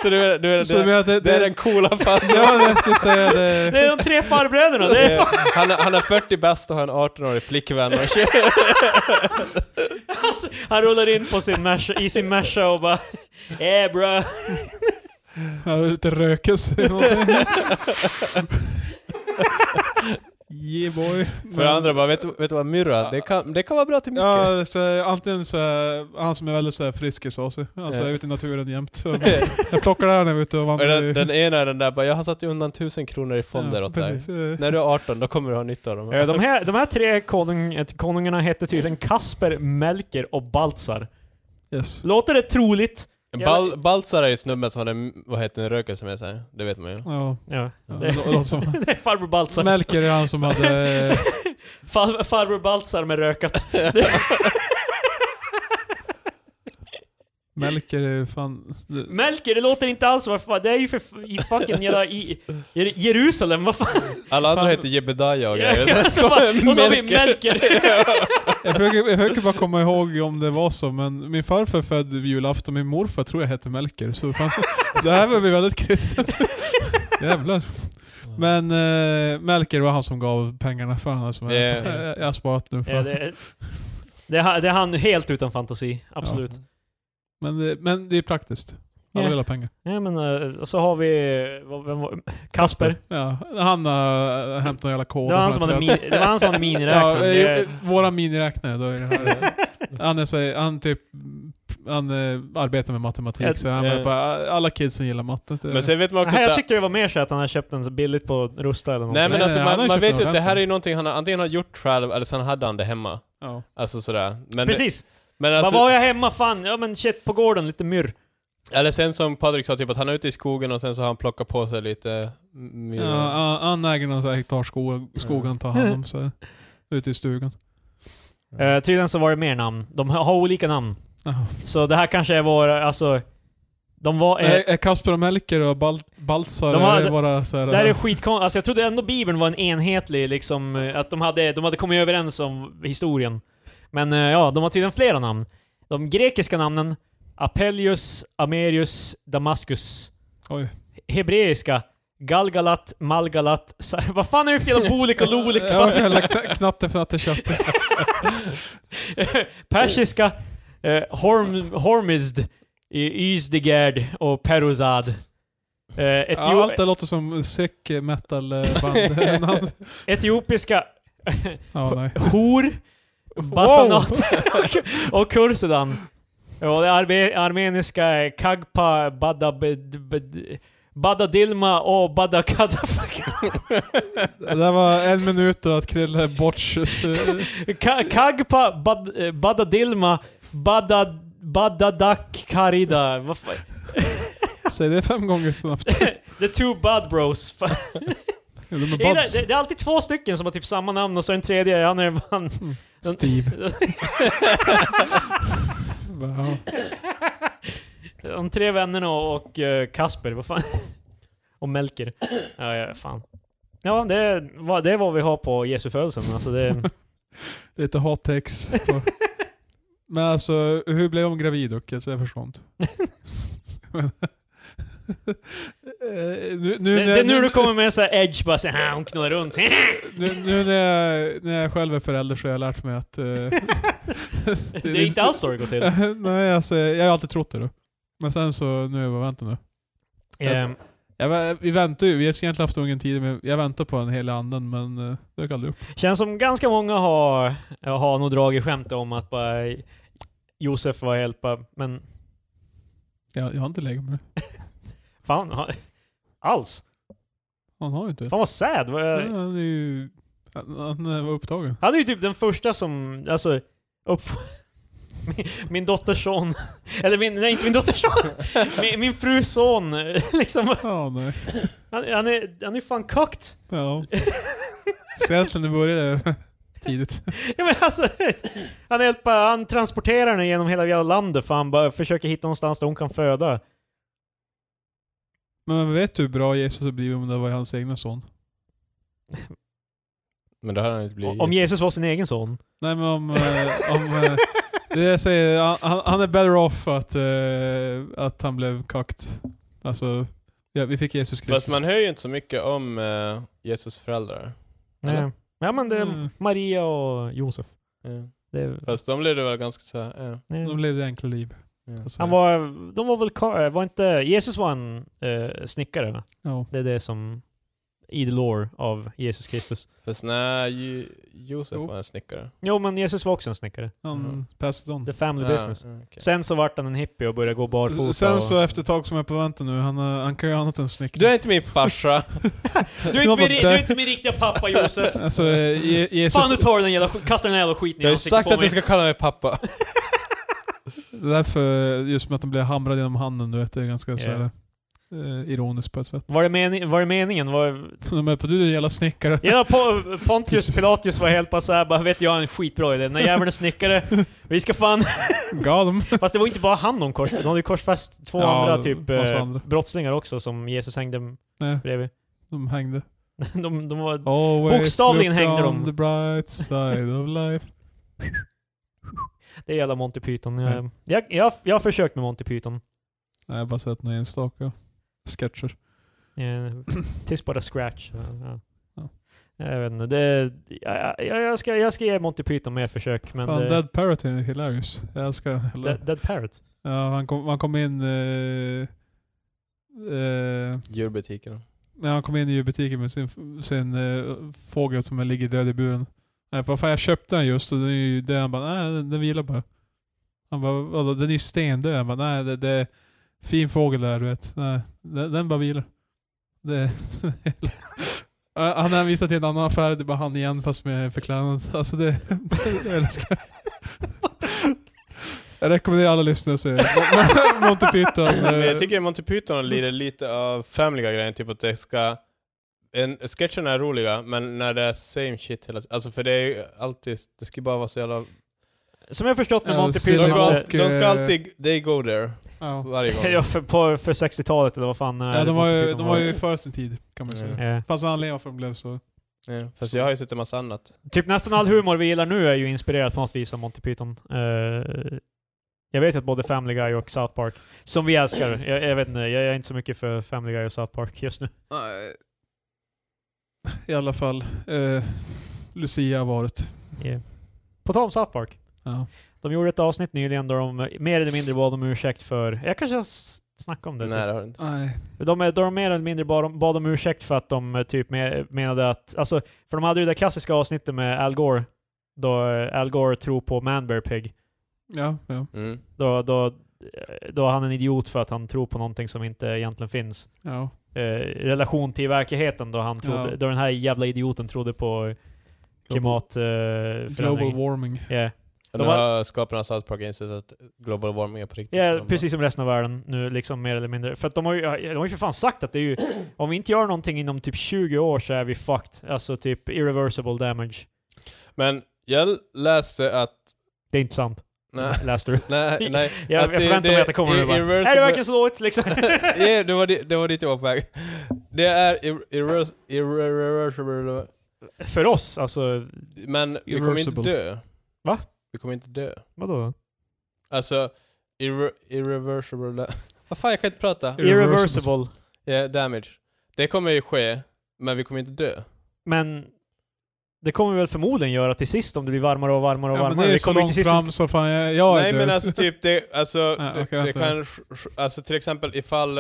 [SPEAKER 3] så du, är- du, är-
[SPEAKER 2] Så du
[SPEAKER 3] det,
[SPEAKER 2] menar att det,
[SPEAKER 3] det är den coola farbror
[SPEAKER 2] Ja, jag skulle säga det.
[SPEAKER 1] Det är de tre farbröderna, det är fan,
[SPEAKER 3] Eh, han, är- han är 40 bast och har en 18-årig flickvän och
[SPEAKER 1] *laughs* alltså, Han rullar in på sin Merca, i sin Merca och bara *laughs* eh bra.
[SPEAKER 2] Ja, det är lite rökes. *laughs* yeah boy.
[SPEAKER 3] För det andra bara, vet, du- vet du vad myrra, är? det, kan, det kan vara bra till mycket
[SPEAKER 2] Ja, så antingen så är han som är väldigt så här friskisasig, alltså
[SPEAKER 3] Ja.
[SPEAKER 2] ute i naturen jämt. Jag plockar det här när jag är ute och
[SPEAKER 3] Och
[SPEAKER 2] vandrar.
[SPEAKER 3] den, den ena är den där bara, jag har satt undan 1000 kronor i fonder åt dig
[SPEAKER 2] dig.
[SPEAKER 3] När du är 18 då kommer du ha nytta av dem
[SPEAKER 1] Eh, De här, de här tre konung, konungarna hette tydligen Kasper, Melker och Baltzar.
[SPEAKER 2] Yes.
[SPEAKER 1] Låter det troligt?
[SPEAKER 3] Bal Baltzar är ju snubben som hade, m- vad heter den, rökelse med sig. Det vet man ju.
[SPEAKER 2] Ja,
[SPEAKER 1] Ja,
[SPEAKER 2] ja,
[SPEAKER 1] det, *laughs*
[SPEAKER 2] det låter som...
[SPEAKER 1] det är farbror Baltzar.
[SPEAKER 2] Melker är han
[SPEAKER 1] *laughs*
[SPEAKER 2] som hade...
[SPEAKER 1] Far, farbror Baltzar med rökat.
[SPEAKER 2] Melker är ju fan... Det,
[SPEAKER 1] Melker, det låter inte alls som vad fan- Det är ju för f- i fucking jävla i, i Jerusalem, vad fan? *laughs*
[SPEAKER 3] Alla andra
[SPEAKER 2] Fan.
[SPEAKER 3] heter Jebedaja och grejer.
[SPEAKER 1] och så bara- och så har vi Melker.
[SPEAKER 3] *laughs*
[SPEAKER 2] jag, försöker, jag försöker bara komma ihåg om det var så, men min farfar född vid julafton, min morfar tror jag hette Melker.
[SPEAKER 1] *laughs*
[SPEAKER 2] Så fan, det här börjar bli väldigt kristet. Jävlar. Men eh, Melker var han som gav pengarna för han som
[SPEAKER 3] Det-
[SPEAKER 2] *laughs* jag, jag har sparat nu. För.
[SPEAKER 1] Ja, det, är- det, är han- det är han helt utan fantasi, absolut.
[SPEAKER 2] Men, det, men det är praktiskt. Alla
[SPEAKER 1] Ja.
[SPEAKER 2] vill ha pengar.
[SPEAKER 1] Ja. men, eh, och så har vi... vad- Vem var, Kasper.
[SPEAKER 2] Ja, han har äh, hämtat några jävla koder.
[SPEAKER 1] Det var han som
[SPEAKER 2] från
[SPEAKER 1] hade,
[SPEAKER 2] ett
[SPEAKER 1] min, det var han som hade
[SPEAKER 2] Ja,
[SPEAKER 1] miniräknare.
[SPEAKER 2] eh,
[SPEAKER 1] Det-
[SPEAKER 2] våra miniräknare då är det här. han är så, han typ, han eh, arbetar med matematik
[SPEAKER 1] Ett-
[SPEAKER 2] så han
[SPEAKER 3] eh.
[SPEAKER 2] är bara, alla kidsen gillar matte.
[SPEAKER 3] Men sen vet man också
[SPEAKER 1] Nej, jag
[SPEAKER 3] att...
[SPEAKER 1] tyckte det var mer så att han hade köpt den så billigt på Rusta eller något.
[SPEAKER 3] Nej men
[SPEAKER 2] Nej,
[SPEAKER 3] alltså
[SPEAKER 2] nej, han har
[SPEAKER 3] man,
[SPEAKER 2] ju
[SPEAKER 3] man
[SPEAKER 2] köpt
[SPEAKER 3] vet ju
[SPEAKER 2] den
[SPEAKER 3] att det här är
[SPEAKER 2] ordentligt.
[SPEAKER 3] ju någonting han har- antingen har gjort själv eller sen hade han det hemma.
[SPEAKER 2] ja.
[SPEAKER 3] Alltså sådär. Men,
[SPEAKER 1] Precis!
[SPEAKER 3] Men
[SPEAKER 1] Vad
[SPEAKER 3] alltså,
[SPEAKER 1] var jag hemma? Fan, ja men shit, på gården, lite myrr.
[SPEAKER 3] Eller sen som Patrik sa, typ att han är ute i skogen och sen så har han plockat på sig lite myra.
[SPEAKER 2] Ja, han, han äger någon sån här hektarskog, skog han tar hand om så här, ute i stugan.
[SPEAKER 1] Eh, tydligen så var det mer namn. De har olika namn.
[SPEAKER 2] Ja.
[SPEAKER 1] Så det här kanske är våra, alltså... De var... Eh,
[SPEAKER 2] Är, är Kasper och Melker och Bal, Baltzar,
[SPEAKER 1] De har-
[SPEAKER 2] är det bara så här,
[SPEAKER 1] det här är skitkonstigt. Alltså jag trodde ändå Bibeln var en enhetlig liksom, eh, att de hade, de hade kommit överens om historien. Men eh, ja, de har tydligen flera namn. De grekiska namnen, Apellius, Amerius, Damaskus.
[SPEAKER 2] Oj.
[SPEAKER 1] Hebreiska, Galgalat, Malgalat, *laughs* Sa- Vad fan är det för jävla bolik och lolik?
[SPEAKER 2] Ja,
[SPEAKER 1] Fan.
[SPEAKER 2] jävla kna- knatte fnatte tjatte.
[SPEAKER 1] *laughs* Persiska, eh, Horm, Hormizd, i- Yzdigerd och Peruzad. Eh,
[SPEAKER 2] Ja,
[SPEAKER 1] Etio-
[SPEAKER 2] allt det låter som sec metal eh, band. Namn.
[SPEAKER 1] etiopiska,
[SPEAKER 2] *laughs* ja, nej.
[SPEAKER 1] Hor,
[SPEAKER 2] *laughs*
[SPEAKER 1] Basanat och Kursedan. Och det arbe- armeniska är Kagpa, Badabed, Bed- Badadilma och Badakadaf.
[SPEAKER 2] Det där var en minut och att Krille borts...
[SPEAKER 1] *laughs*
[SPEAKER 2] eh,
[SPEAKER 1] Ka- Kagpa, bad, eh, Badadilma, Badad, Badadak Karida. Vad fan?
[SPEAKER 2] Säg det fem gånger snabbt.
[SPEAKER 1] *laughs* The two bad bros. Fan.
[SPEAKER 2] Ja, De är
[SPEAKER 1] Det,
[SPEAKER 2] buds.
[SPEAKER 1] är- det är alltid två stycken som har typ samma namn och så en tredje, han är han.
[SPEAKER 2] Steve. Ja.
[SPEAKER 1] *laughs* De tre vännerna och, och eh, Kasper, vad fan? *laughs* Och Melker. Ja, ja fan. Ja, det var, det är vad vi har på Jesu födelsen. Alltså det,
[SPEAKER 2] Lite hot takes.
[SPEAKER 1] *laughs*
[SPEAKER 2] På. Men alltså, hur blev hon gravid och alltså, jag förstår inte. Men- Eh, nu, nu,
[SPEAKER 1] det,
[SPEAKER 2] när-
[SPEAKER 1] det är nu du kommer med så här edge, bara såhär, hon knullar runt. *laughs*
[SPEAKER 2] nu, nu när, jag, när jag själv är förälder så har jag lärt mig att...
[SPEAKER 1] *laughs*
[SPEAKER 2] eh, *laughs*
[SPEAKER 1] Det är inte alls så det går till.
[SPEAKER 2] Nej, alltså, jag jag har alltid trott det då. Men sen så, nu, jag bara, vänta nu.
[SPEAKER 1] Ehm,
[SPEAKER 2] Jag, vä- vi väntar ju, vi har egentligen haft ungen tidigare, men jag väntar på en hel anden, men eh, det dök aldrig upp.
[SPEAKER 1] Känns som ganska många har, har nog dragit skämt om att bara Josef var helt bara, men
[SPEAKER 2] Jag, jag har inte legat med det.
[SPEAKER 1] fan, ha, alls.
[SPEAKER 2] Han har ju inte det.
[SPEAKER 1] Fan vad sad. Vad jag-
[SPEAKER 2] Ja, Han är ju... Han, han eh, var upptagen.
[SPEAKER 1] Han är ju typ den första som, alltså, upp... *laughs* Min, min dotters son, eller min, nej inte min dotters
[SPEAKER 2] *laughs*
[SPEAKER 1] son, min, min frus son *laughs* liksom.
[SPEAKER 2] Ja, nej.
[SPEAKER 1] Han, han är han är fan kokt.
[SPEAKER 2] Ja. Så egentligen det började tidigt.
[SPEAKER 1] Ja, men alltså, han, hjälper, han transporterar henne genom hela jävla landet för han bara försöker hitta någonstans där hon kan föda.
[SPEAKER 2] Men man vet du hur bra Jesus har blivit om det var hans egna son?
[SPEAKER 3] Men det här har inte blivit
[SPEAKER 1] Om Jesus var sin egen son.
[SPEAKER 2] Nej men om... eh, om eh, det jag säger, han- han, han är better off att, eh, att han blev kakt. Alltså, ja, vi fick Jesus Kristus.
[SPEAKER 3] Fast man hör ju inte så mycket om eh, Jesus föräldrar.
[SPEAKER 1] Nej.
[SPEAKER 3] Eller?
[SPEAKER 1] Ja men det
[SPEAKER 2] Mm.
[SPEAKER 1] är Maria och Josef.
[SPEAKER 3] Ja.
[SPEAKER 1] Det är,
[SPEAKER 3] Fast de levde väl ganska så här, ja.
[SPEAKER 1] nej.
[SPEAKER 2] De levde enkla liv.
[SPEAKER 3] Ja.
[SPEAKER 2] Alltså,
[SPEAKER 1] Han var, de var väl, ka- eh, var inte, Jesus var en eh, snickare va?
[SPEAKER 2] ja.
[SPEAKER 1] Det är det som i the lore av Jesus Kristus.
[SPEAKER 3] Fast nej, Ju- Josef
[SPEAKER 2] Jo.
[SPEAKER 3] var en snickare.
[SPEAKER 1] Jo, men Jesus var också en snickare.
[SPEAKER 2] Han
[SPEAKER 3] Mm.
[SPEAKER 2] passed on.
[SPEAKER 1] The family
[SPEAKER 3] Ja,
[SPEAKER 1] business.
[SPEAKER 3] ja, Ah, okej.
[SPEAKER 1] Sen så vart han en hippie och började gå barfota.
[SPEAKER 2] Sen
[SPEAKER 1] och...
[SPEAKER 2] så efter ett tag som jag på vänta nu, han, eh, han kan ju annat än snickra.
[SPEAKER 3] Du är inte min *laughs* farsa!
[SPEAKER 1] du, är inte min, ri- du är inte min riktiga pappa
[SPEAKER 3] *laughs*
[SPEAKER 1] Josef.
[SPEAKER 2] Alltså, eh, Je- Jesus...
[SPEAKER 1] Fan du tar den jävla, sk- kastar den jävla skiten i
[SPEAKER 3] Jag har ju
[SPEAKER 1] ansiktet
[SPEAKER 3] sagt
[SPEAKER 1] på
[SPEAKER 3] att du
[SPEAKER 1] mig.
[SPEAKER 3] ska kalla mig pappa.
[SPEAKER 2] Det är därför, just med att de blir hamrade genom handen, du vet, det är ganska så
[SPEAKER 1] Ja.
[SPEAKER 2] här, eh, ironiskt på ett sätt.
[SPEAKER 1] Var det, meni- var det meningen? Var...
[SPEAKER 2] De är på du är jävla snickare.
[SPEAKER 1] Ja, po-
[SPEAKER 3] *laughs*
[SPEAKER 1] Pontius Pilatus var helt bara såhär, bara vet du, jag har en skitbra idé. Den här jäveln är snickare. Vi ska fan... *laughs*
[SPEAKER 2] Gav dem.
[SPEAKER 1] Fast det var inte bara han de kors. De hade ju korsfäst två
[SPEAKER 2] Ja,
[SPEAKER 1] andra typ
[SPEAKER 2] massa
[SPEAKER 1] eh,
[SPEAKER 2] andra.
[SPEAKER 1] brottslingar också som Jesus hängde
[SPEAKER 2] Nej,
[SPEAKER 1] bredvid. *laughs*
[SPEAKER 2] de hängde.
[SPEAKER 1] De, de var...
[SPEAKER 2] Always
[SPEAKER 1] Bokstavligen
[SPEAKER 2] look
[SPEAKER 1] hängde
[SPEAKER 2] on
[SPEAKER 1] de.
[SPEAKER 2] the bright side of life.
[SPEAKER 1] Det är jävla Monty Python.
[SPEAKER 2] Nej.
[SPEAKER 1] Jag, jag, jag, jag har försökt med Monty Python.
[SPEAKER 2] Nej, jag har bara sett några enstaka sketcher.
[SPEAKER 1] Eh,
[SPEAKER 2] *clears throat*
[SPEAKER 1] Tills bara scratch. Ja, ja.
[SPEAKER 2] Ja.
[SPEAKER 1] Jag vet inte. Det, jag, jag, jag, ska, jag ska ge Monty Python mer försök. Men
[SPEAKER 2] Fan,
[SPEAKER 1] det,
[SPEAKER 2] Dead Parrot är hilarious. Jag älskar den.
[SPEAKER 1] Dead,
[SPEAKER 2] Eller?
[SPEAKER 1] Dead
[SPEAKER 2] *laughs*
[SPEAKER 1] Parrot.
[SPEAKER 2] Ja, han kom, han kom in... Eh, eh,
[SPEAKER 3] *laughs* *laughs* Djurbutiken.
[SPEAKER 2] när han kom in i butiken med sin, sin eh, fågel som ligger död i buren. Nej, vad fan jag köpte den just och den är ju död. Han bara, nej den, den vilar bara. Han bara, vadå den är ju stendöd. Han bara, nej det, det är fin fågel där du vet. Nej, den, den bara vilar. *laughs* Det, han hänvisar till en annan affär, det är bara han igen fast med förklädnad. Alltså det, jag älskar Jag rekommenderar alla lyssnare att se *laughs* Monty Python.
[SPEAKER 3] Men
[SPEAKER 2] eh,
[SPEAKER 3] jag tycker Monty Python lider lite av Family Guy-grejen, typ att det ska... En, sketcherna är roliga, men när det är same shit hela tiden. Alltså för det är ju alltid, det ska ju bara vara så jävla...
[SPEAKER 1] Som jag förstått med
[SPEAKER 2] Ja,
[SPEAKER 1] Monty
[SPEAKER 2] Sid
[SPEAKER 1] Python...
[SPEAKER 3] De,
[SPEAKER 2] och-
[SPEAKER 1] att-
[SPEAKER 3] går,
[SPEAKER 2] och,
[SPEAKER 3] de ska
[SPEAKER 2] eh,
[SPEAKER 3] alltid, they go there,
[SPEAKER 2] ja.
[SPEAKER 3] varje gång.
[SPEAKER 1] *laughs* Ja, för, på, för 60-talet eller vad fan eh,
[SPEAKER 2] Ja, de var
[SPEAKER 1] Monty
[SPEAKER 2] ju,
[SPEAKER 1] Python
[SPEAKER 2] de var ju före sin tid kan man ju säga.
[SPEAKER 1] Ja.
[SPEAKER 2] Fanns en anledning varför de blev så.
[SPEAKER 3] Ja, fast jag har ju sett en massa annat.
[SPEAKER 1] Typ nästan all humor vi gillar nu är ju inspirerad på något vis av Monty Python. Eh, jag vet att både Family Guy och South Park, som vi älskar, jag, jag vet inte, jag är inte så mycket för Family Guy och South Park just nu.
[SPEAKER 2] Nej. I alla fall. Eh, Lucia har varit.
[SPEAKER 1] Yeah. På tal om South Park.
[SPEAKER 2] Ja.
[SPEAKER 1] De gjorde ett avsnitt nyligen där de eh, mer eller mindre bad om ursäkt för... Jag kanske har s- snackat om det.
[SPEAKER 3] Nej, det har du inte.
[SPEAKER 2] Nej.
[SPEAKER 1] De, är- de mer eller mindre bad om, bad om ursäkt för att de eh, typ me- menade att... Alltså, för de hade ju det klassiska avsnittet med Al Gore. Då eh, Al Gore tror på Man Bear Pig.
[SPEAKER 2] Ja, ja.
[SPEAKER 3] Mm.
[SPEAKER 1] Då, då, eh, då är han en idiot för att han tror på någonting som inte egentligen finns.
[SPEAKER 2] ja.
[SPEAKER 1] Eh, relation till verkligheten då, han trodde,
[SPEAKER 2] Ja.
[SPEAKER 1] då den här jävla idioten trodde på eh, klimatförändring.
[SPEAKER 2] Global warming.
[SPEAKER 1] yeah.
[SPEAKER 3] Och
[SPEAKER 1] De
[SPEAKER 3] nu
[SPEAKER 1] har-
[SPEAKER 3] har skaparna av South Park insett att global warming är på riktigt.
[SPEAKER 1] Ja,
[SPEAKER 3] så de bara-
[SPEAKER 1] precis som resten av världen nu, liksom mer eller mindre. För att de har ju, de har ju för fan sagt att det är ju, om vi inte gör någonting inom typ 20 år så är vi fucked. Alltså typ irreversible damage.
[SPEAKER 3] Men jag läste att...
[SPEAKER 1] Det är inte sant.
[SPEAKER 3] Nej,
[SPEAKER 1] *laughs* Läste du?
[SPEAKER 3] nej, nej.
[SPEAKER 1] Jag,
[SPEAKER 3] att
[SPEAKER 1] jag förväntar mig att det kommer nu bara. Är det
[SPEAKER 3] irreversible-
[SPEAKER 1] verkligen så dåligt
[SPEAKER 3] *laughs*
[SPEAKER 1] liksom?
[SPEAKER 3] Ja, det, var di- det var dit jag var på väg. Det är irre- irre- irreversible...
[SPEAKER 1] för oss, alltså,
[SPEAKER 3] Men vi kommer inte
[SPEAKER 2] Irreversible.
[SPEAKER 3] dö.
[SPEAKER 1] Va?
[SPEAKER 3] Vi kommer inte dö.
[SPEAKER 1] vadå?
[SPEAKER 3] Alltså, irre- irreversible... *laughs* Vad fan, jag kan inte prata.
[SPEAKER 1] Irreversible.
[SPEAKER 3] Ja, damage. Det kommer ju ske, men vi kommer inte dö.
[SPEAKER 1] Men det kommer vi väl förmodligen göra till sist om det blir varmare och varmare och
[SPEAKER 2] Ja, men
[SPEAKER 1] varmare.
[SPEAKER 2] det är
[SPEAKER 1] Vi
[SPEAKER 2] så
[SPEAKER 1] kommer ju till
[SPEAKER 2] långt
[SPEAKER 1] sist
[SPEAKER 2] fram så fan jag, jag är
[SPEAKER 3] Nej
[SPEAKER 2] död.
[SPEAKER 3] men alltså typ det, *laughs* alltså,
[SPEAKER 2] Nej,
[SPEAKER 3] det,
[SPEAKER 2] okej,
[SPEAKER 3] det
[SPEAKER 2] vänta.
[SPEAKER 3] kan, alltså till exempel ifall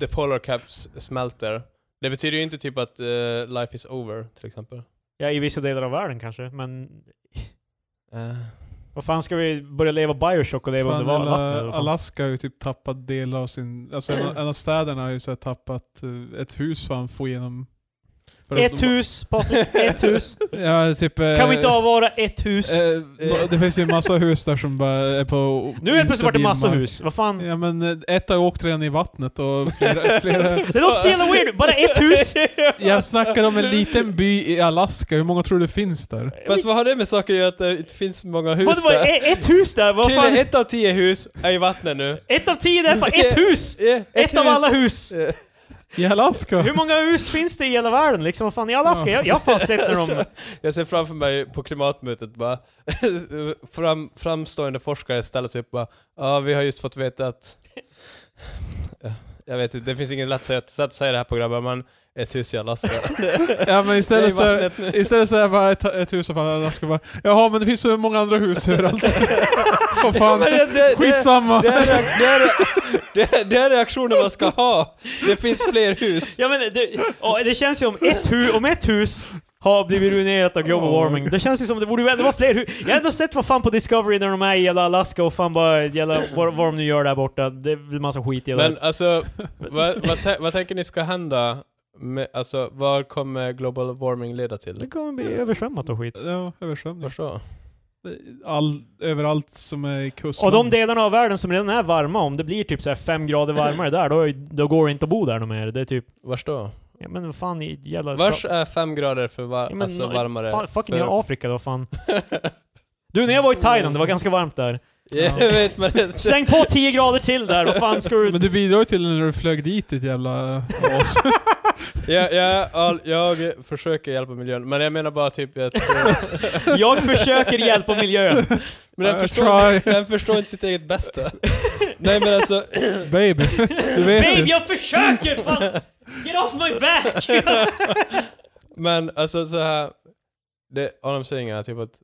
[SPEAKER 3] the polar caps smälter. Det betyder ju inte typ att eh, life is over till exempel.
[SPEAKER 1] Ja, i vissa delar av världen kanske, men
[SPEAKER 3] Eh,
[SPEAKER 1] vad fan ska vi börja leva Bioshock och leva
[SPEAKER 2] Fan,
[SPEAKER 1] under va-
[SPEAKER 2] hela
[SPEAKER 1] vattnet? eller vad fan?
[SPEAKER 2] Alaska har ju typ tappat delar av sin... Alltså en, en av städerna har ju så här tappat eh, ett hus fan får igenom...
[SPEAKER 1] Ett hus, Patrik, ett hus.
[SPEAKER 2] Ja, typ... *laughs* eh,
[SPEAKER 1] Kan vi inte avvara ett hus?
[SPEAKER 2] eh, eh, det finns ju en massa hus där som bara är på...
[SPEAKER 1] Nu är det plötsligt vart det
[SPEAKER 2] instabil
[SPEAKER 1] massa
[SPEAKER 2] mark.
[SPEAKER 1] hus. Vad
[SPEAKER 2] *laughs*
[SPEAKER 1] fan?
[SPEAKER 2] Ja men eh, ett har ju åkt redan i vattnet och
[SPEAKER 1] *laughs*
[SPEAKER 2] flera... flera
[SPEAKER 1] Det låter så jävla weird. Bara ett
[SPEAKER 2] *laughs*
[SPEAKER 1] hus?
[SPEAKER 2] jag snackar om en liten by i Alaska, hur många tror du finns där?
[SPEAKER 3] Fast vad har det med saker att göra att det inte finns många hus
[SPEAKER 1] Vad var
[SPEAKER 3] där?
[SPEAKER 1] ett hus där? Vad
[SPEAKER 3] Kille,
[SPEAKER 1] fan?
[SPEAKER 3] ett av tio hus är i vattnet nu.
[SPEAKER 1] Ett av tio där?
[SPEAKER 2] *laughs*
[SPEAKER 1] Fan,
[SPEAKER 3] *laughs*
[SPEAKER 1] ett hus!
[SPEAKER 3] Yeah, ett
[SPEAKER 1] Ett av
[SPEAKER 3] hus.
[SPEAKER 1] alla hus!
[SPEAKER 3] Eh,
[SPEAKER 2] I Alaska?
[SPEAKER 1] Hur många hus finns det i hela världen liksom? Vad fan, i Alaska? Jag, jag har fan sett när de...
[SPEAKER 3] Alltså, jag ser framför mig på klimatmötet bara, *laughs* fram, framstående forskare ställer sig upp och bara, ja vi har just fått veta att, Ja, jag vet inte, det finns inget lätt sätt sätt att säga det här på grabbar, men ett hus i Alaska. *laughs*
[SPEAKER 2] Ja men
[SPEAKER 3] Det är
[SPEAKER 2] istället så är,
[SPEAKER 3] vattnet nu.
[SPEAKER 2] istället så är det bara ett, ett hus och fan jag ska bara Jaha men det finns så många andra hus
[SPEAKER 3] *laughs*
[SPEAKER 2] överallt. *laughs* Vad fan.
[SPEAKER 3] Men det- det-
[SPEAKER 2] Skitsamma.
[SPEAKER 3] Det är, reak- det, är, det, är, det är reaktionen man ska ha! Det finns fler
[SPEAKER 1] *laughs*
[SPEAKER 3] hus.
[SPEAKER 1] Ja men det, ja, det känns ju om ett, hu, om ett hus har blivit ruinerat av global
[SPEAKER 2] Ja.
[SPEAKER 1] warming. Det känns ju som det borde ju- det var fler hus. Jag har ändå sett vad fan på Discovery när de är i jävla Alaska och fan bara jävla, vad, vad de nu gör där borta. Det är väl massa skit i det
[SPEAKER 3] Men alltså, vad, vad, tän- vad tänker ni ska hända? Med, alltså, vad kommer global warming leda
[SPEAKER 1] Det
[SPEAKER 3] till?
[SPEAKER 1] kommer bli översvämmat och skit.
[SPEAKER 2] Ja, översvämning.
[SPEAKER 3] Varför då?
[SPEAKER 2] All, överallt som är i kusten.
[SPEAKER 1] Och de delarna av världen som redan är varma, om det blir typ så här fem grader varmare där, då, är- då går det inte att bo där något mer. Det är typ,
[SPEAKER 3] Vars då?
[SPEAKER 1] ja men vad fan i jävla...
[SPEAKER 3] Vars är fem grader för var,
[SPEAKER 1] Ja, men,
[SPEAKER 3] alltså, varmare?
[SPEAKER 1] Fan, fucking
[SPEAKER 3] för-
[SPEAKER 1] för... Afrika då fan. Du, när jag var i Thailand, det var ganska varmt där.
[SPEAKER 3] Ja, *laughs* jag vet men
[SPEAKER 1] *laughs*
[SPEAKER 3] det,
[SPEAKER 1] Släng på 10 grader till där, vad fan
[SPEAKER 3] *laughs*
[SPEAKER 1] ska du...
[SPEAKER 2] Men du bidrar ju till när du flög dit ditt jävla as.
[SPEAKER 3] jag, jag, all, jag försöker hjälpa miljön, men jag menar bara typ att...
[SPEAKER 1] Jag försöker hjälpa miljön. *laughs*
[SPEAKER 3] Men den
[SPEAKER 2] I
[SPEAKER 3] förstår,
[SPEAKER 2] try.
[SPEAKER 3] inte- den förstår inte sitt eget bästa. Nej men alltså, *laughs*
[SPEAKER 2] Baby. Du vet
[SPEAKER 1] Babe,
[SPEAKER 2] inte.
[SPEAKER 1] jag försöker! Fan. Get off my back!
[SPEAKER 3] men alltså så här det, all I'm saying är typ att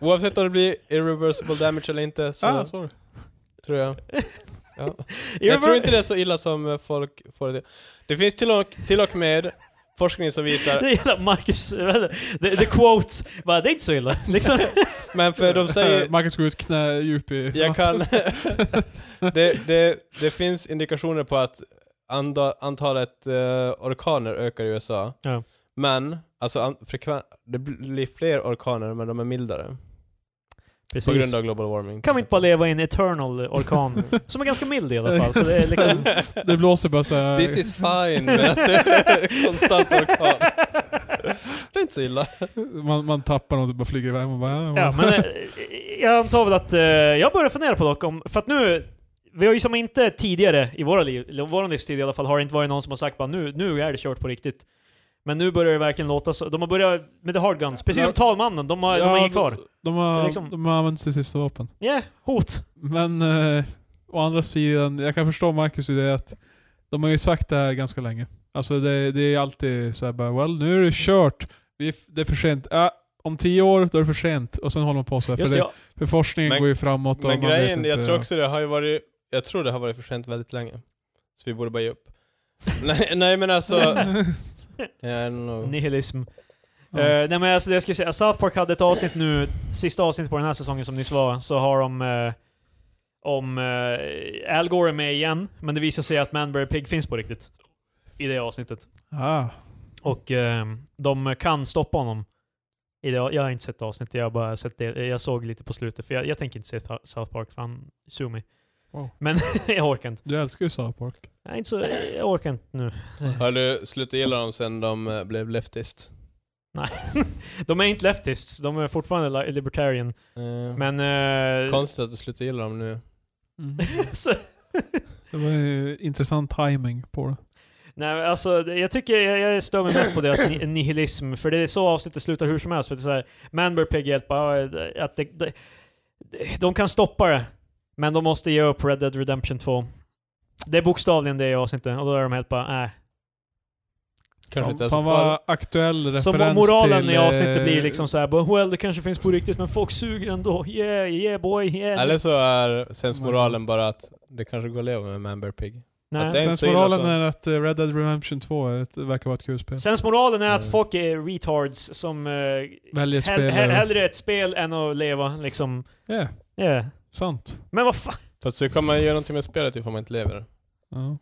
[SPEAKER 3] oavsett om det blir irreversible damage eller inte så
[SPEAKER 2] Ah, sorry.
[SPEAKER 3] tror jag. Jag tror inte det är så illa som eh, folk får det till. Det finns till och, till och med forskning som visar
[SPEAKER 1] Det är jävla Marcus, vad heter det? the, the quotes, bara det är inte så illa.
[SPEAKER 3] *laughs*
[SPEAKER 1] Liksom.
[SPEAKER 3] Men för de säger...
[SPEAKER 2] Eh, Marcus går ut knä djup i...
[SPEAKER 3] Jag kan... *laughs* det, det, det finns indikationer på att anda, antalet eh, orkaner ökar i USA.
[SPEAKER 1] Ja.
[SPEAKER 3] Men, alltså an, frekven, det blir fler orkaner men de är mildare. På
[SPEAKER 1] Precis.
[SPEAKER 3] grund av global warming.
[SPEAKER 1] Kan vi inte bara leva i en eternal orkan? Som är ganska mild i alla fall. Så det är
[SPEAKER 3] *laughs*
[SPEAKER 1] liksom...
[SPEAKER 2] Det blåser bara såhär...
[SPEAKER 3] This is fine medan det är *laughs* konstant orkan.
[SPEAKER 1] *laughs*
[SPEAKER 3] Det är inte så illa.
[SPEAKER 2] Man, man tappar något och bara flyger iväg. Man bara, "Ah, ja,
[SPEAKER 1] Ja, men eh, jag antar väl att eh, jag börjar fundera på dock om, för att nu, vi har ju som inte tidigare i våra liv, eller vår livstid i alla fall, har det inte varit någon som har sagt bara nu, nu är det kört på riktigt. Men nu börjar det verkligen låta så. De har börjat med the hard guns, precis som
[SPEAKER 2] Ja.
[SPEAKER 1] talmannen. De har, de har inget kvar.
[SPEAKER 2] De, de, har,
[SPEAKER 1] Liksom-
[SPEAKER 2] de har använt sitt sista vapen.
[SPEAKER 1] Ja, hot.
[SPEAKER 2] Men eh, å andra sidan, jag kan förstå Marcus i det att de har ju sagt det här ganska länge. Alltså det, det är alltid så här bara well nu är det kört. Vi, är f- det är för sent. Äh, om tio år då är det för sent. Och sen håller man på så här. För,
[SPEAKER 1] Just det,
[SPEAKER 2] det,
[SPEAKER 1] ja.
[SPEAKER 2] för forskningen
[SPEAKER 3] Men-
[SPEAKER 2] går ju framåt. och
[SPEAKER 3] Men
[SPEAKER 2] man vet
[SPEAKER 3] grejen,
[SPEAKER 2] inte,
[SPEAKER 3] jag tror
[SPEAKER 2] ja.
[SPEAKER 3] också det har ju varit, jag tror det har varit för sent väldigt länge. Så vi borde bara ge upp.
[SPEAKER 2] *laughs*
[SPEAKER 3] nej, nej
[SPEAKER 1] *laughs*
[SPEAKER 3] men alltså... yeah, I don't know.
[SPEAKER 1] Nihilism.
[SPEAKER 2] Ja.
[SPEAKER 1] Eh, nej men alltså det jag skulle säga, South Park hade ett avsnitt nu, sista avsnittet på den här säsongen som nyss var, så har de eh, om eh, Al Gore är med igen, men det visar sig att Manberry Pig finns på riktigt. I det avsnittet.
[SPEAKER 2] Ah.
[SPEAKER 1] Och ehm, de kan stoppa honom. I det, jag har inte sett avsnittet, jag, har bara sett det, jag såg lite på slutet. För jag, jag tänker inte se Ta- South Park, för han sue me.
[SPEAKER 2] Wow.
[SPEAKER 1] Men *laughs* jag orkar inte.
[SPEAKER 2] Du älskar ju South Park.
[SPEAKER 1] Jag, är inte så, jag orkar inte nu.
[SPEAKER 3] Har du slutat gilla dem sen de eh, blev leftist?
[SPEAKER 1] De är inte leftists, de är fortfarande li- libertarian.
[SPEAKER 3] Eh,
[SPEAKER 1] Men... eh,
[SPEAKER 3] Konstigt att du slutar gilla dem nu.
[SPEAKER 1] *laughs* Mm. så,
[SPEAKER 2] Det var ju intressant timing på det.
[SPEAKER 1] nej, men alltså, det- jag tycker jag, jag stör mig mest på deras
[SPEAKER 3] *clears throat*
[SPEAKER 1] ni- nihilism, för det är så avsnittet slutar hur som helst. För det är så här, Man bör pigga hjälpa, ja, eh, att det, det, de kan stoppa det, men de måste ge upp Red Dead Redemption 2. Det är bokstavligen det i avsnittet, och då är de helt bara äh.
[SPEAKER 3] Kanske inte
[SPEAKER 2] Fan,
[SPEAKER 3] ens så
[SPEAKER 2] fan
[SPEAKER 3] farligt.
[SPEAKER 2] vad aktuell referens
[SPEAKER 1] Så moralen
[SPEAKER 2] till,
[SPEAKER 1] i avsnittet
[SPEAKER 2] eh,
[SPEAKER 1] blir liksom såhär, bara, well det kanske finns på riktigt, men folk suger ändå. Yeah, yeah boy, yeah.
[SPEAKER 3] Eller så är sensmoralen bara att det kanske går att leva med Man Bear Pig. att det
[SPEAKER 1] Nej.
[SPEAKER 3] är inte så
[SPEAKER 2] Sen
[SPEAKER 3] illa
[SPEAKER 2] moralen
[SPEAKER 3] så.
[SPEAKER 2] är att eh, Red Dead Redemption 2 är ett, verkar vara ett kul spel.
[SPEAKER 1] Sensmoralen är att
[SPEAKER 3] Mm.
[SPEAKER 1] folk är retards som eh, hell,
[SPEAKER 2] Väljer spel.
[SPEAKER 1] hell, hellre ett spel än att leva liksom.
[SPEAKER 2] Ja,
[SPEAKER 1] Yeah.
[SPEAKER 2] sant.
[SPEAKER 1] Men vad fan?
[SPEAKER 3] Fast så kan man göra någonting med spelet ifall man inte lever.
[SPEAKER 2] Ja.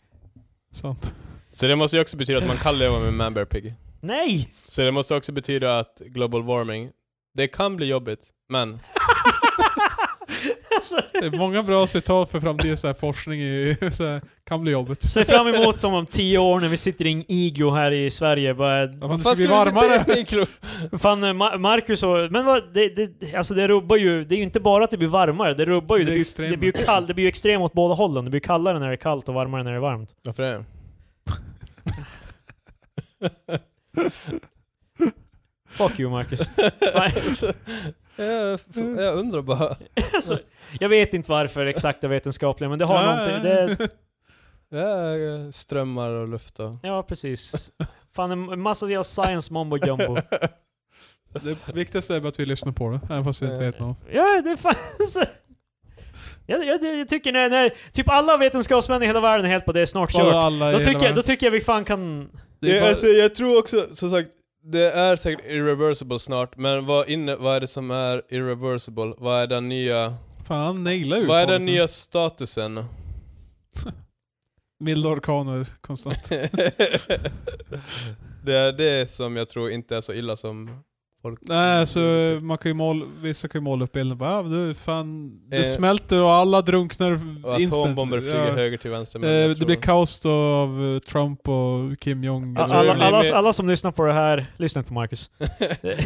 [SPEAKER 2] Sant.
[SPEAKER 3] Så det måste ju också betyda att man kan leva med Man Bear Pig.
[SPEAKER 1] Nej!
[SPEAKER 3] Så det måste också betyda att global warming, det kan bli jobbigt, men
[SPEAKER 1] alltså,
[SPEAKER 2] Det är många bra citat för framtida så här, forskning i, *laughs* så här, kan bli jobbigt.
[SPEAKER 1] ser fram emot som om tio år när vi sitter i en iglo här i Sverige. Bara,
[SPEAKER 2] Ja, men det ska bli varmare.
[SPEAKER 1] fan, eh, Ma- Marcus och... Men vad, det, det, alltså det rubbar ju... Det är ju inte bara att det blir varmare, det rubbar ju.
[SPEAKER 2] Det
[SPEAKER 1] Det,
[SPEAKER 2] är
[SPEAKER 1] blir,
[SPEAKER 2] extremt.
[SPEAKER 1] det, blir ju kall, det blir ju extremt åt båda hållen. Det blir kallare när det är kallt och varmare när det är varmt.
[SPEAKER 3] Varför det?
[SPEAKER 1] Fuck you
[SPEAKER 2] *laughs*
[SPEAKER 1] Marcus.
[SPEAKER 3] jag, Alltså, jag undrar bara.
[SPEAKER 1] alltså, jag vet inte varför exakt det vetenskapliga, men det har någonting... Det,
[SPEAKER 2] *laughs*
[SPEAKER 3] Ja, strömmar och luft och...
[SPEAKER 1] ja, precis. Fan, en massa jävla science mumbo jumbo.
[SPEAKER 2] det viktigaste är bara att vi lyssnar på det, även fast vi inte vet något.
[SPEAKER 1] Ja, det fanns... Jag, jag, jag tycker när, när typ alla vetenskapsmän i hela världen är helt på det är snart
[SPEAKER 2] Bara
[SPEAKER 1] kört.
[SPEAKER 2] alla i
[SPEAKER 1] Då
[SPEAKER 2] hela
[SPEAKER 1] tycker, jag, då
[SPEAKER 2] världen-
[SPEAKER 1] tycker jag vi fan kan...
[SPEAKER 2] det är
[SPEAKER 3] Ja,
[SPEAKER 2] bara,
[SPEAKER 3] alltså, jag tror också, som sagt, det är säkert irreversible snart, men vad, inne, vad är det som är irreversible? Vad är den nya,
[SPEAKER 2] Fan, naila ut
[SPEAKER 3] vad är den
[SPEAKER 2] honom.
[SPEAKER 3] nya statusen? *laughs*
[SPEAKER 2] Milda orkaner
[SPEAKER 3] *laughs*
[SPEAKER 2] konstant.
[SPEAKER 3] det är det som jag tror inte är så illa som folk...
[SPEAKER 2] Nej, alltså man kan ju måla, vissa kan ju måla upp bilden bara, ah, men du fan, det
[SPEAKER 3] Eh,
[SPEAKER 2] smälter och alla drunknar
[SPEAKER 3] Och
[SPEAKER 2] instant.
[SPEAKER 3] atombomber flyger
[SPEAKER 2] Ja.
[SPEAKER 3] höger till vänster. men
[SPEAKER 2] Eh,
[SPEAKER 3] jag
[SPEAKER 2] det
[SPEAKER 3] tror-
[SPEAKER 2] blir kaos då av eh, Trump och Kim Jong.
[SPEAKER 3] Jag tror det
[SPEAKER 1] Alla,
[SPEAKER 3] blir
[SPEAKER 1] alla,
[SPEAKER 3] mer-
[SPEAKER 1] alla som lyssnar på det här, lyssna inte på Marcus.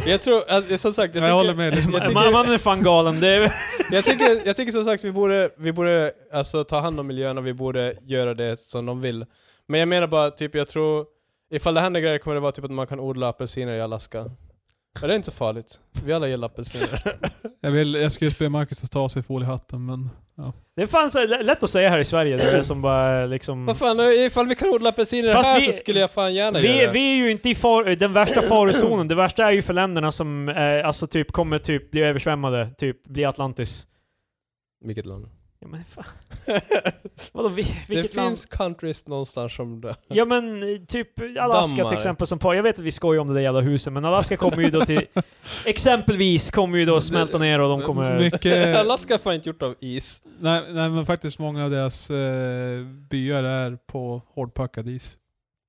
[SPEAKER 3] jag tror, alltså, som sagt, jag,
[SPEAKER 2] jag,
[SPEAKER 3] tycker,
[SPEAKER 2] håller med. Liksom.
[SPEAKER 3] Jag tycker-
[SPEAKER 1] Man, man är fan galen. Det är,
[SPEAKER 3] Jag tycker, jag tycker som sagt vi borde, vi borde alltså, ta hand om miljön och vi borde göra det som de vill. Men jag menar bara, typ jag tror, ifall det händer grejer kommer det vara typ att man kan odla apelsiner i Alaska. Och det är inte så farligt. Vi alla gillar apelsiner.
[SPEAKER 1] Mm.
[SPEAKER 2] Jag, vill, jag ska ju be Marcus att ta av sig foliehatten men...
[SPEAKER 1] det är fan så här, lä- lätt att säga här i Sverige. Det är som bara liksom...
[SPEAKER 3] Vad fan, ifall vi kan odla apelsiner
[SPEAKER 1] Fast
[SPEAKER 3] här
[SPEAKER 1] vi-
[SPEAKER 3] så skulle jag fan gärna
[SPEAKER 1] Vi,
[SPEAKER 3] göra det.
[SPEAKER 1] vi är ju inte i far, den värsta farozonen. Det värsta är ju för länderna som eh, alltså typ kommer typ bli översvämmade, typ bli Atlantis.
[SPEAKER 3] Vilket *laughs* land?
[SPEAKER 1] Ja men fan. Vadå, vi,
[SPEAKER 3] det
[SPEAKER 1] vilket land?
[SPEAKER 3] finns countries någonstans som det.
[SPEAKER 1] Ja men eh, typ Alaska
[SPEAKER 3] Dammar.
[SPEAKER 1] till exempel som par. Jag vet att vi skojar om det där jävla huset, men Alaska kommer ju då
[SPEAKER 3] *laughs*
[SPEAKER 1] till... exempelvis kommer ju då smälta ner och de kommer... *laughs*
[SPEAKER 2] Mycket,
[SPEAKER 3] *laughs* Alaska är fan inte gjort av is.
[SPEAKER 2] nej, nej men faktiskt många av deras eh, byar är på hårdpackad is.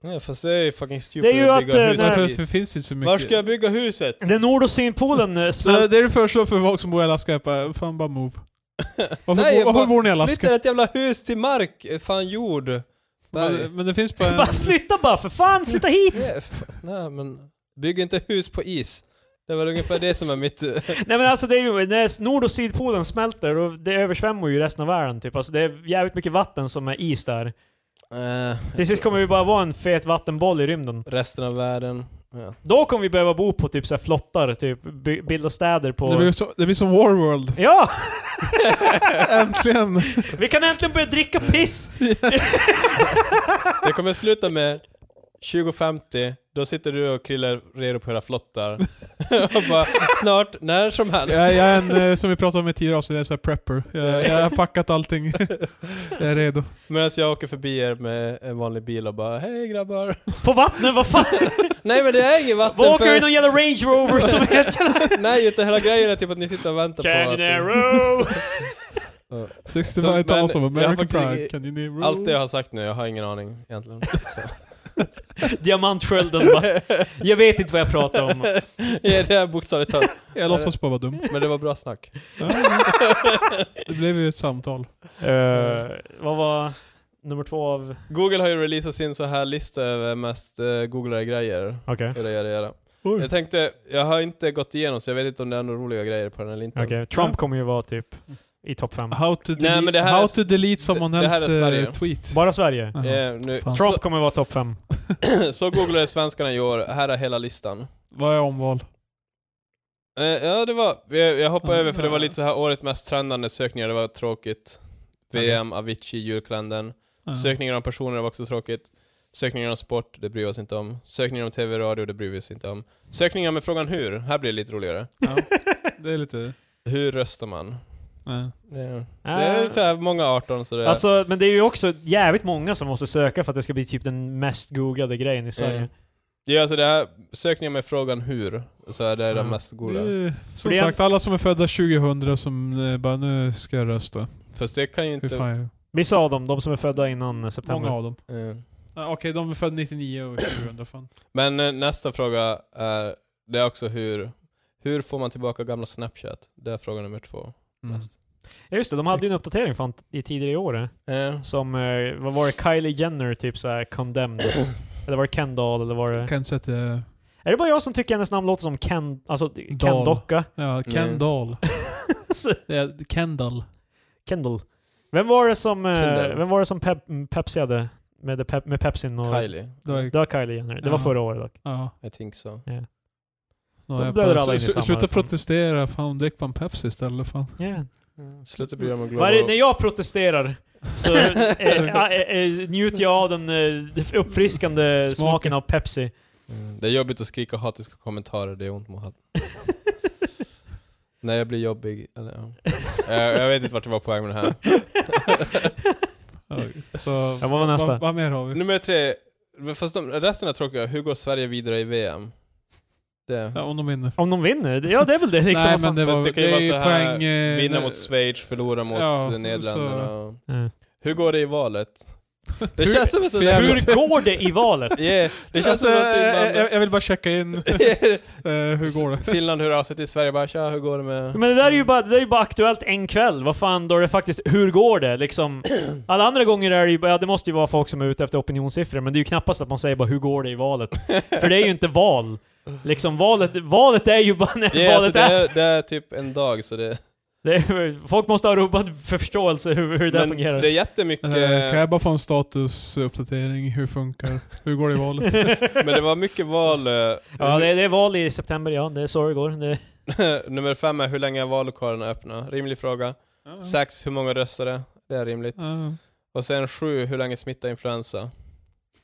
[SPEAKER 3] Ja, fast det är ju fucking stupid
[SPEAKER 1] Det är ju
[SPEAKER 3] att bygga
[SPEAKER 1] att,
[SPEAKER 3] hus
[SPEAKER 1] eh,
[SPEAKER 2] Nej,
[SPEAKER 1] Nej.
[SPEAKER 3] av
[SPEAKER 2] för,
[SPEAKER 3] is.
[SPEAKER 2] för det finns inte så mycket.
[SPEAKER 3] Var ska jag bygga huset?
[SPEAKER 1] Den nord och sydpolen eh,
[SPEAKER 2] så det
[SPEAKER 1] smälter...
[SPEAKER 2] det du föreslår för folk som bor i Alaska är bara, fan bara
[SPEAKER 3] *laughs*
[SPEAKER 2] move. Varför,
[SPEAKER 3] Nej,
[SPEAKER 2] bo, varför
[SPEAKER 3] bara
[SPEAKER 2] bor ni i Alaska?
[SPEAKER 3] Flyttar ett jävla hus till mark, fan jord. Berg.
[SPEAKER 2] Men, men det finns
[SPEAKER 3] *laughs*
[SPEAKER 1] *laughs*
[SPEAKER 2] bara
[SPEAKER 1] Bara
[SPEAKER 2] en...
[SPEAKER 1] flytta bara för fan, flytta hit!
[SPEAKER 3] Nej, f- Nej, men bygg inte hus på is. Det var ungefär det som är mitt...
[SPEAKER 1] Nej men alltså det är ju, när nord och sydpolen smälter, och det översvämmar ju resten av världen typ. Alltså det är jävligt mycket vatten som är is där.
[SPEAKER 3] Eh,
[SPEAKER 1] Till sist kommer vi bara vara en fet vattenboll i rymden.
[SPEAKER 3] resten av världen. Ja.
[SPEAKER 1] Då kommer vi behöva bo på typ så här flottar, typ by- bilda städer på...
[SPEAKER 2] Det blir, så, det blir som
[SPEAKER 3] *laughs*
[SPEAKER 2] Warworld.
[SPEAKER 1] Ja!
[SPEAKER 2] Äntligen!
[SPEAKER 1] Vi kan äntligen börja dricka piss!
[SPEAKER 3] Det kommer sluta med 2050, då sitter du och krillar redo på era flottar. *laughs* och bara, snart, när som helst.
[SPEAKER 2] Jag, jag är en, eh, som vi pratade om i tidigare avsnitt, jag är så här prepper. Jag, jag har packat
[SPEAKER 3] *laughs*
[SPEAKER 2] allting. Jag är redo.
[SPEAKER 3] Medan jag åker förbi er med en vanlig bil och bara Hej grabbar!
[SPEAKER 1] På vattnet, vad fan!
[SPEAKER 3] Nej men det är inget vatten
[SPEAKER 1] Vad åker
[SPEAKER 3] för-
[SPEAKER 1] vi någon jävla Range Rover som heter...
[SPEAKER 3] Nej utan hela grejen är typ att ni sitter och väntar *laughs* på att...
[SPEAKER 1] Canaro!
[SPEAKER 2] 69
[SPEAKER 3] Så, men,
[SPEAKER 2] men, awesome,
[SPEAKER 3] jag har
[SPEAKER 2] American
[SPEAKER 3] faktiskt
[SPEAKER 2] Pride,
[SPEAKER 3] inget-
[SPEAKER 2] can you name
[SPEAKER 3] Allt
[SPEAKER 1] Mm.
[SPEAKER 3] det jag har sagt nu, jag har ingen aning
[SPEAKER 1] *laughs*
[SPEAKER 3] egentligen.
[SPEAKER 1] Diamantskölden
[SPEAKER 3] *laughs*
[SPEAKER 1] bara. Jag vet inte vad jag pratar om.
[SPEAKER 3] ja, det är bokstavligt talat.
[SPEAKER 2] Jag låtsas bara vara dum.
[SPEAKER 3] Men det var bra snack.
[SPEAKER 2] Ja. Det blev ju ett samtal.
[SPEAKER 1] Eh, vad var nummer två av...
[SPEAKER 3] *laughs* Google har ju releasat sin så här lista över mest uh, googlade grejer.
[SPEAKER 1] Okej.
[SPEAKER 3] Göra, göra, göra.
[SPEAKER 2] Oj.
[SPEAKER 3] Jag tänkte, jag har inte gått igenom så jag vet inte om det är några roliga grejer på den eller inte.
[SPEAKER 1] Okej, Trump kommer ju vara typ i topp fem.
[SPEAKER 2] How to,
[SPEAKER 3] Nej,
[SPEAKER 2] dele-
[SPEAKER 3] men det här
[SPEAKER 2] how
[SPEAKER 3] är-
[SPEAKER 2] to delete someone
[SPEAKER 3] det- det här är
[SPEAKER 2] else's eh,
[SPEAKER 3] Sverige.
[SPEAKER 2] tweet.
[SPEAKER 1] Bara Sverige.
[SPEAKER 2] Jaha.
[SPEAKER 3] Eh, nu,
[SPEAKER 2] Fan.
[SPEAKER 1] Trump kommer vara topp fem.
[SPEAKER 3] *laughs* så googlade svenskarna i år, här är hela listan.
[SPEAKER 2] Vad är omval?
[SPEAKER 3] Eh, ja det var, jag, jag hoppade
[SPEAKER 2] Ja,
[SPEAKER 3] över för det var
[SPEAKER 2] ja.
[SPEAKER 3] lite så här året mest trendande sökningar, det var tråkigt. VM, Avicii, julkalendern.
[SPEAKER 2] Ja.
[SPEAKER 3] Sökningar om personer var också tråkigt. Sökningar om sport, det bryr vi oss inte om. Sökningar om TV och radio, det bryr vi oss inte om. Sökningar med frågan hur, här blir det lite roligare.
[SPEAKER 2] Ja. Det är lite...
[SPEAKER 3] Hur röstar man?
[SPEAKER 2] Ja.
[SPEAKER 3] Det är, det
[SPEAKER 2] Ah.
[SPEAKER 3] är så här många 18 så det är.
[SPEAKER 1] Alltså, men det är ju också jävligt många som måste söka för att det ska bli typ den mest googlade grejen i Sverige.
[SPEAKER 3] Mm. det är alltså det här, sökningar med frågan hur, så är det den
[SPEAKER 2] Ah.
[SPEAKER 1] Mm.
[SPEAKER 3] mest goda.
[SPEAKER 2] Det är- Som
[SPEAKER 1] Det är-
[SPEAKER 2] sagt, alla som är födda 2000 som eh, bara nu ska jag rösta.
[SPEAKER 3] Fast det kan ju
[SPEAKER 2] Hur
[SPEAKER 3] inte...
[SPEAKER 2] fan är
[SPEAKER 1] Vissa av dem, de som är födda innan
[SPEAKER 2] det?
[SPEAKER 1] september.
[SPEAKER 2] Många av dem.
[SPEAKER 3] eh.
[SPEAKER 2] Ja, Okej, de är födda 99 och 2000 fan.
[SPEAKER 3] Men eh, nästa fråga är, det är också hur, hur får man tillbaka gamla Snapchat? Det är fråga nummer två.
[SPEAKER 2] Mm.
[SPEAKER 3] Mest.
[SPEAKER 1] Ja just det, de hade ju en uppdatering fan i tidigare i år. eh,
[SPEAKER 3] Eh,
[SPEAKER 1] Som, eh, vad var det, Kylie Jenner typ såhär
[SPEAKER 3] *coughs*
[SPEAKER 1] condemned? eller var det Kendall eller var det...
[SPEAKER 2] Kan inte säga att det är-
[SPEAKER 1] Är det bara jag som tycker hennes namn låter som Ken... Alltså
[SPEAKER 2] Dahl.
[SPEAKER 1] Ken-docka? *laughs*
[SPEAKER 2] Ja,
[SPEAKER 3] Nej.
[SPEAKER 2] Kendall.
[SPEAKER 1] Så-
[SPEAKER 2] Det är Kendall.
[SPEAKER 1] Kendall. Vem var det som, eh,
[SPEAKER 3] Kendall.
[SPEAKER 1] vem var det som pep, mm, Pepsi hade? Med, det pep, med Pepsin och...
[SPEAKER 3] Kylie,
[SPEAKER 2] Det var,
[SPEAKER 1] Det var Kylie Jenner. Det var
[SPEAKER 2] Ja.
[SPEAKER 1] förra året dock.
[SPEAKER 2] ja.
[SPEAKER 3] I think so.
[SPEAKER 2] Då
[SPEAKER 1] De
[SPEAKER 2] jag
[SPEAKER 1] blöder
[SPEAKER 2] bara-
[SPEAKER 1] alla in i
[SPEAKER 2] slu-
[SPEAKER 1] samma,
[SPEAKER 2] Sluta
[SPEAKER 1] fan.
[SPEAKER 2] protestera, fan drick bara en Pepsi istället fan.
[SPEAKER 1] Yeah.
[SPEAKER 3] Sluta bry dig om Global...
[SPEAKER 1] Varje, när jag protesterar så eh, eh, eh, njuter jag av den eh, uppfriskande
[SPEAKER 2] Smaken.
[SPEAKER 1] smaken, av Pepsi.
[SPEAKER 3] Mm. Det är jobbigt att skrika hatiska kommentarer, det är ont mot hatten. *laughs* När jag blir jobbig, eller ja. jag, jag vet inte vart det var poäng med det här.
[SPEAKER 2] Ja, Så,
[SPEAKER 1] Ja, vad var nästa?
[SPEAKER 2] vad, vad mer har vi?
[SPEAKER 3] Nummer tre, fast de, resten är tråkiga, hur går Sverige vidare i VM? Det.
[SPEAKER 2] Ja, om de vinner.
[SPEAKER 1] Om de vinner? Ja, det är väl det liksom.
[SPEAKER 2] Nej
[SPEAKER 1] vad fan.
[SPEAKER 2] men det
[SPEAKER 3] Fast
[SPEAKER 2] var
[SPEAKER 3] det kan ju
[SPEAKER 2] det
[SPEAKER 3] vara
[SPEAKER 2] är ju
[SPEAKER 3] så här,
[SPEAKER 2] poäng... eh,
[SPEAKER 3] Vinna
[SPEAKER 2] när-
[SPEAKER 3] mot Schweiz, förlora mot
[SPEAKER 2] Ja,
[SPEAKER 3] eh, Nederländerna. och-
[SPEAKER 1] Mm.
[SPEAKER 3] Hur går det i valet? Det
[SPEAKER 2] Hur-
[SPEAKER 3] känns som en sån där...
[SPEAKER 2] jävla-
[SPEAKER 1] Hur går det i valet?
[SPEAKER 3] Yeah, det känns
[SPEAKER 2] Alltså,
[SPEAKER 3] som typ någonting
[SPEAKER 2] jag, jag,
[SPEAKER 3] man...
[SPEAKER 2] jag vill bara checka in, eh, hur går det?
[SPEAKER 3] *laughs* Finland hör av sig till Sverige bara tja, hur går det med...
[SPEAKER 1] Men det där är ju bara, det där är ju bara aktuellt en kväll. Vad fan, då är det faktiskt, hur går det? Liksom, alla andra gånger är det ju, bara- ja det måste ju vara folk som är ute efter opinionssiffror, men det är ju knappast att man säger bara hur går det i valet? För det är ju inte val. Liksom valet, valet är ju bara när
[SPEAKER 3] Ja, alltså,
[SPEAKER 1] valet
[SPEAKER 3] det,
[SPEAKER 1] är.
[SPEAKER 3] är, det är typ en dag så det...
[SPEAKER 1] Det är. Folk måste ha rubbad förståelse hur, hur det där
[SPEAKER 3] Men
[SPEAKER 1] fungerar.
[SPEAKER 3] det är jättemycket...
[SPEAKER 2] Eh, Kan jag bara få en statusuppdatering? Hur funkar? Hur går det i
[SPEAKER 3] *laughs*
[SPEAKER 2] valet?
[SPEAKER 3] Men det var mycket val.
[SPEAKER 1] *laughs*
[SPEAKER 3] eh,
[SPEAKER 1] ja, det, är- det är val i september, ja. Det är så det går. Det,
[SPEAKER 3] *laughs* Nummer fem är hur länge är vallokalerna öppna? Rimlig fråga. Sex, hur många röstade? Det är rimligt.
[SPEAKER 2] Ja,
[SPEAKER 3] Och sen sju, hur länge smittar influensa?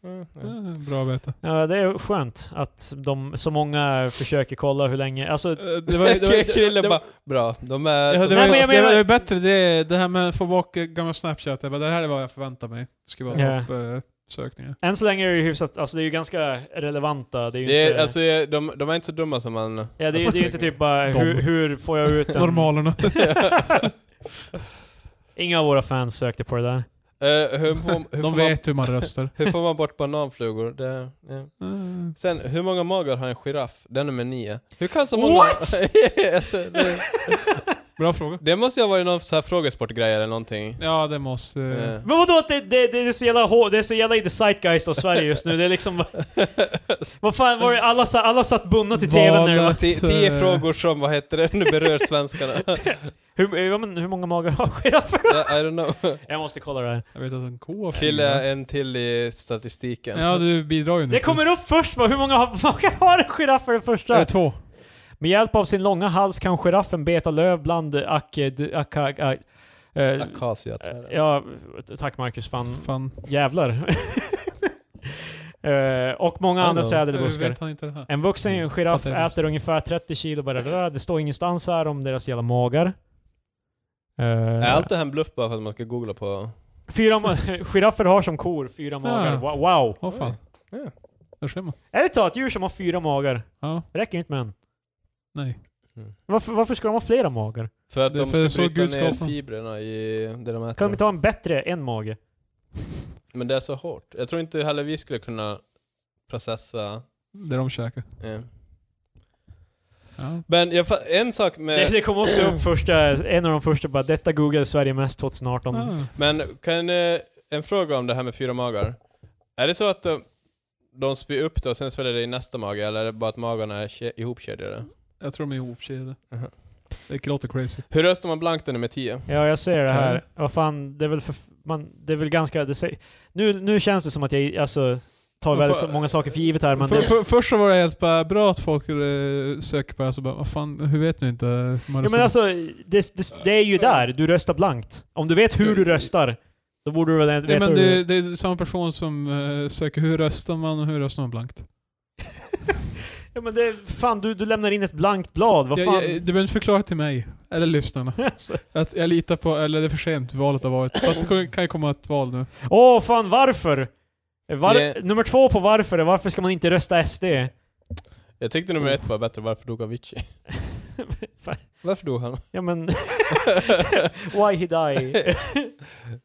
[SPEAKER 3] Mm, ja.
[SPEAKER 2] ja, Bra att veta.
[SPEAKER 1] ja, det är skönt att de, så många försöker kolla hur länge, alltså
[SPEAKER 2] Eh, Det var, det
[SPEAKER 3] *laughs*
[SPEAKER 2] var,
[SPEAKER 3] Krille
[SPEAKER 2] det
[SPEAKER 3] bara, bra, de är...
[SPEAKER 2] Ja, det,
[SPEAKER 3] de-
[SPEAKER 1] Nej,
[SPEAKER 2] var,
[SPEAKER 1] men jag
[SPEAKER 2] det var
[SPEAKER 1] menar-
[SPEAKER 2] ju bättre det, det här med att få bort gamla Snapchat. Jag bara, det här är vad jag förväntar mig. Det ska vara eh,
[SPEAKER 1] Ja.
[SPEAKER 2] toppsökningar.
[SPEAKER 1] än så länge är det ju hyfsat, alltså det är ju ganska relevanta. Det är ju
[SPEAKER 3] det är,
[SPEAKER 1] inte...
[SPEAKER 3] alltså, de, de är inte så dumma som man...
[SPEAKER 1] Ja, det, är- det är ju inte typ bara
[SPEAKER 2] Dom.
[SPEAKER 1] hur, hur får jag ut en...
[SPEAKER 2] Normalerna.
[SPEAKER 1] Inga av våra fans sökte på det där.
[SPEAKER 3] Eh, hur, får, hur,
[SPEAKER 2] *laughs* De
[SPEAKER 3] får man,
[SPEAKER 2] vet hur man
[SPEAKER 3] *laughs*
[SPEAKER 2] röstar.
[SPEAKER 3] hur får man bort bananflugor? Det, ja.
[SPEAKER 2] Mm.
[SPEAKER 3] Sen, hur *laughs* många magar har en giraff? Det är nummer nio. Hur kan så många...
[SPEAKER 1] What?
[SPEAKER 3] alltså, det,
[SPEAKER 2] Bra fråga.
[SPEAKER 3] Det måste ju ha varit någon så här frågesportgrej eller någonting.
[SPEAKER 2] Ja, det måste...
[SPEAKER 3] Eh,
[SPEAKER 1] Men vadå att det, det, det är så jävla hår, det är så jävla i the zeitgeist av Sverige just nu. Det är
[SPEAKER 3] *laughs*
[SPEAKER 1] liksom... vad fan var det? Alla, sa- alla satt bundna till TVn när det var...
[SPEAKER 2] Valet.
[SPEAKER 3] ti- tio
[SPEAKER 2] eh,
[SPEAKER 3] frågor som, vad heter det, *laughs* nu berör svenskarna.
[SPEAKER 2] *laughs*
[SPEAKER 1] Hur, eh, ja, men hur många magar har giraffer?
[SPEAKER 3] I don't know.
[SPEAKER 1] *laughs* Jag måste kolla det här.
[SPEAKER 2] Jag vet att en K har
[SPEAKER 3] Killa en till i statistiken.
[SPEAKER 2] Ja, du bidrar ju nu.
[SPEAKER 1] Det kommer upp först bara, hur många har- *laughs* magar har en giraff för det
[SPEAKER 2] Det är
[SPEAKER 1] första?
[SPEAKER 2] två.
[SPEAKER 1] Med hjälp av sin långa hals kan giraffen beta löv bland aked... Akag... Ak, eh,
[SPEAKER 3] Akasia.
[SPEAKER 1] ja, tack Marcus. Fan,
[SPEAKER 2] Fan.
[SPEAKER 1] *laughs* jävlar. Eh, och många
[SPEAKER 3] I
[SPEAKER 1] andra
[SPEAKER 3] know.
[SPEAKER 1] träd eller
[SPEAKER 2] Hur
[SPEAKER 1] buskar.
[SPEAKER 2] vet han inte det här?
[SPEAKER 1] En vuxen giraff
[SPEAKER 2] Patetiskt.
[SPEAKER 1] äter ungefär 30 kilo bara. Det står ingenstans här om deras jävla magar. Eh,
[SPEAKER 3] Är allt det här en bluff bara för att man ska googla på...
[SPEAKER 1] fyra ma- *laughs* giraffer har som kor fyra magar. Wa- Wow!
[SPEAKER 2] Åh fan.
[SPEAKER 3] Ja.
[SPEAKER 2] Där ser man.
[SPEAKER 1] Ärligt talat, djur som har fyra magar.
[SPEAKER 2] Ja,
[SPEAKER 1] Det räcker ju inte med en.
[SPEAKER 2] nej.
[SPEAKER 1] Varför, varför ska de ha flera magar?
[SPEAKER 3] För att
[SPEAKER 2] Det är
[SPEAKER 3] de
[SPEAKER 2] för
[SPEAKER 3] ska
[SPEAKER 2] så
[SPEAKER 3] bryta
[SPEAKER 2] Gud
[SPEAKER 3] ner
[SPEAKER 2] skapade.
[SPEAKER 3] fibrerna i det de
[SPEAKER 1] Kan de
[SPEAKER 3] äter.
[SPEAKER 1] inte ha en bättre, en mage?
[SPEAKER 3] Men det är så hårt. Jag tror inte heller vi skulle kunna processa...
[SPEAKER 2] Det de käkar.
[SPEAKER 3] Eh.
[SPEAKER 2] Ja.
[SPEAKER 3] Men jag, fa- en sak
[SPEAKER 2] Eh.
[SPEAKER 1] Det,
[SPEAKER 3] med...
[SPEAKER 1] det kom också upp första, en av de första bara, detta googlade Sverige mest 2018.
[SPEAKER 2] Ah.
[SPEAKER 3] Men kan, eh, en fråga om det här med fyra magar. Är det så att de, de spyr upp det och sen sväljer det i nästa mage, eller är det bara att magarna är ke- ihopkedjade?
[SPEAKER 2] Jag tror de är ihopkedjade.
[SPEAKER 3] Aha.
[SPEAKER 2] Det låter crazy.
[SPEAKER 3] Hur röstar man blankt när nummer 10?
[SPEAKER 1] Ja, jag ser det
[SPEAKER 2] Ja.
[SPEAKER 1] här. Vad fan, det är väl för... Man, det är väl ganska... Det säg, nu, nu känns det som att jag alltså, tar
[SPEAKER 3] Men
[SPEAKER 1] väldigt
[SPEAKER 3] för-
[SPEAKER 1] så många saker för givet här, men...
[SPEAKER 2] För,
[SPEAKER 1] Det,
[SPEAKER 2] för, först så var det helt bara bra att folk eh, söker på det här, så bara vad fan, hur vet ni inte? Man
[SPEAKER 1] ja, men alltså, det, det, det är ju där. Du röstar blankt. Om du vet hur du röstar, då borde du väl veta
[SPEAKER 2] Nej, men
[SPEAKER 1] hur
[SPEAKER 2] det,
[SPEAKER 1] du...
[SPEAKER 2] det är samma person som eh, söker hur röstar man och hur röstar man blankt.
[SPEAKER 1] Ja, men det... Fan, du, du lämnar in ett blankt blad. Vad fan?
[SPEAKER 2] Jag,
[SPEAKER 1] *laughs*
[SPEAKER 2] jag, du behöver inte förklara till mig, eller lyssnarna,
[SPEAKER 1] Alltså.
[SPEAKER 2] att jag litar på, eller det är för sent, valet har varit. Fast det kan- kan ju komma ett val nu.
[SPEAKER 1] Åh, fan varför? Var,
[SPEAKER 3] Det-
[SPEAKER 1] Nummer två på varför är varför ska man inte rösta SD?
[SPEAKER 3] Jag tyckte nummer ett var bättre, varför dog Avicii?
[SPEAKER 1] Fan.
[SPEAKER 3] *laughs* Varför dog han?
[SPEAKER 1] *laughs* ja men... *laughs* Why he die?
[SPEAKER 3] Ja,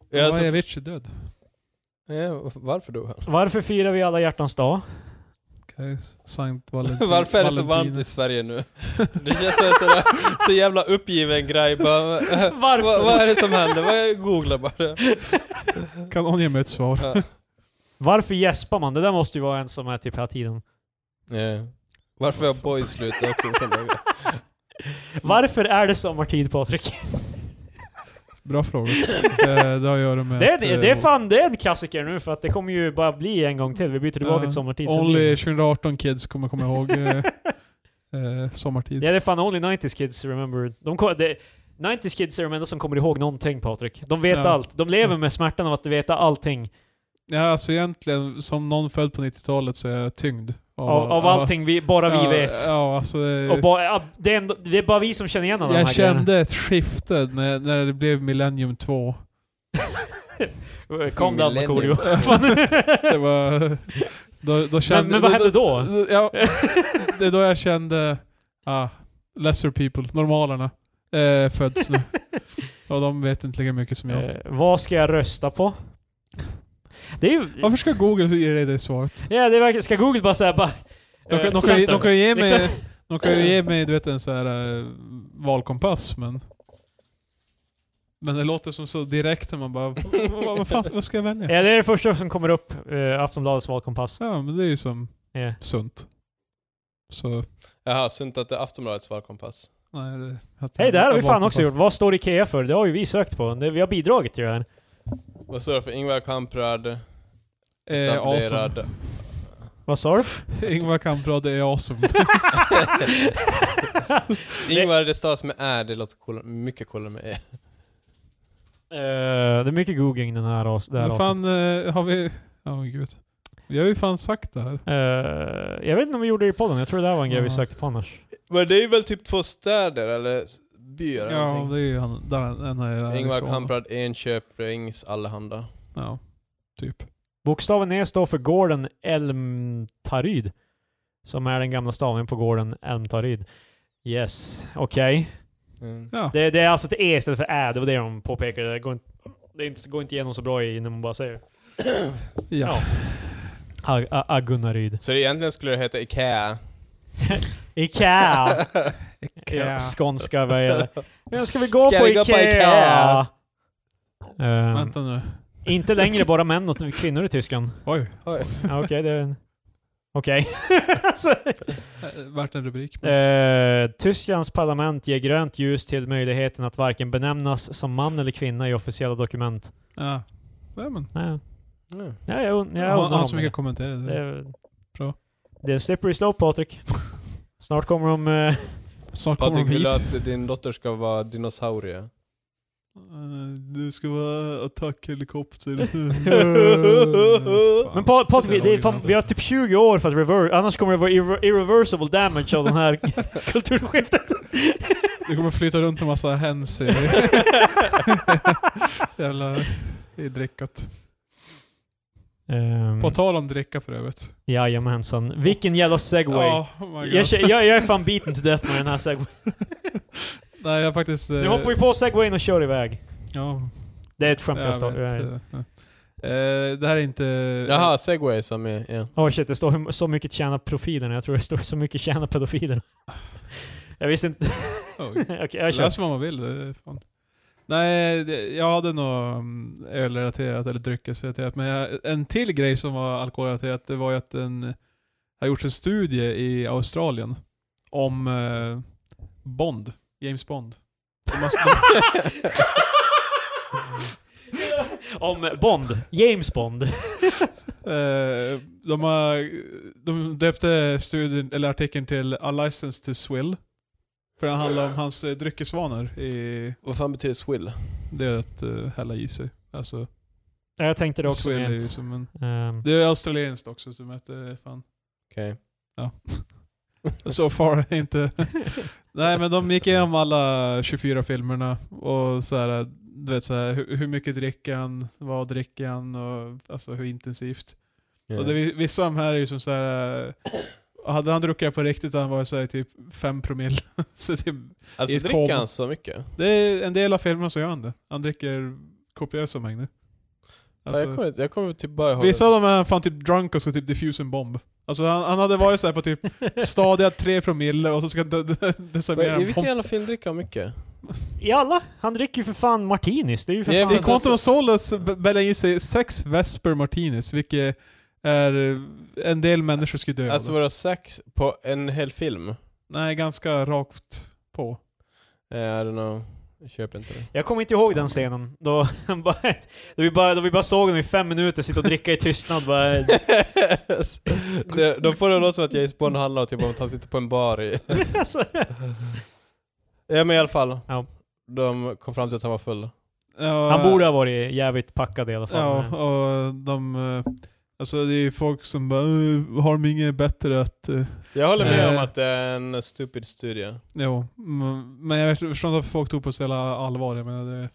[SPEAKER 2] Ja,
[SPEAKER 3] alltså,
[SPEAKER 2] är Avicii död?
[SPEAKER 3] ja, varför dog han?
[SPEAKER 1] varför firar vi alla hjärtans dag?
[SPEAKER 2] Okej, Sankt Valentin.
[SPEAKER 3] *laughs* Varför är det så
[SPEAKER 2] Valentinus.
[SPEAKER 3] varmt i Sverige *laughs* nu? Det känns som en sån där, så jävla uppgiven grej *laughs* bara. eh,
[SPEAKER 1] Varför?
[SPEAKER 3] Vad, vad är det som händer? Vad- Googla bara.
[SPEAKER 2] Kan någon ge mig ett svar?
[SPEAKER 3] Ja.
[SPEAKER 1] Varför gäspar man? Det där måste ju vara en som är typ hela tiden.
[SPEAKER 3] Ja. Varför har boys slutat också en sån där *laughs* grej?
[SPEAKER 1] Varför är det sommartid Patrik?
[SPEAKER 2] Bra
[SPEAKER 3] *laughs*
[SPEAKER 2] fråga. Eh, det har att göra med...
[SPEAKER 1] Det är,
[SPEAKER 2] att,
[SPEAKER 1] det,
[SPEAKER 2] eh,
[SPEAKER 1] det är fan det är en klassiker nu för att det kommer ju bara bli en gång till. Vi byter tillbaka
[SPEAKER 2] Ja.
[SPEAKER 1] till sommartid. sen blir
[SPEAKER 2] Only
[SPEAKER 1] det-
[SPEAKER 2] 2018 kids kommer komma ihåg
[SPEAKER 1] *laughs*
[SPEAKER 2] eh, eh, sommartid.
[SPEAKER 1] Ja det är fan only 90s kids remember. De, ko- det, 90s kids är de enda som kommer ihåg någonting Patrik. De vet
[SPEAKER 2] Ja.
[SPEAKER 1] allt. De lever med smärtan av att veta allting.
[SPEAKER 2] Ja, alltså egentligen, som någon född på 90-talet så är jag tyngd.
[SPEAKER 1] Av, av allting vi, bara vi
[SPEAKER 2] ja,
[SPEAKER 1] vet.
[SPEAKER 2] Ja, alltså, eh,
[SPEAKER 1] Och bara, ja, det, är ändå, det är bara vi som känner igen alla de
[SPEAKER 2] jag
[SPEAKER 1] här
[SPEAKER 2] kände ett skifte när, när det blev Millennium 2.
[SPEAKER 3] Eh,
[SPEAKER 1] grejerna. Kom down Markoolio.
[SPEAKER 3] Millennium.
[SPEAKER 1] Fan.
[SPEAKER 2] Det var, då, då kände,
[SPEAKER 1] men vad hände då?
[SPEAKER 2] Ja, det är då jag kände, ah, lesser people, normalerna, eh,
[SPEAKER 1] *laughs*
[SPEAKER 2] föds nu. Och de vet inte lika mycket som jag.
[SPEAKER 1] *laughs* Eh, vad ska jag rösta på? Det är ju...
[SPEAKER 2] Varför ska Google ge dig det svaret?
[SPEAKER 1] Ja, det verkar... Ska Google bara säga bara...
[SPEAKER 2] De
[SPEAKER 1] eh,
[SPEAKER 2] kan, de kan, ju- de
[SPEAKER 1] Centern.
[SPEAKER 2] kan ju ge mig,
[SPEAKER 1] Liksom.
[SPEAKER 2] de kan ju ge mig du vet, en så här eh, valkompass, men... Men det låter som så direkt när man bara, "Vad- vad, vad fan vad ska jag
[SPEAKER 1] *laughs*
[SPEAKER 2] välja?
[SPEAKER 1] Ja, det är det första som kommer upp, eh, Aftonbladets valkompass.
[SPEAKER 2] Ja, men det är ju som
[SPEAKER 1] Ja.
[SPEAKER 2] sunt. Så,
[SPEAKER 3] Jaha, sunt att det är Aftonbladets valkompass.
[SPEAKER 2] nej. Det, att-
[SPEAKER 1] Hej, det här har vi fan också
[SPEAKER 2] valkompass.
[SPEAKER 1] gjort. Vad står IKEA för? Det har ju vi sökt på. Det, vi har bidragit till det här.
[SPEAKER 3] Vad står det för? Ingvar Kamprad,
[SPEAKER 2] Eh, awesome. *laughs*
[SPEAKER 3] etablerad...
[SPEAKER 1] Vad sa du?
[SPEAKER 2] Ingvar Kamprad är awesome.
[SPEAKER 3] Ingvar, det stavas med ä, det låter coolare, mycket coolare med e.
[SPEAKER 1] Eh, det är mycket googling den här, avs- det här
[SPEAKER 2] Vad fan eh, har vi... Ja, oh, gud. Vi har ju fan sagt det här.
[SPEAKER 1] avsnittet. Eh, jag vet inte om vi gjorde det i podden. Jag tror det här var en grej vi
[SPEAKER 2] Ja.
[SPEAKER 1] sökte på annars.
[SPEAKER 3] Men det är väl typ två städer eller s- byar eller
[SPEAKER 2] Ja,
[SPEAKER 3] någonting?
[SPEAKER 2] det är ju han, där, den är
[SPEAKER 3] Ingvar
[SPEAKER 2] därifrån.
[SPEAKER 3] Kamprad, Enköpings, Allehanda.
[SPEAKER 2] Ja, typ.
[SPEAKER 1] Bokstaven E står för gården Elmtaryd. Som är den gamla stavningen på gården Elmtaryd. Yes, okej.
[SPEAKER 3] Mm.
[SPEAKER 2] Ja.
[SPEAKER 1] Det, det är alltså ett E istället för Ä, det var det de påpekade. Det går inte, det är inte, går inte igenom så bra i, när man bara säger
[SPEAKER 2] ja.
[SPEAKER 1] Ag- A- Agunnaryd.
[SPEAKER 3] Så det egentligen skulle det heta Ikea.
[SPEAKER 1] Ikea! *laughs*
[SPEAKER 2] Ikea.
[SPEAKER 1] Skånska vad gäller. Nu ska vi gå
[SPEAKER 3] Ska
[SPEAKER 1] på
[SPEAKER 3] vi
[SPEAKER 1] Ikea!
[SPEAKER 3] gå på Ikea?
[SPEAKER 1] Ehm,
[SPEAKER 2] Vänta nu.
[SPEAKER 1] inte längre bara män och kvinnor i Tyskland.
[SPEAKER 2] Oj.
[SPEAKER 3] Oj.
[SPEAKER 1] Ja, Okej, det är en...
[SPEAKER 2] *laughs*
[SPEAKER 1] Okej. Alltså,
[SPEAKER 2] Eh, Vart en rubrik.
[SPEAKER 1] eh, Tysklands parlament ger grönt ljus till möjligheten att varken benämnas som man eller kvinna i officiella dokument.
[SPEAKER 2] Ja. Nej, men.
[SPEAKER 1] Nej,
[SPEAKER 3] Mm.
[SPEAKER 1] nej, jag, und- jag
[SPEAKER 2] han,
[SPEAKER 1] undrar
[SPEAKER 2] han
[SPEAKER 1] om
[SPEAKER 2] som
[SPEAKER 1] det.
[SPEAKER 2] mycket kommentera
[SPEAKER 1] Det
[SPEAKER 2] det.
[SPEAKER 1] är,
[SPEAKER 2] Bra.
[SPEAKER 1] det är en slippery slope,
[SPEAKER 2] *laughs*
[SPEAKER 1] Patrik. Snart kommer de... eh,
[SPEAKER 2] Snart kommer
[SPEAKER 3] Patrik,
[SPEAKER 2] de
[SPEAKER 3] vill du
[SPEAKER 2] hit.
[SPEAKER 3] att din dotter ska vara dinosaurie?
[SPEAKER 2] Eh, Du ska
[SPEAKER 1] *laughs*
[SPEAKER 2] vara attackhelikopter.
[SPEAKER 1] Men Pat- Patrik, det är fan, vi har typ 20 år för att reverse, annars kommer det vara irre- irreversible damage av den
[SPEAKER 2] *laughs*
[SPEAKER 1] här kulturskiftet.
[SPEAKER 2] Du kommer flyta runt en massa hens i... Jävla... I drickat.
[SPEAKER 1] Um,
[SPEAKER 2] På tal om dricka för övrigt.
[SPEAKER 1] Ehm, jajamensan. Vilken jävla segway.
[SPEAKER 2] Ja, oh my
[SPEAKER 1] jag,
[SPEAKER 2] god.
[SPEAKER 1] kä- jag, jag är fan beaten to death med den här segwayn.
[SPEAKER 2] Nej, jag faktiskt...
[SPEAKER 1] Nu
[SPEAKER 2] eh,
[SPEAKER 1] hoppar vi på segwayn och kör iväg.
[SPEAKER 2] Ja,
[SPEAKER 1] Det är ett skämt jag
[SPEAKER 2] jag vet.
[SPEAKER 1] startade.
[SPEAKER 2] eh, eh, det här är inte...
[SPEAKER 3] Jaha, segway som är... Ja.
[SPEAKER 1] Åh shit, det står hur- så mycket tjänar profilerna. Jag tror det står så mycket tjänar pedofilerna. jag visste inte. *laughs*
[SPEAKER 2] Oj.
[SPEAKER 1] Okej, jag kör.
[SPEAKER 2] Läs vad man vill. det är Fan. Nej, det- jag hade nog mm, ölrelaterat eller dryckesrelaterat. Men jag, en till grej som var alkoholrelaterat, det var ju att den har gjorts en studie i Australien om eh, Bond, James Bond. De har,
[SPEAKER 1] *laughs* Om Bond. James Bond. *laughs*
[SPEAKER 2] eh, de, har, de döpte studien, eller artikeln till A License to Swill. För den handlar om hans eh, dryckesvanor. I,
[SPEAKER 3] Vad fan betyder swill?
[SPEAKER 2] det är att eh, hälla i sig. Alltså,
[SPEAKER 1] Ja, Jag tänkte det också.
[SPEAKER 2] swill är ju
[SPEAKER 1] Med,
[SPEAKER 2] som en
[SPEAKER 1] ehm,
[SPEAKER 2] Det är australienskt också, så att det är fan...
[SPEAKER 3] Okej.
[SPEAKER 2] So far *laughs*
[SPEAKER 3] *laughs*
[SPEAKER 2] inte... Nej men de gick igenom alla 24 filmerna och så här, du vet så här, hur, hur mycket dricker han, vad dricker han och alltså hur intensivt.
[SPEAKER 3] Ja.
[SPEAKER 2] Och det, vi- vissa av de här är ju som så här. eh, Hade han druckit på riktigt hade han varit såhär typ 5 promille. *laughs* så typ, i
[SPEAKER 3] Alltså
[SPEAKER 2] ett kom.
[SPEAKER 3] dricker han så mycket? Alltså,
[SPEAKER 2] det är en del av filmerna så gör han det. Han dricker kopiösa mängder.
[SPEAKER 3] Fan,
[SPEAKER 2] Alltså-
[SPEAKER 3] jag, kommer, inte- jag kommer typ bara ihåg...
[SPEAKER 2] Vissa av dem är han fan typ drunk och ska typ diffuse en bomb. Alltså han, han hade varit såhär på typ
[SPEAKER 1] *laughs*
[SPEAKER 2] stadiga 3 promille och så ska han d- d- desarmera
[SPEAKER 3] I
[SPEAKER 2] en
[SPEAKER 3] vilken
[SPEAKER 2] bomb.
[SPEAKER 3] jävla film dricker han mycket?
[SPEAKER 1] I alla? Han dricker ju för fan martinis. Det är ju för
[SPEAKER 3] Ja,
[SPEAKER 1] fan...
[SPEAKER 2] I
[SPEAKER 3] vi- alltså,
[SPEAKER 2] Quantum of Solace b- bäddar i sig sex Vesper Martinis, vilket är en del människor skulle dö
[SPEAKER 3] Alltså
[SPEAKER 2] alltså,
[SPEAKER 3] våra sex på en hel film?
[SPEAKER 2] Nej, ganska rakt på.
[SPEAKER 3] Eh, I don't know. Jag köper inte det.
[SPEAKER 1] Jag kommer inte ihåg den scenen. Då, *laughs* han bara- då, vi, bara, då vi bara såg honom i fem minuter sitta och dricka i tystnad. Bara,
[SPEAKER 3] *laughs*
[SPEAKER 1] *laughs*
[SPEAKER 3] det. Då får det låta som att James Bond handlar typ om att han sitter på en bar i...
[SPEAKER 1] alltså.
[SPEAKER 3] Ja men i alla fall.
[SPEAKER 1] Ja.
[SPEAKER 3] De kom fram till att han var full.
[SPEAKER 2] Ja,
[SPEAKER 1] Han borde ha varit jävligt packad i alla fall.
[SPEAKER 2] Ja, och de... eh, Alltså det är ju folk som bara "Eh, har de inget bättre att... eh,
[SPEAKER 3] Jag håller med
[SPEAKER 2] Eh.
[SPEAKER 3] om att det är en stupid studie.
[SPEAKER 2] Jo, mm, men jag vet- förstår inte varför folk tog på så jävla allvar. Jag menar det...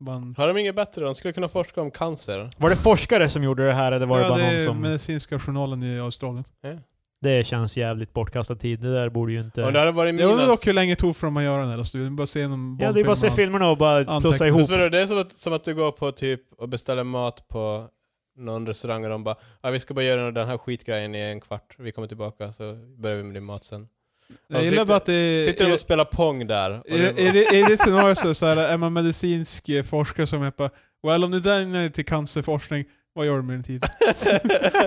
[SPEAKER 2] Man,
[SPEAKER 3] Har de inget bättre? De skulle kunna forska om cancer.
[SPEAKER 1] Var det forskare som gjorde det här eller var det bara
[SPEAKER 2] det
[SPEAKER 1] någon
[SPEAKER 2] är
[SPEAKER 1] som...
[SPEAKER 2] medicinska journalen i Australien.
[SPEAKER 1] Det känns jävligt bortkastad tid. Det där borde ju inte...
[SPEAKER 3] Om det hade varit
[SPEAKER 2] Jag undrar
[SPEAKER 3] mina...
[SPEAKER 2] dock hur länge det tog för dem att göra den här då, studien. Bara se en
[SPEAKER 1] ja, det är bara att se filmerna och bara plussa
[SPEAKER 2] Anteckna.
[SPEAKER 1] ihop.
[SPEAKER 3] Så vadå, det är som att, som att du går på typ och beställer mat på någon restaurang och de bara ja, vi ska bara göra den här skitgrejen i en kvart, vi kommer tillbaka så börjar vi med din mat sen.
[SPEAKER 2] Jag gillar bara att det...
[SPEAKER 3] Sitter de och
[SPEAKER 2] är-
[SPEAKER 3] spelar pong där? Och
[SPEAKER 2] Eh, är-
[SPEAKER 3] det
[SPEAKER 2] är
[SPEAKER 3] bara,
[SPEAKER 2] det- I det scenariot så, så här, är man medicinsk eh, forskare som är på Well, om du dägnar till cancerforskning, vad gör du med din tid?
[SPEAKER 3] *laughs*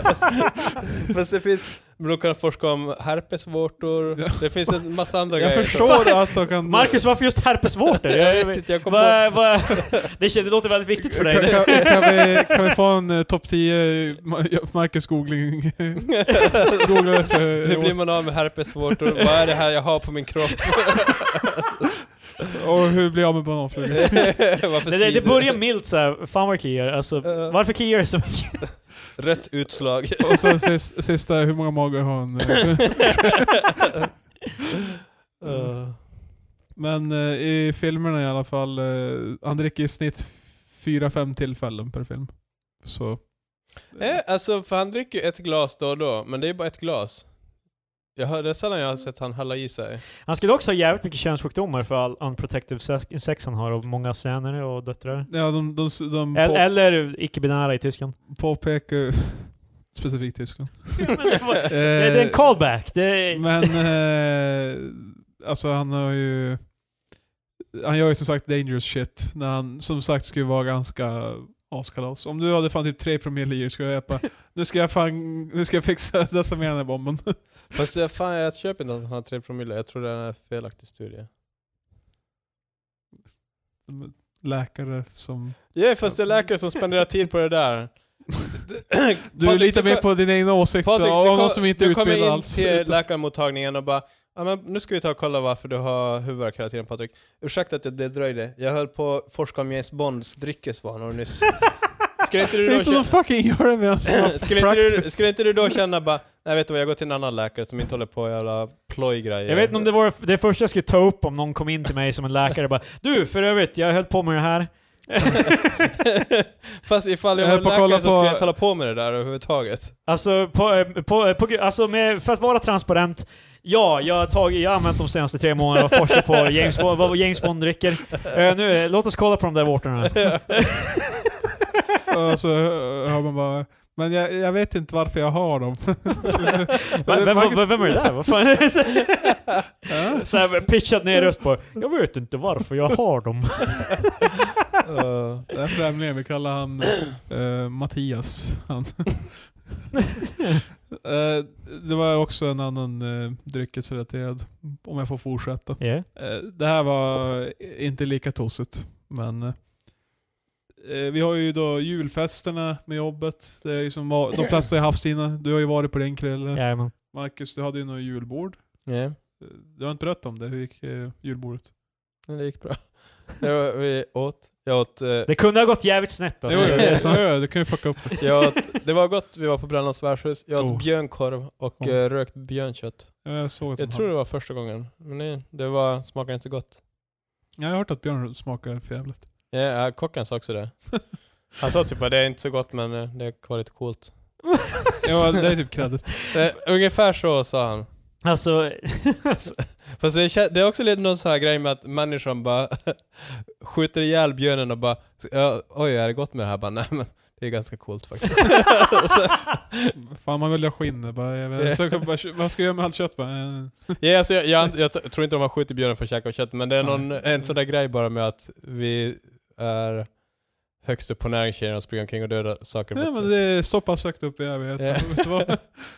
[SPEAKER 3] Fast det finns, men de kan forska om herpesvårtor,
[SPEAKER 2] Ja.
[SPEAKER 3] det finns en massa andra
[SPEAKER 2] Jag
[SPEAKER 3] grejer.
[SPEAKER 2] förstår att de kan...
[SPEAKER 1] Marcus, varför just herpesvårtor?
[SPEAKER 2] *laughs*
[SPEAKER 3] Jag vet inte, jag kom på...
[SPEAKER 1] Va, va, *laughs* det, känns- det låter väldigt viktigt för
[SPEAKER 2] Kan,
[SPEAKER 1] dig.
[SPEAKER 2] kan, kan, vi, kan vi få en eh, topp 10 eh, Ma- Marcus googling?
[SPEAKER 3] *laughs*
[SPEAKER 2] Googla för
[SPEAKER 3] Hur blir man av med herpesvårtor? Vad är det här jag har på min *laughs* kropp?
[SPEAKER 2] Och hur blir jag av med
[SPEAKER 3] *laughs*
[SPEAKER 2] bananflugor?
[SPEAKER 3] Varför
[SPEAKER 1] Det, det, det
[SPEAKER 3] svider?
[SPEAKER 1] börjar milt såhär, fan vad kliar. Alltså,
[SPEAKER 3] Eh.
[SPEAKER 1] varför kliar det så mycket?
[SPEAKER 2] *laughs*
[SPEAKER 3] Rätt *laughs* utslag.
[SPEAKER 2] Och sen sist, sista, hur många magar har han?
[SPEAKER 3] Eh,
[SPEAKER 2] Men eh, i filmerna i alla fall, eh, han dricker i snitt 4-5 tillfällen per film. Så...
[SPEAKER 3] Eh, alltså, för han dricker ju ett glas då och då, men det är ju bara ett glas. Jag hör, det är sällan jag har sett han hälla i *laughs* sig.
[SPEAKER 1] Han skulle också ha jävligt mycket könssjukdomar för all unprotective sex, sex han har och många söner och döttrar.
[SPEAKER 2] Ja, de, de, de,
[SPEAKER 1] El,
[SPEAKER 2] på,
[SPEAKER 1] eller icke-binära i
[SPEAKER 2] *laughs*
[SPEAKER 1] Tyskland.
[SPEAKER 2] påpekar specifikt Tyskland.
[SPEAKER 1] Men det, var,
[SPEAKER 2] Eh,
[SPEAKER 1] *laughs* det, det är en callback. Det är,
[SPEAKER 2] Men eh, alltså han har ju... han gör ju som sagt dangerous shit när han som sagt skulle vara ganska askalas. Om du hade fan typ tre promille i dig skulle jag bara, nu ska jag fan, nu ska jag fixa *laughs* desarmera den här bomben.
[SPEAKER 3] Fast jag, fan, jag köper inte att han har 3 promille. Jag tror det är en felaktig studie.
[SPEAKER 2] Läkare som...
[SPEAKER 3] Ja, fast det är läkare som spenderar tid på det där.
[SPEAKER 2] Du
[SPEAKER 3] Patrik,
[SPEAKER 2] litar
[SPEAKER 3] *laughs* du
[SPEAKER 2] mer
[SPEAKER 3] ko-
[SPEAKER 2] på dina egna åsikter
[SPEAKER 3] Patrik,
[SPEAKER 2] av
[SPEAKER 3] du,
[SPEAKER 2] någon
[SPEAKER 3] kom,
[SPEAKER 2] som inte är
[SPEAKER 3] du kommer
[SPEAKER 2] utbildad
[SPEAKER 3] in
[SPEAKER 2] alls.
[SPEAKER 3] till läkarmottagningen och bara ja, men nu ska vi ta och kolla varför du har huvudvärk hela tiden Patrik. Ursäkta att jag- det dröjde. Jag höll på att forska om James Bonds
[SPEAKER 1] *laughs*
[SPEAKER 3] dryckesvanor nyss. Skulle inte
[SPEAKER 2] Det är
[SPEAKER 3] du då
[SPEAKER 2] inte som de
[SPEAKER 3] känna,
[SPEAKER 2] fucking gör det medan de
[SPEAKER 3] *laughs* skulle inte du,
[SPEAKER 2] practice.
[SPEAKER 3] skulle inte du då känna bara, nej vet du vad, jag går till en annan läkare som inte håller på med jävla plojgrejer.
[SPEAKER 1] Jag vet inte om det var det första jag skulle ta upp om någon kom in till mig som en läkare och bara Du, för övrigt, jag höll på med det här. *laughs*
[SPEAKER 3] *laughs* Fast ifall jag
[SPEAKER 2] Jag
[SPEAKER 3] var
[SPEAKER 2] höll på att kolla
[SPEAKER 3] läkare så skulle
[SPEAKER 2] på-
[SPEAKER 3] jag inte hålla på med det där överhuvudtaget.
[SPEAKER 1] Alltså, på, eh, på, eh, på, gr- alltså med, för att vara transparent. Ja, jag har, tagit, jag har använt de senaste tre månaderna och forskat på James Bond, vad James Bond dricker.
[SPEAKER 3] *laughs*
[SPEAKER 1] Eh, nu, eh, låt oss kolla på de där vårtorna.
[SPEAKER 2] Och så hör man bara, men jag, jag vet inte varför jag har dem. *laughs*
[SPEAKER 1] Va- Vem,
[SPEAKER 2] Marcus-
[SPEAKER 1] vem, vem är det där? Vad fan? *laughs* Så-
[SPEAKER 2] Ja.
[SPEAKER 1] Så här, pitchat ner röst på Jag vet inte varför jag har dem.
[SPEAKER 2] Uh, det är främlingen, vi kallar han eh, Mattias. Han.
[SPEAKER 3] *laughs*
[SPEAKER 2] Eh, det var också en annan uh, dryckesrelaterad, om jag får fortsätta.
[SPEAKER 1] Yeah.
[SPEAKER 2] Eh, det här var inte lika tossigt, men eh, vi har ju då julfesterna med jobbet. Det är ju som va- de flesta har haft sina. Du har ju varit på din Krille.
[SPEAKER 1] Jajamän.
[SPEAKER 2] Marcus, du hade ju något julbord.
[SPEAKER 3] Nej,
[SPEAKER 2] Eh, Du har inte berättat om det, hur gick eh, julbordet?
[SPEAKER 3] det gick bra. Det var, vi åt, jag åt, eh,
[SPEAKER 1] Det kunde ha gått jävligt snett alltså.
[SPEAKER 2] jo, jo,
[SPEAKER 1] Det är så-
[SPEAKER 2] jo, jo, du kan ju fucka upp det.
[SPEAKER 3] Jag åt, det var gott, vi var på Brännans värdshus. Jag åt
[SPEAKER 2] Oh.
[SPEAKER 3] björnkorv och
[SPEAKER 2] Oh.
[SPEAKER 3] eh, rökt björnkött.
[SPEAKER 2] Jag såg att de
[SPEAKER 3] Jag tror
[SPEAKER 2] hade-
[SPEAKER 3] det var första gången, men nej, det var, smakade inte gott.
[SPEAKER 2] Jag har hört att björn smakar för jävligt.
[SPEAKER 3] Ja, ja, kocken sa
[SPEAKER 2] *laughs*
[SPEAKER 3] också det. Han sa typ att det är inte så gott men eh, det var lite coolt.
[SPEAKER 2] Ja, det är typ kreddigt.
[SPEAKER 3] Eh, ungefär så sa han.
[SPEAKER 1] Alltså,
[SPEAKER 3] Fast det, kä- det är också lite någon sån här grej med att människan bara *laughs* skjuter ihjäl björnen och bara "Ja, oj är det gott med det här? Bara, nej men det är ganska coolt faktiskt.
[SPEAKER 2] Fan, man vill ha skinn. det Bara, jag vet, så kan man bara, kö- vad ska jag göra med allt kött? Bara, eh,
[SPEAKER 3] Ja, alltså, jag, jag, jag t- tror inte de har skjutit björnen för att käka kött, men det är någon, en sån där grej bara med att vi är högst upp på näringskedjan och springer omkring och dödar saker.
[SPEAKER 2] nej,
[SPEAKER 3] mot-
[SPEAKER 2] men det är så pass högt upp i evigheten.
[SPEAKER 3] Ja.
[SPEAKER 2] Vet du vad?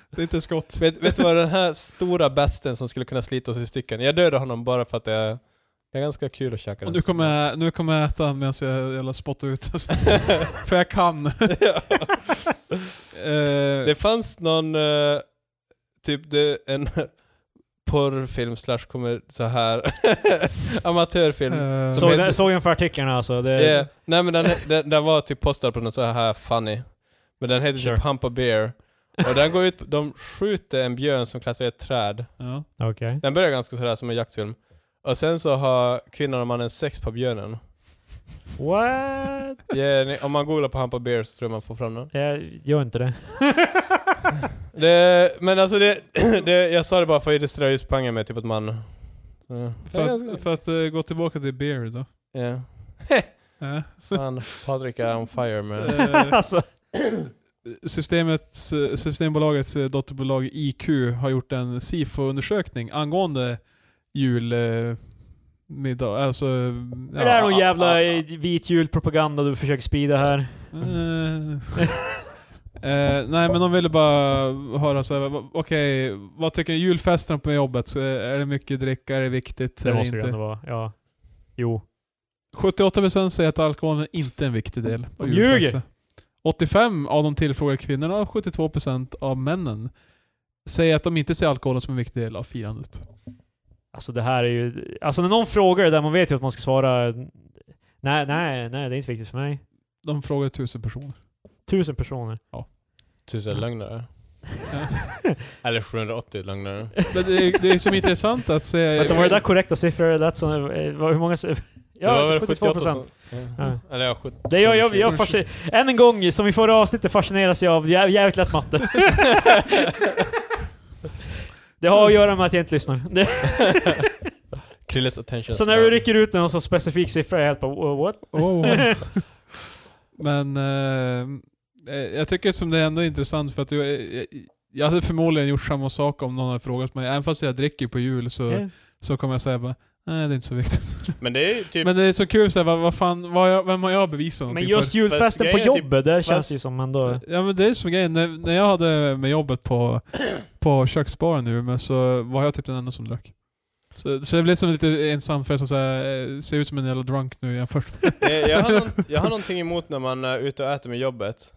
[SPEAKER 2] Det är inte skott.
[SPEAKER 3] vet, vet du vad den här stora besten som skulle kunna slita oss i stycken, jag dödade honom bara för att det är, det är ganska kul att käka
[SPEAKER 2] Och
[SPEAKER 3] den.
[SPEAKER 2] nu kommer jag, nu kommer jag äta den medan jag jävla spottar ut. alltså. För jag kan.
[SPEAKER 3] Ja.
[SPEAKER 2] Eh,
[SPEAKER 3] *laughs* Det fanns någon, eh, typ det, en porrfilm slash kommer så här *laughs* amatörfilm.
[SPEAKER 2] eh,
[SPEAKER 1] såg,
[SPEAKER 3] heter-
[SPEAKER 1] den, såg den för artiklarna alltså. Det,
[SPEAKER 3] Ja, Eh, Nej men den, *laughs* den, den var typ postad på något så här funny. Men den heter
[SPEAKER 1] Sure.
[SPEAKER 3] typ Humpa Bear. Och den går ut, de skjuter en björn som klättrar i ett träd.
[SPEAKER 2] ja.
[SPEAKER 1] Okej.
[SPEAKER 3] Den börjar ganska sådär som en jaktfilm. Och sen så har kvinnan och mannen sex på björnen.
[SPEAKER 1] What?
[SPEAKER 3] Ja, ni- om man googlar på Humpa Bear så tror jag man får fram den.
[SPEAKER 1] Jag Eh, gör inte det.
[SPEAKER 3] Det, men alltså det, *clears throat* det, jag sa det bara för att illustrera just poängen med typ att man... Ja.
[SPEAKER 2] För att, för att eh, gå tillbaka till beer då.
[SPEAKER 3] Ja.
[SPEAKER 2] Eh,
[SPEAKER 3] Fan, Patrik är on fire men...
[SPEAKER 1] *laughs*
[SPEAKER 2] eh,
[SPEAKER 1] alltså,
[SPEAKER 2] Systemets, eh, Systembolagets eh, dotterbolag IQ har gjort en SIFO-undersökning angående julmiddag. Alltså,
[SPEAKER 1] är det här någon
[SPEAKER 2] ja,
[SPEAKER 1] jävla
[SPEAKER 2] ja,
[SPEAKER 1] eh, vit julpropaganda du försöker sprida här?
[SPEAKER 2] Eh, *laughs* eh, nej men de ville bara höra så här, va- okej, vad tycker ni? Julfesten på jobbet, så är det mycket dricka, är det viktigt?
[SPEAKER 1] Det
[SPEAKER 2] är det
[SPEAKER 1] måste det ju
[SPEAKER 2] inte?
[SPEAKER 1] ändå vara. Ja. Jo.
[SPEAKER 2] 78% säger att alkoholen är inte en viktig del av
[SPEAKER 1] De ljuger.
[SPEAKER 2] julfesten. 85 av de tillfrågade kvinnorna och 72% av männen säger att de inte ser alkoholen som en viktig del av firandet.
[SPEAKER 1] Alltså det här är ju... Alltså när någon frågar det där, man vet ju att man ska svara... Nej, nej, nej, det är inte viktigt för mig.
[SPEAKER 2] De frågar tusen personer.
[SPEAKER 1] Tusen personer.
[SPEAKER 3] Tusen
[SPEAKER 1] *laughs*
[SPEAKER 3] lögnare. Eller 780 lögnare.
[SPEAKER 2] Men det, är, det
[SPEAKER 1] *laughs*
[SPEAKER 2] är som intressant att se...
[SPEAKER 1] Vänta, var det där korrekta siffror? Det lät som... eh, var- Hur många... s-
[SPEAKER 3] Det var
[SPEAKER 1] Ja,
[SPEAKER 3] väl
[SPEAKER 1] 72
[SPEAKER 3] 78 som-
[SPEAKER 1] procent. Ja.
[SPEAKER 3] Eller ja, 70.
[SPEAKER 1] Det är jag, jag, jag fasci- Än en gång, som i förra avsnittet, fascineras jag av jä- jävligt lätt
[SPEAKER 3] *laughs*
[SPEAKER 1] matte. det har att göra med att jag inte lyssnar. Det,
[SPEAKER 3] Krilles attention.
[SPEAKER 1] så när du rycker ut en så specifik siffra, jag är helt bara "Wha- what?
[SPEAKER 2] Oh.
[SPEAKER 1] *laughs*
[SPEAKER 2] Men eh, eh, jag tycker som det är ändå intressant för att jag, jag, jag
[SPEAKER 3] Mm.
[SPEAKER 2] hade förmodligen gjort samma sak om någon hade frågat mig. Även fast jag dricker på jul så,
[SPEAKER 1] Yeah.
[SPEAKER 2] så kommer jag säga bara Nej, det är inte så viktigt.
[SPEAKER 3] Men det är ju typ...
[SPEAKER 2] Men det är så kul såhär, vad, vad fan, vad har jag, vem har jag
[SPEAKER 1] Men
[SPEAKER 2] bevisat någonting
[SPEAKER 1] just julfesten på
[SPEAKER 3] grejen är typ-
[SPEAKER 1] jobbet, där känns
[SPEAKER 3] fast-
[SPEAKER 1] det ju som ändå...
[SPEAKER 2] för? Ja men det är som grejen, när, när jag hade med jobbet på, på köksbaren i Umeå så var jag typ den enda som drack. Så, så jag blev som lite ensam för som såhär, eh, ser ut som en jävla drunk nu jämfört med...
[SPEAKER 3] Eh, jag, har någon, jag har någonting emot när man är ute och äter med jobbet.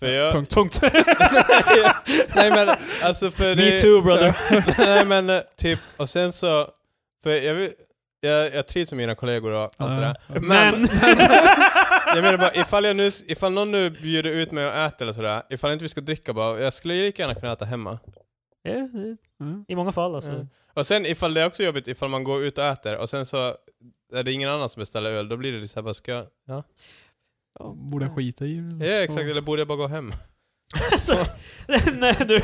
[SPEAKER 3] För jag...
[SPEAKER 2] Punkt.
[SPEAKER 1] Punkt.
[SPEAKER 3] *laughs* Nej men, alltså för
[SPEAKER 1] Me
[SPEAKER 3] det...
[SPEAKER 1] too brother.
[SPEAKER 3] *laughs* Nej men eh, typ, och sen så... För jag, vill- jag, jag trivs med mina kollegor och allt det där.
[SPEAKER 2] Ja.
[SPEAKER 1] Men...
[SPEAKER 3] *laughs* Jag menar bara, ifall, jag nu, ifall någon nu bjuder ut mig och äter eller sådär, ifall inte vi ska dricka bara, jag skulle ju lika gärna kunna äta hemma.
[SPEAKER 1] *laughs* Ja, det-
[SPEAKER 2] Mm.
[SPEAKER 1] I många fall alltså.
[SPEAKER 3] Mm. Och sen ifall det är också jobbigt, ifall man går ut och äter och sen så är det ingen annan som beställer öl, då blir det lite såhär bara, ska jag... Ja,
[SPEAKER 1] Ja.
[SPEAKER 2] Borde jag skita i det?
[SPEAKER 3] ja exakt, eller borde jag bara gå hem?
[SPEAKER 1] *laughs* Alltså, nej, du,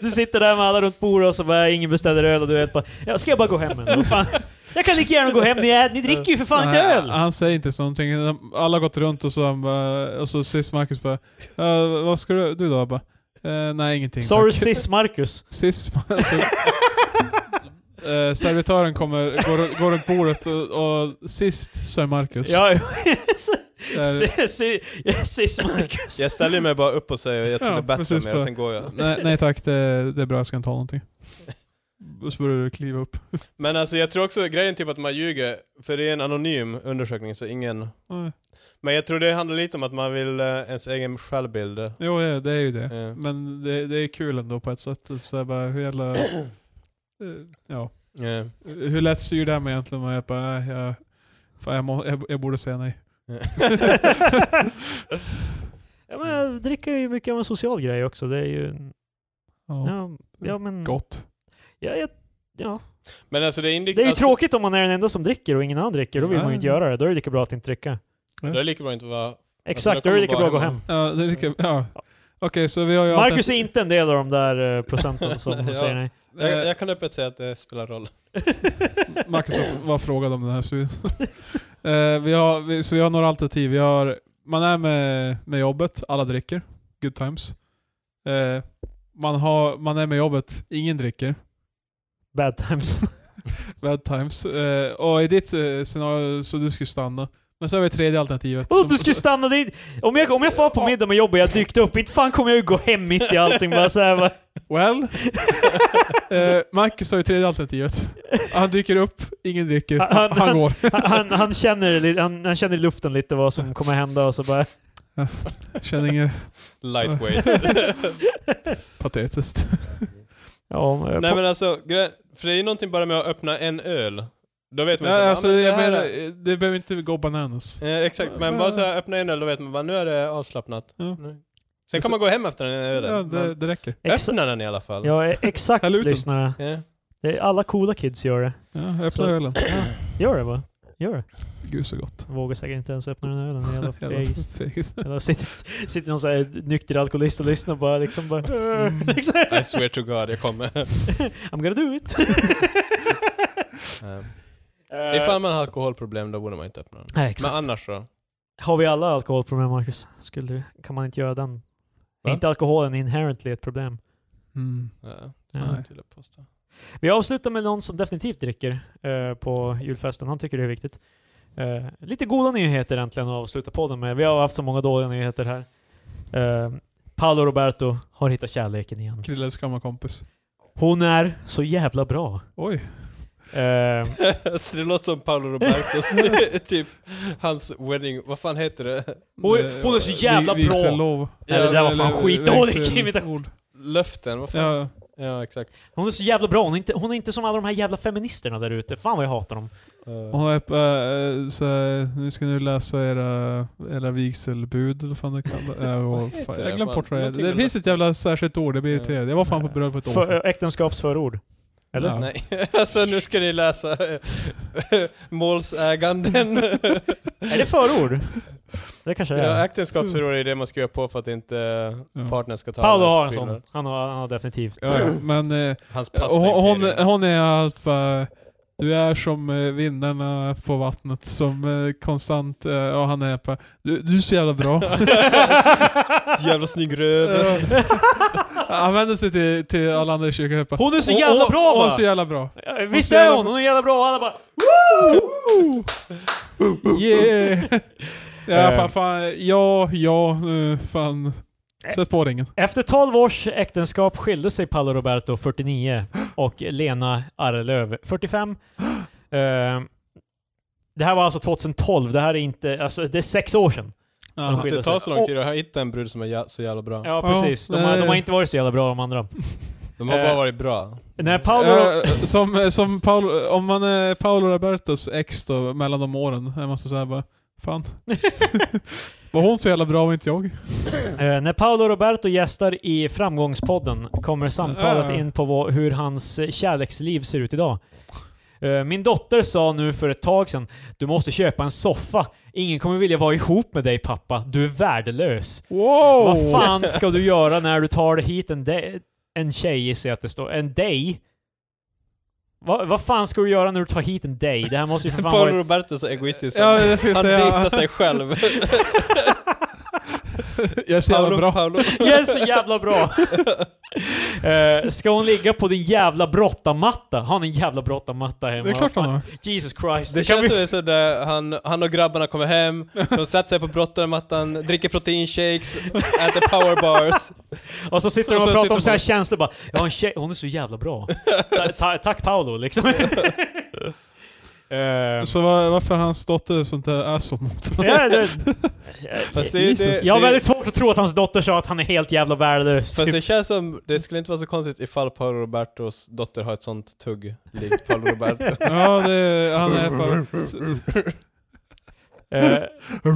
[SPEAKER 1] du sitter där med alla runt bordet och så bara ingen beställer öl och du vet bara ja, ska jag bara gå hem ändå? Fan. *laughs* Jag kan lika gärna gå hem, ni, är, ni dricker ju för fan inte
[SPEAKER 2] Nej,
[SPEAKER 1] öl!
[SPEAKER 2] Han säger inte så någonting. Alla har gått runt och så, han bara, och så sist Marcus bara "Eh, Vad ska du, du då? Jag Bara, "Eh, nej ingenting
[SPEAKER 1] Sorry
[SPEAKER 2] tack."
[SPEAKER 1] sis Marcus.
[SPEAKER 2] Sist man- så, *laughs* eh, servitören kommer, går, går runt bordet och, och sist så är Marcus.
[SPEAKER 1] Ja, jo.
[SPEAKER 2] *laughs* Där-
[SPEAKER 1] Si- si- sis Marcus.
[SPEAKER 3] Jag ställer mig bara upp och säger, jag tror
[SPEAKER 2] Ja,
[SPEAKER 3] det är bättre
[SPEAKER 2] precis
[SPEAKER 3] med och
[SPEAKER 2] bara.
[SPEAKER 3] sen går jag.
[SPEAKER 2] nej, nej tack, det, det är bra, jag ska inte ta någonting. Och så börjar du kliva upp.
[SPEAKER 3] Men alltså jag tror också grejen typ att man ljuger, för det är en anonym undersökning så ingen...
[SPEAKER 2] Nej.
[SPEAKER 3] Men jag tror det handlar lite om att man vill eh, ens egen självbild. eh,
[SPEAKER 2] Jo, ja, det är ju det.
[SPEAKER 3] Ja.
[SPEAKER 2] Men det, det är kul ändå på ett sätt. Så här bara, hur
[SPEAKER 3] *clears throat*
[SPEAKER 2] jävla... eh, ja.
[SPEAKER 3] Ja. *laughs*
[SPEAKER 2] Hur lätt styr det här med egentligen? Man är bara, äh, jag, fan, jag, må, jag, jag borde säga nej.
[SPEAKER 1] ja, men dricka är ju mycket av en social grej också. Det är ju...
[SPEAKER 2] Ja,
[SPEAKER 1] Ja, ja men...
[SPEAKER 2] Gott.
[SPEAKER 1] Ja, jag, ja.
[SPEAKER 3] Men alltså det, indik-
[SPEAKER 1] Det är ju
[SPEAKER 3] alltså,
[SPEAKER 1] tråkigt om man är den enda som dricker och ingen annan dricker. Då vill man ju inte
[SPEAKER 2] Ja.
[SPEAKER 1] göra det. Då är det lika bra att inte dricka.
[SPEAKER 3] Det är lika bra att inte vara...
[SPEAKER 1] Exakt,
[SPEAKER 3] då
[SPEAKER 1] då är det
[SPEAKER 3] kommer
[SPEAKER 1] lika bra att gå
[SPEAKER 3] bara
[SPEAKER 1] hem.
[SPEAKER 2] Ja, det är lika, ja. Okej, så vi har ju...
[SPEAKER 1] Marcus är inte en del av de där eh, procenten som
[SPEAKER 3] Ja.
[SPEAKER 1] säger nej.
[SPEAKER 2] Eh.
[SPEAKER 3] Jag, jag kan öppet säga att det spelar roll.
[SPEAKER 2] Marcus var- var frågad om den här studien. *laughs* Eh, vi har, vi, så vi har några alternativ. Vi har, man är med, med jobbet, alla dricker. Good times. Eh, man, har, man är med jobbet, ingen dricker.
[SPEAKER 1] Bad times.
[SPEAKER 2] Bad times. Eh, och i ditt eh, scenario så du skulle stanna. Men så har vi tredje alternativet.
[SPEAKER 1] Oh,
[SPEAKER 2] som-
[SPEAKER 1] du skulle stanna dit! Om jag, om jag far på middag med jobbet och jag dykt upp, inte fan kommer jag ju gå hem mitt i allting bara såhär bara... *laughs*
[SPEAKER 2] Well. eh, Marcus har ju tredje alternativet. Han dyker upp, ingen dricker,
[SPEAKER 1] Han-
[SPEAKER 2] han,
[SPEAKER 1] han-
[SPEAKER 2] går.
[SPEAKER 1] Han, han, känner, li- han, han känner i luften lite vad som kommer hända och så bara...
[SPEAKER 2] Känner inget
[SPEAKER 3] Lightweights.
[SPEAKER 2] patetiskt.
[SPEAKER 1] Ja, men-
[SPEAKER 3] Nej men alltså, gre- för det är ju någonting bara med att öppna en öl. Då vet man ju
[SPEAKER 2] Ja,
[SPEAKER 3] så här,
[SPEAKER 2] alltså,
[SPEAKER 3] "Ah, men det
[SPEAKER 2] jag
[SPEAKER 3] här
[SPEAKER 2] menar,
[SPEAKER 3] är-"
[SPEAKER 2] eh, det behöver inte gå bananas.
[SPEAKER 3] Eh, Exakt, men bara så här, öppna en öl, då vet man bara nu är det avslappnat.
[SPEAKER 2] Ja.
[SPEAKER 3] Nu. Sen kan man gå hem efter den här ölen.
[SPEAKER 2] Ja, det,
[SPEAKER 3] men
[SPEAKER 2] det räcker.
[SPEAKER 1] exa-
[SPEAKER 3] öppna den i alla fall.
[SPEAKER 1] ja, e- exakt
[SPEAKER 2] Häll ut den.
[SPEAKER 1] lyssnare.
[SPEAKER 3] Ja.
[SPEAKER 1] Det är, alla coola kids gör det.
[SPEAKER 2] Ja, öppna
[SPEAKER 1] Så-
[SPEAKER 2] ölen.
[SPEAKER 1] Gör det bara. Gör det.
[SPEAKER 2] Gud så gott.
[SPEAKER 1] Vågar säkert inte ens öppna den här ölen. Jävla
[SPEAKER 2] Jävla
[SPEAKER 1] fegis.
[SPEAKER 2] fegis.
[SPEAKER 1] Eller sitter, sitter någon såhär nykter alkoholist och lyssnar och bara liksom bara...
[SPEAKER 2] Mm.
[SPEAKER 1] Liksom.
[SPEAKER 3] I swear to God, jag kommer.
[SPEAKER 1] *laughs* I'm gonna do it.
[SPEAKER 3] Eh,
[SPEAKER 1] Eh,
[SPEAKER 3] Ifall man har alkoholproblem då borde man inte öppna den.
[SPEAKER 1] Nej, exakt.
[SPEAKER 3] Men annars då?
[SPEAKER 1] Har vi alla alkoholproblem, Marcus? Skulle du, kan man inte göra den? Är
[SPEAKER 3] Va?
[SPEAKER 1] inte alkoholen inherently ett problem?
[SPEAKER 2] Mm.
[SPEAKER 3] Ja,
[SPEAKER 1] Ja.
[SPEAKER 2] Nej.
[SPEAKER 3] till att posta.
[SPEAKER 1] Vi avslutar med någon som definitivt dricker eh, på julfesten. Han tycker det är viktigt. Eh, lite goda nyheter äntligen att avsluta podden med. Vi har haft så många dåliga nyheter här. Eh, Paolo Roberto har hittat kärleken igen.
[SPEAKER 2] Krilles gamla kompis.
[SPEAKER 1] Hon är så jävla bra.
[SPEAKER 2] Oj.
[SPEAKER 1] Eh,
[SPEAKER 3] *laughs* Så det låter som
[SPEAKER 2] *laughs*
[SPEAKER 3] Paolo Robertos, *laughs* typ hans wedding, vad fan heter det?
[SPEAKER 1] Oj,
[SPEAKER 2] Eh,
[SPEAKER 1] hon är så jävla
[SPEAKER 2] vi-
[SPEAKER 1] bra.
[SPEAKER 2] Vigsellov.
[SPEAKER 1] Nej, det där var
[SPEAKER 2] eller-
[SPEAKER 1] fan skitdålig
[SPEAKER 2] vigsel-
[SPEAKER 1] imitation.
[SPEAKER 3] Löften, vad fan? Ja,
[SPEAKER 2] Ja,
[SPEAKER 3] exakt.
[SPEAKER 1] hon är så jävla bra. Hon är inte, hon är inte som alla de här jävla feministerna där ute. Fan vad jag hatar dem.
[SPEAKER 3] Eh,
[SPEAKER 2] hon är på, eh, så här, nu ska ni läsa era, era vigselbud eller vad fan det kallas. Ja,
[SPEAKER 3] *laughs*
[SPEAKER 2] och
[SPEAKER 3] heter
[SPEAKER 2] fan,
[SPEAKER 3] det?
[SPEAKER 2] jag glömde bort vad det är.
[SPEAKER 3] Någonting
[SPEAKER 2] Det
[SPEAKER 3] med
[SPEAKER 2] finns ett jävla särskilt ord, jag blir
[SPEAKER 3] Ja.
[SPEAKER 2] irriterad. Jag var fan på bröllop för ett år
[SPEAKER 1] För,
[SPEAKER 2] sedan.
[SPEAKER 1] eh, äktenskapsförord. Eller?
[SPEAKER 2] Ja.
[SPEAKER 3] Nej, *laughs* alltså nu ska ni läsa eh, *laughs*
[SPEAKER 1] *laughs*
[SPEAKER 3] målsäganden.
[SPEAKER 1] Är det förord? Det kanske det
[SPEAKER 3] ja,
[SPEAKER 1] är.
[SPEAKER 3] äktenskapsförord är det man skriver på för att inte eh,
[SPEAKER 2] Ja.
[SPEAKER 3] partnern ska ta
[SPEAKER 1] Paolo
[SPEAKER 3] hans
[SPEAKER 1] har en
[SPEAKER 3] prylar.
[SPEAKER 1] sån. Han har, han har
[SPEAKER 2] *laughs*
[SPEAKER 1] definitivt. *laughs*
[SPEAKER 2] Ja, ja. Men eh,
[SPEAKER 3] Hans
[SPEAKER 2] och hon, hon,
[SPEAKER 3] pastaimperie.
[SPEAKER 2] hon är allt bara... Du är som eh, vindarna på vattnet som eh, konstant... eh, Ja, han är
[SPEAKER 3] *laughs*
[SPEAKER 2] bara... Du, du är så jävla bra.
[SPEAKER 3] Jävla snygg röv.
[SPEAKER 2] Han vänder sig till, till alla andra i kyrkan och bara,
[SPEAKER 1] Hon är så
[SPEAKER 2] "Åh,
[SPEAKER 1] jävla
[SPEAKER 2] åh,
[SPEAKER 1] bra,
[SPEAKER 2] åh,
[SPEAKER 1] va?"
[SPEAKER 2] Hon är så jävla bra.
[SPEAKER 1] Ja, Visst
[SPEAKER 2] så
[SPEAKER 1] är
[SPEAKER 2] jävla
[SPEAKER 1] hon?
[SPEAKER 2] bra.
[SPEAKER 1] Hon är jävla bra. Alla bara
[SPEAKER 2] Yeah! ja,
[SPEAKER 1] Eh.
[SPEAKER 2] fan, fan, ja, ja, eh, fan. Sätt på ringen.
[SPEAKER 1] Efter 12 års äktenskap skilde sig Paolo Roberto 49 och Lena Arlöv 45. Eh, det här var alltså 2012, det här är inte, alltså det är sex år sedan.
[SPEAKER 2] Ja.
[SPEAKER 1] skit.
[SPEAKER 3] Det tar så lång tid att hitta en brud som är jä- så jävla bra.
[SPEAKER 1] Ja
[SPEAKER 2] Ja,
[SPEAKER 1] precis, de, har-
[SPEAKER 2] nej.
[SPEAKER 1] de har inte varit så jävla bra de andra.
[SPEAKER 3] De har
[SPEAKER 1] Eh.
[SPEAKER 3] bara varit bra.
[SPEAKER 1] När Paolo,
[SPEAKER 2] Eh, som som Paolo, om man är Paolo Robertos ex då, mellan de åren, jag måste säga bara, fan. Var hon så jävla bra och inte jag?
[SPEAKER 1] eh, när Paolo Roberto gästar i Framgångspodden kommer samtalet
[SPEAKER 2] Ah.
[SPEAKER 1] in på vad, hur hans eh, kärleksliv ser ut idag. Eh, Min dotter sa nu för ett tag sedan, du måste köpa en soffa. Ingen kommer vilja vara ihop med dig pappa, du är värdelös.
[SPEAKER 2] Wow!
[SPEAKER 1] Vad fan ska du göra när du tar hit en, de- en tjej gissar jag att det står. En dig? Va- Vad fan ska du göra när du tar hit en dig? Det här måste ju för fan
[SPEAKER 3] Paolo
[SPEAKER 1] vara...
[SPEAKER 3] Roberto är så egoistisk.
[SPEAKER 2] Ja, jag skulle
[SPEAKER 3] han
[SPEAKER 2] säga,
[SPEAKER 3] dejtar
[SPEAKER 1] *laughs*
[SPEAKER 3] sig själv.
[SPEAKER 2] *laughs* jag är så jävla bra.
[SPEAKER 3] Paolo.
[SPEAKER 1] Jag är så jävla bra! Eh, ska hon ligga på din jävla brottamatta? Har ni en jävla brottamatta hemma?
[SPEAKER 2] Det är klart
[SPEAKER 1] Vad
[SPEAKER 2] han
[SPEAKER 1] fan?
[SPEAKER 2] har.
[SPEAKER 1] Jesus Christ.
[SPEAKER 3] Det
[SPEAKER 1] kan vi...
[SPEAKER 3] känns som det är så där, han, han och grabbarna kommer hem, de sätter sig på brottarmattan, dricker proteinshakes, äter powerbars.
[SPEAKER 1] Och så sitter de
[SPEAKER 2] Och
[SPEAKER 1] och
[SPEAKER 2] så
[SPEAKER 1] pratar
[SPEAKER 2] sitter
[SPEAKER 1] om så här
[SPEAKER 2] man-
[SPEAKER 1] känslor bara. Jag har en tjej, hon är så jävla bra. Ta- ta- tack Paolo liksom. *laughs* Eh,
[SPEAKER 2] Så var, varför är hans dotter sånt där asshole mot honom?
[SPEAKER 1] Ja, det,
[SPEAKER 3] Fast det är ju
[SPEAKER 2] Jesus.
[SPEAKER 3] det-
[SPEAKER 1] jag har
[SPEAKER 3] det-
[SPEAKER 1] väldigt svårt att tro att hans dotter sa att han är helt jävla värdelös.
[SPEAKER 3] Fast
[SPEAKER 1] typ.
[SPEAKER 3] det känns som, det skulle inte vara så konstigt ifall Paolo Robertos dotter har ett sånt tugg likt
[SPEAKER 2] *laughs*
[SPEAKER 3] Paolo Roberto.
[SPEAKER 2] Ja, det, han är
[SPEAKER 3] *laughs*
[SPEAKER 2] bara...
[SPEAKER 1] Eh,
[SPEAKER 3] det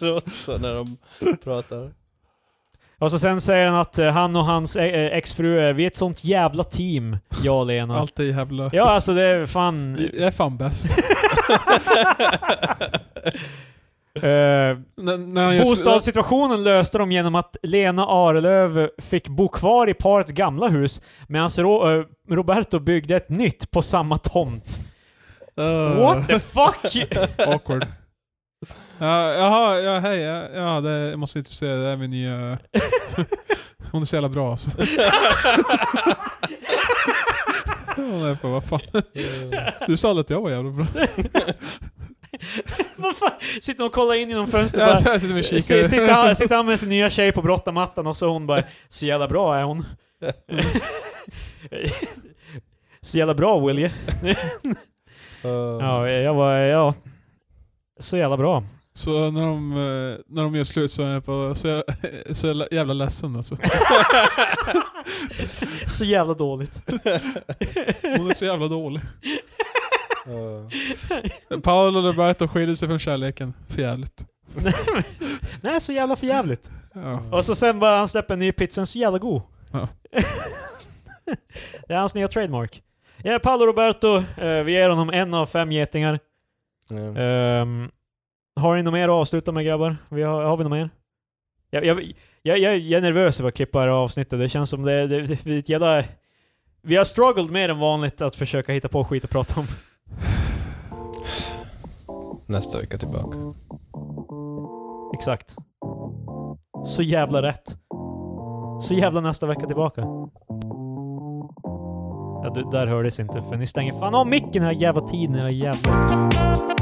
[SPEAKER 3] låter så när de pratar.
[SPEAKER 1] och så sen säger han att eh, han och hans eh, eh, exfru är, vi är ett sånt jävla team, jag och Lena.
[SPEAKER 2] Alltid jävla...
[SPEAKER 1] ja alltså det är fan...
[SPEAKER 2] Jag är fan bäst.
[SPEAKER 1] Eh,
[SPEAKER 2] N- *laughs* när han gör-
[SPEAKER 1] bostadssituationen löste de genom att Lena Arelöv fick bo kvar i parets gamla hus medan Ro- eh, Roberto byggde ett nytt på samma tomt.
[SPEAKER 2] Eh,
[SPEAKER 1] What the fuck? *laughs*
[SPEAKER 2] Awkward. Ja, jaha, ja, hej. Ja, ja det jag måste inte säga. Det är min *laughs* nya... Hon är så jävla bra alltså. *laughs* Hon är på, vad fan. *laughs* Du sa aldrig att jag var jävla bra.
[SPEAKER 1] Vad fan? Sitter och kollar in genom fönstret bara.
[SPEAKER 2] Jag, jag sitter med
[SPEAKER 1] Si- Sitter
[SPEAKER 2] kikare.
[SPEAKER 1] han, sitter han med sin nya tjej på brottamattan och så hon bara Så jävla bra är hon. *laughs* så jävla bra Willie. Ja, jag var, ja. Så jävla bra.
[SPEAKER 2] Så när de, eh, när de gör slut så är jag på, så, jag, så jag är jävla ledsen alltså.
[SPEAKER 1] Så jävla dåligt.
[SPEAKER 2] Hon är så jävla dålig. Paolo Roberto skiljer sig från kärleken. För jävligt.
[SPEAKER 1] *laughs* Nej, så jävla förjävligt.
[SPEAKER 2] Ja.
[SPEAKER 1] Och så sen bara han släpper en ny pizza, så jävla god.
[SPEAKER 2] Ja.
[SPEAKER 1] *laughs* det är hans nya trademark. Ja, Paolo Roberto, eh, vi ger honom en av fem getingar.
[SPEAKER 3] Ja.
[SPEAKER 1] Ehm, har ni något mer att avsluta med grabbar? Vi har, har vi något mer? Jag, jag, jag, jag, jag är nervös över att klippa det här avsnittet. Det känns som det, det, det, det är ett jävla... Vi har struggled mer än vanligt att försöka hitta på skit att prata om.
[SPEAKER 3] Nästa vecka tillbaka.
[SPEAKER 1] Exakt. Så jävla rätt. Så jävla nästa vecka tillbaka. Ja, du, där hördes inte, för ni stänger fan av micken den här jävla tiden, era jävla...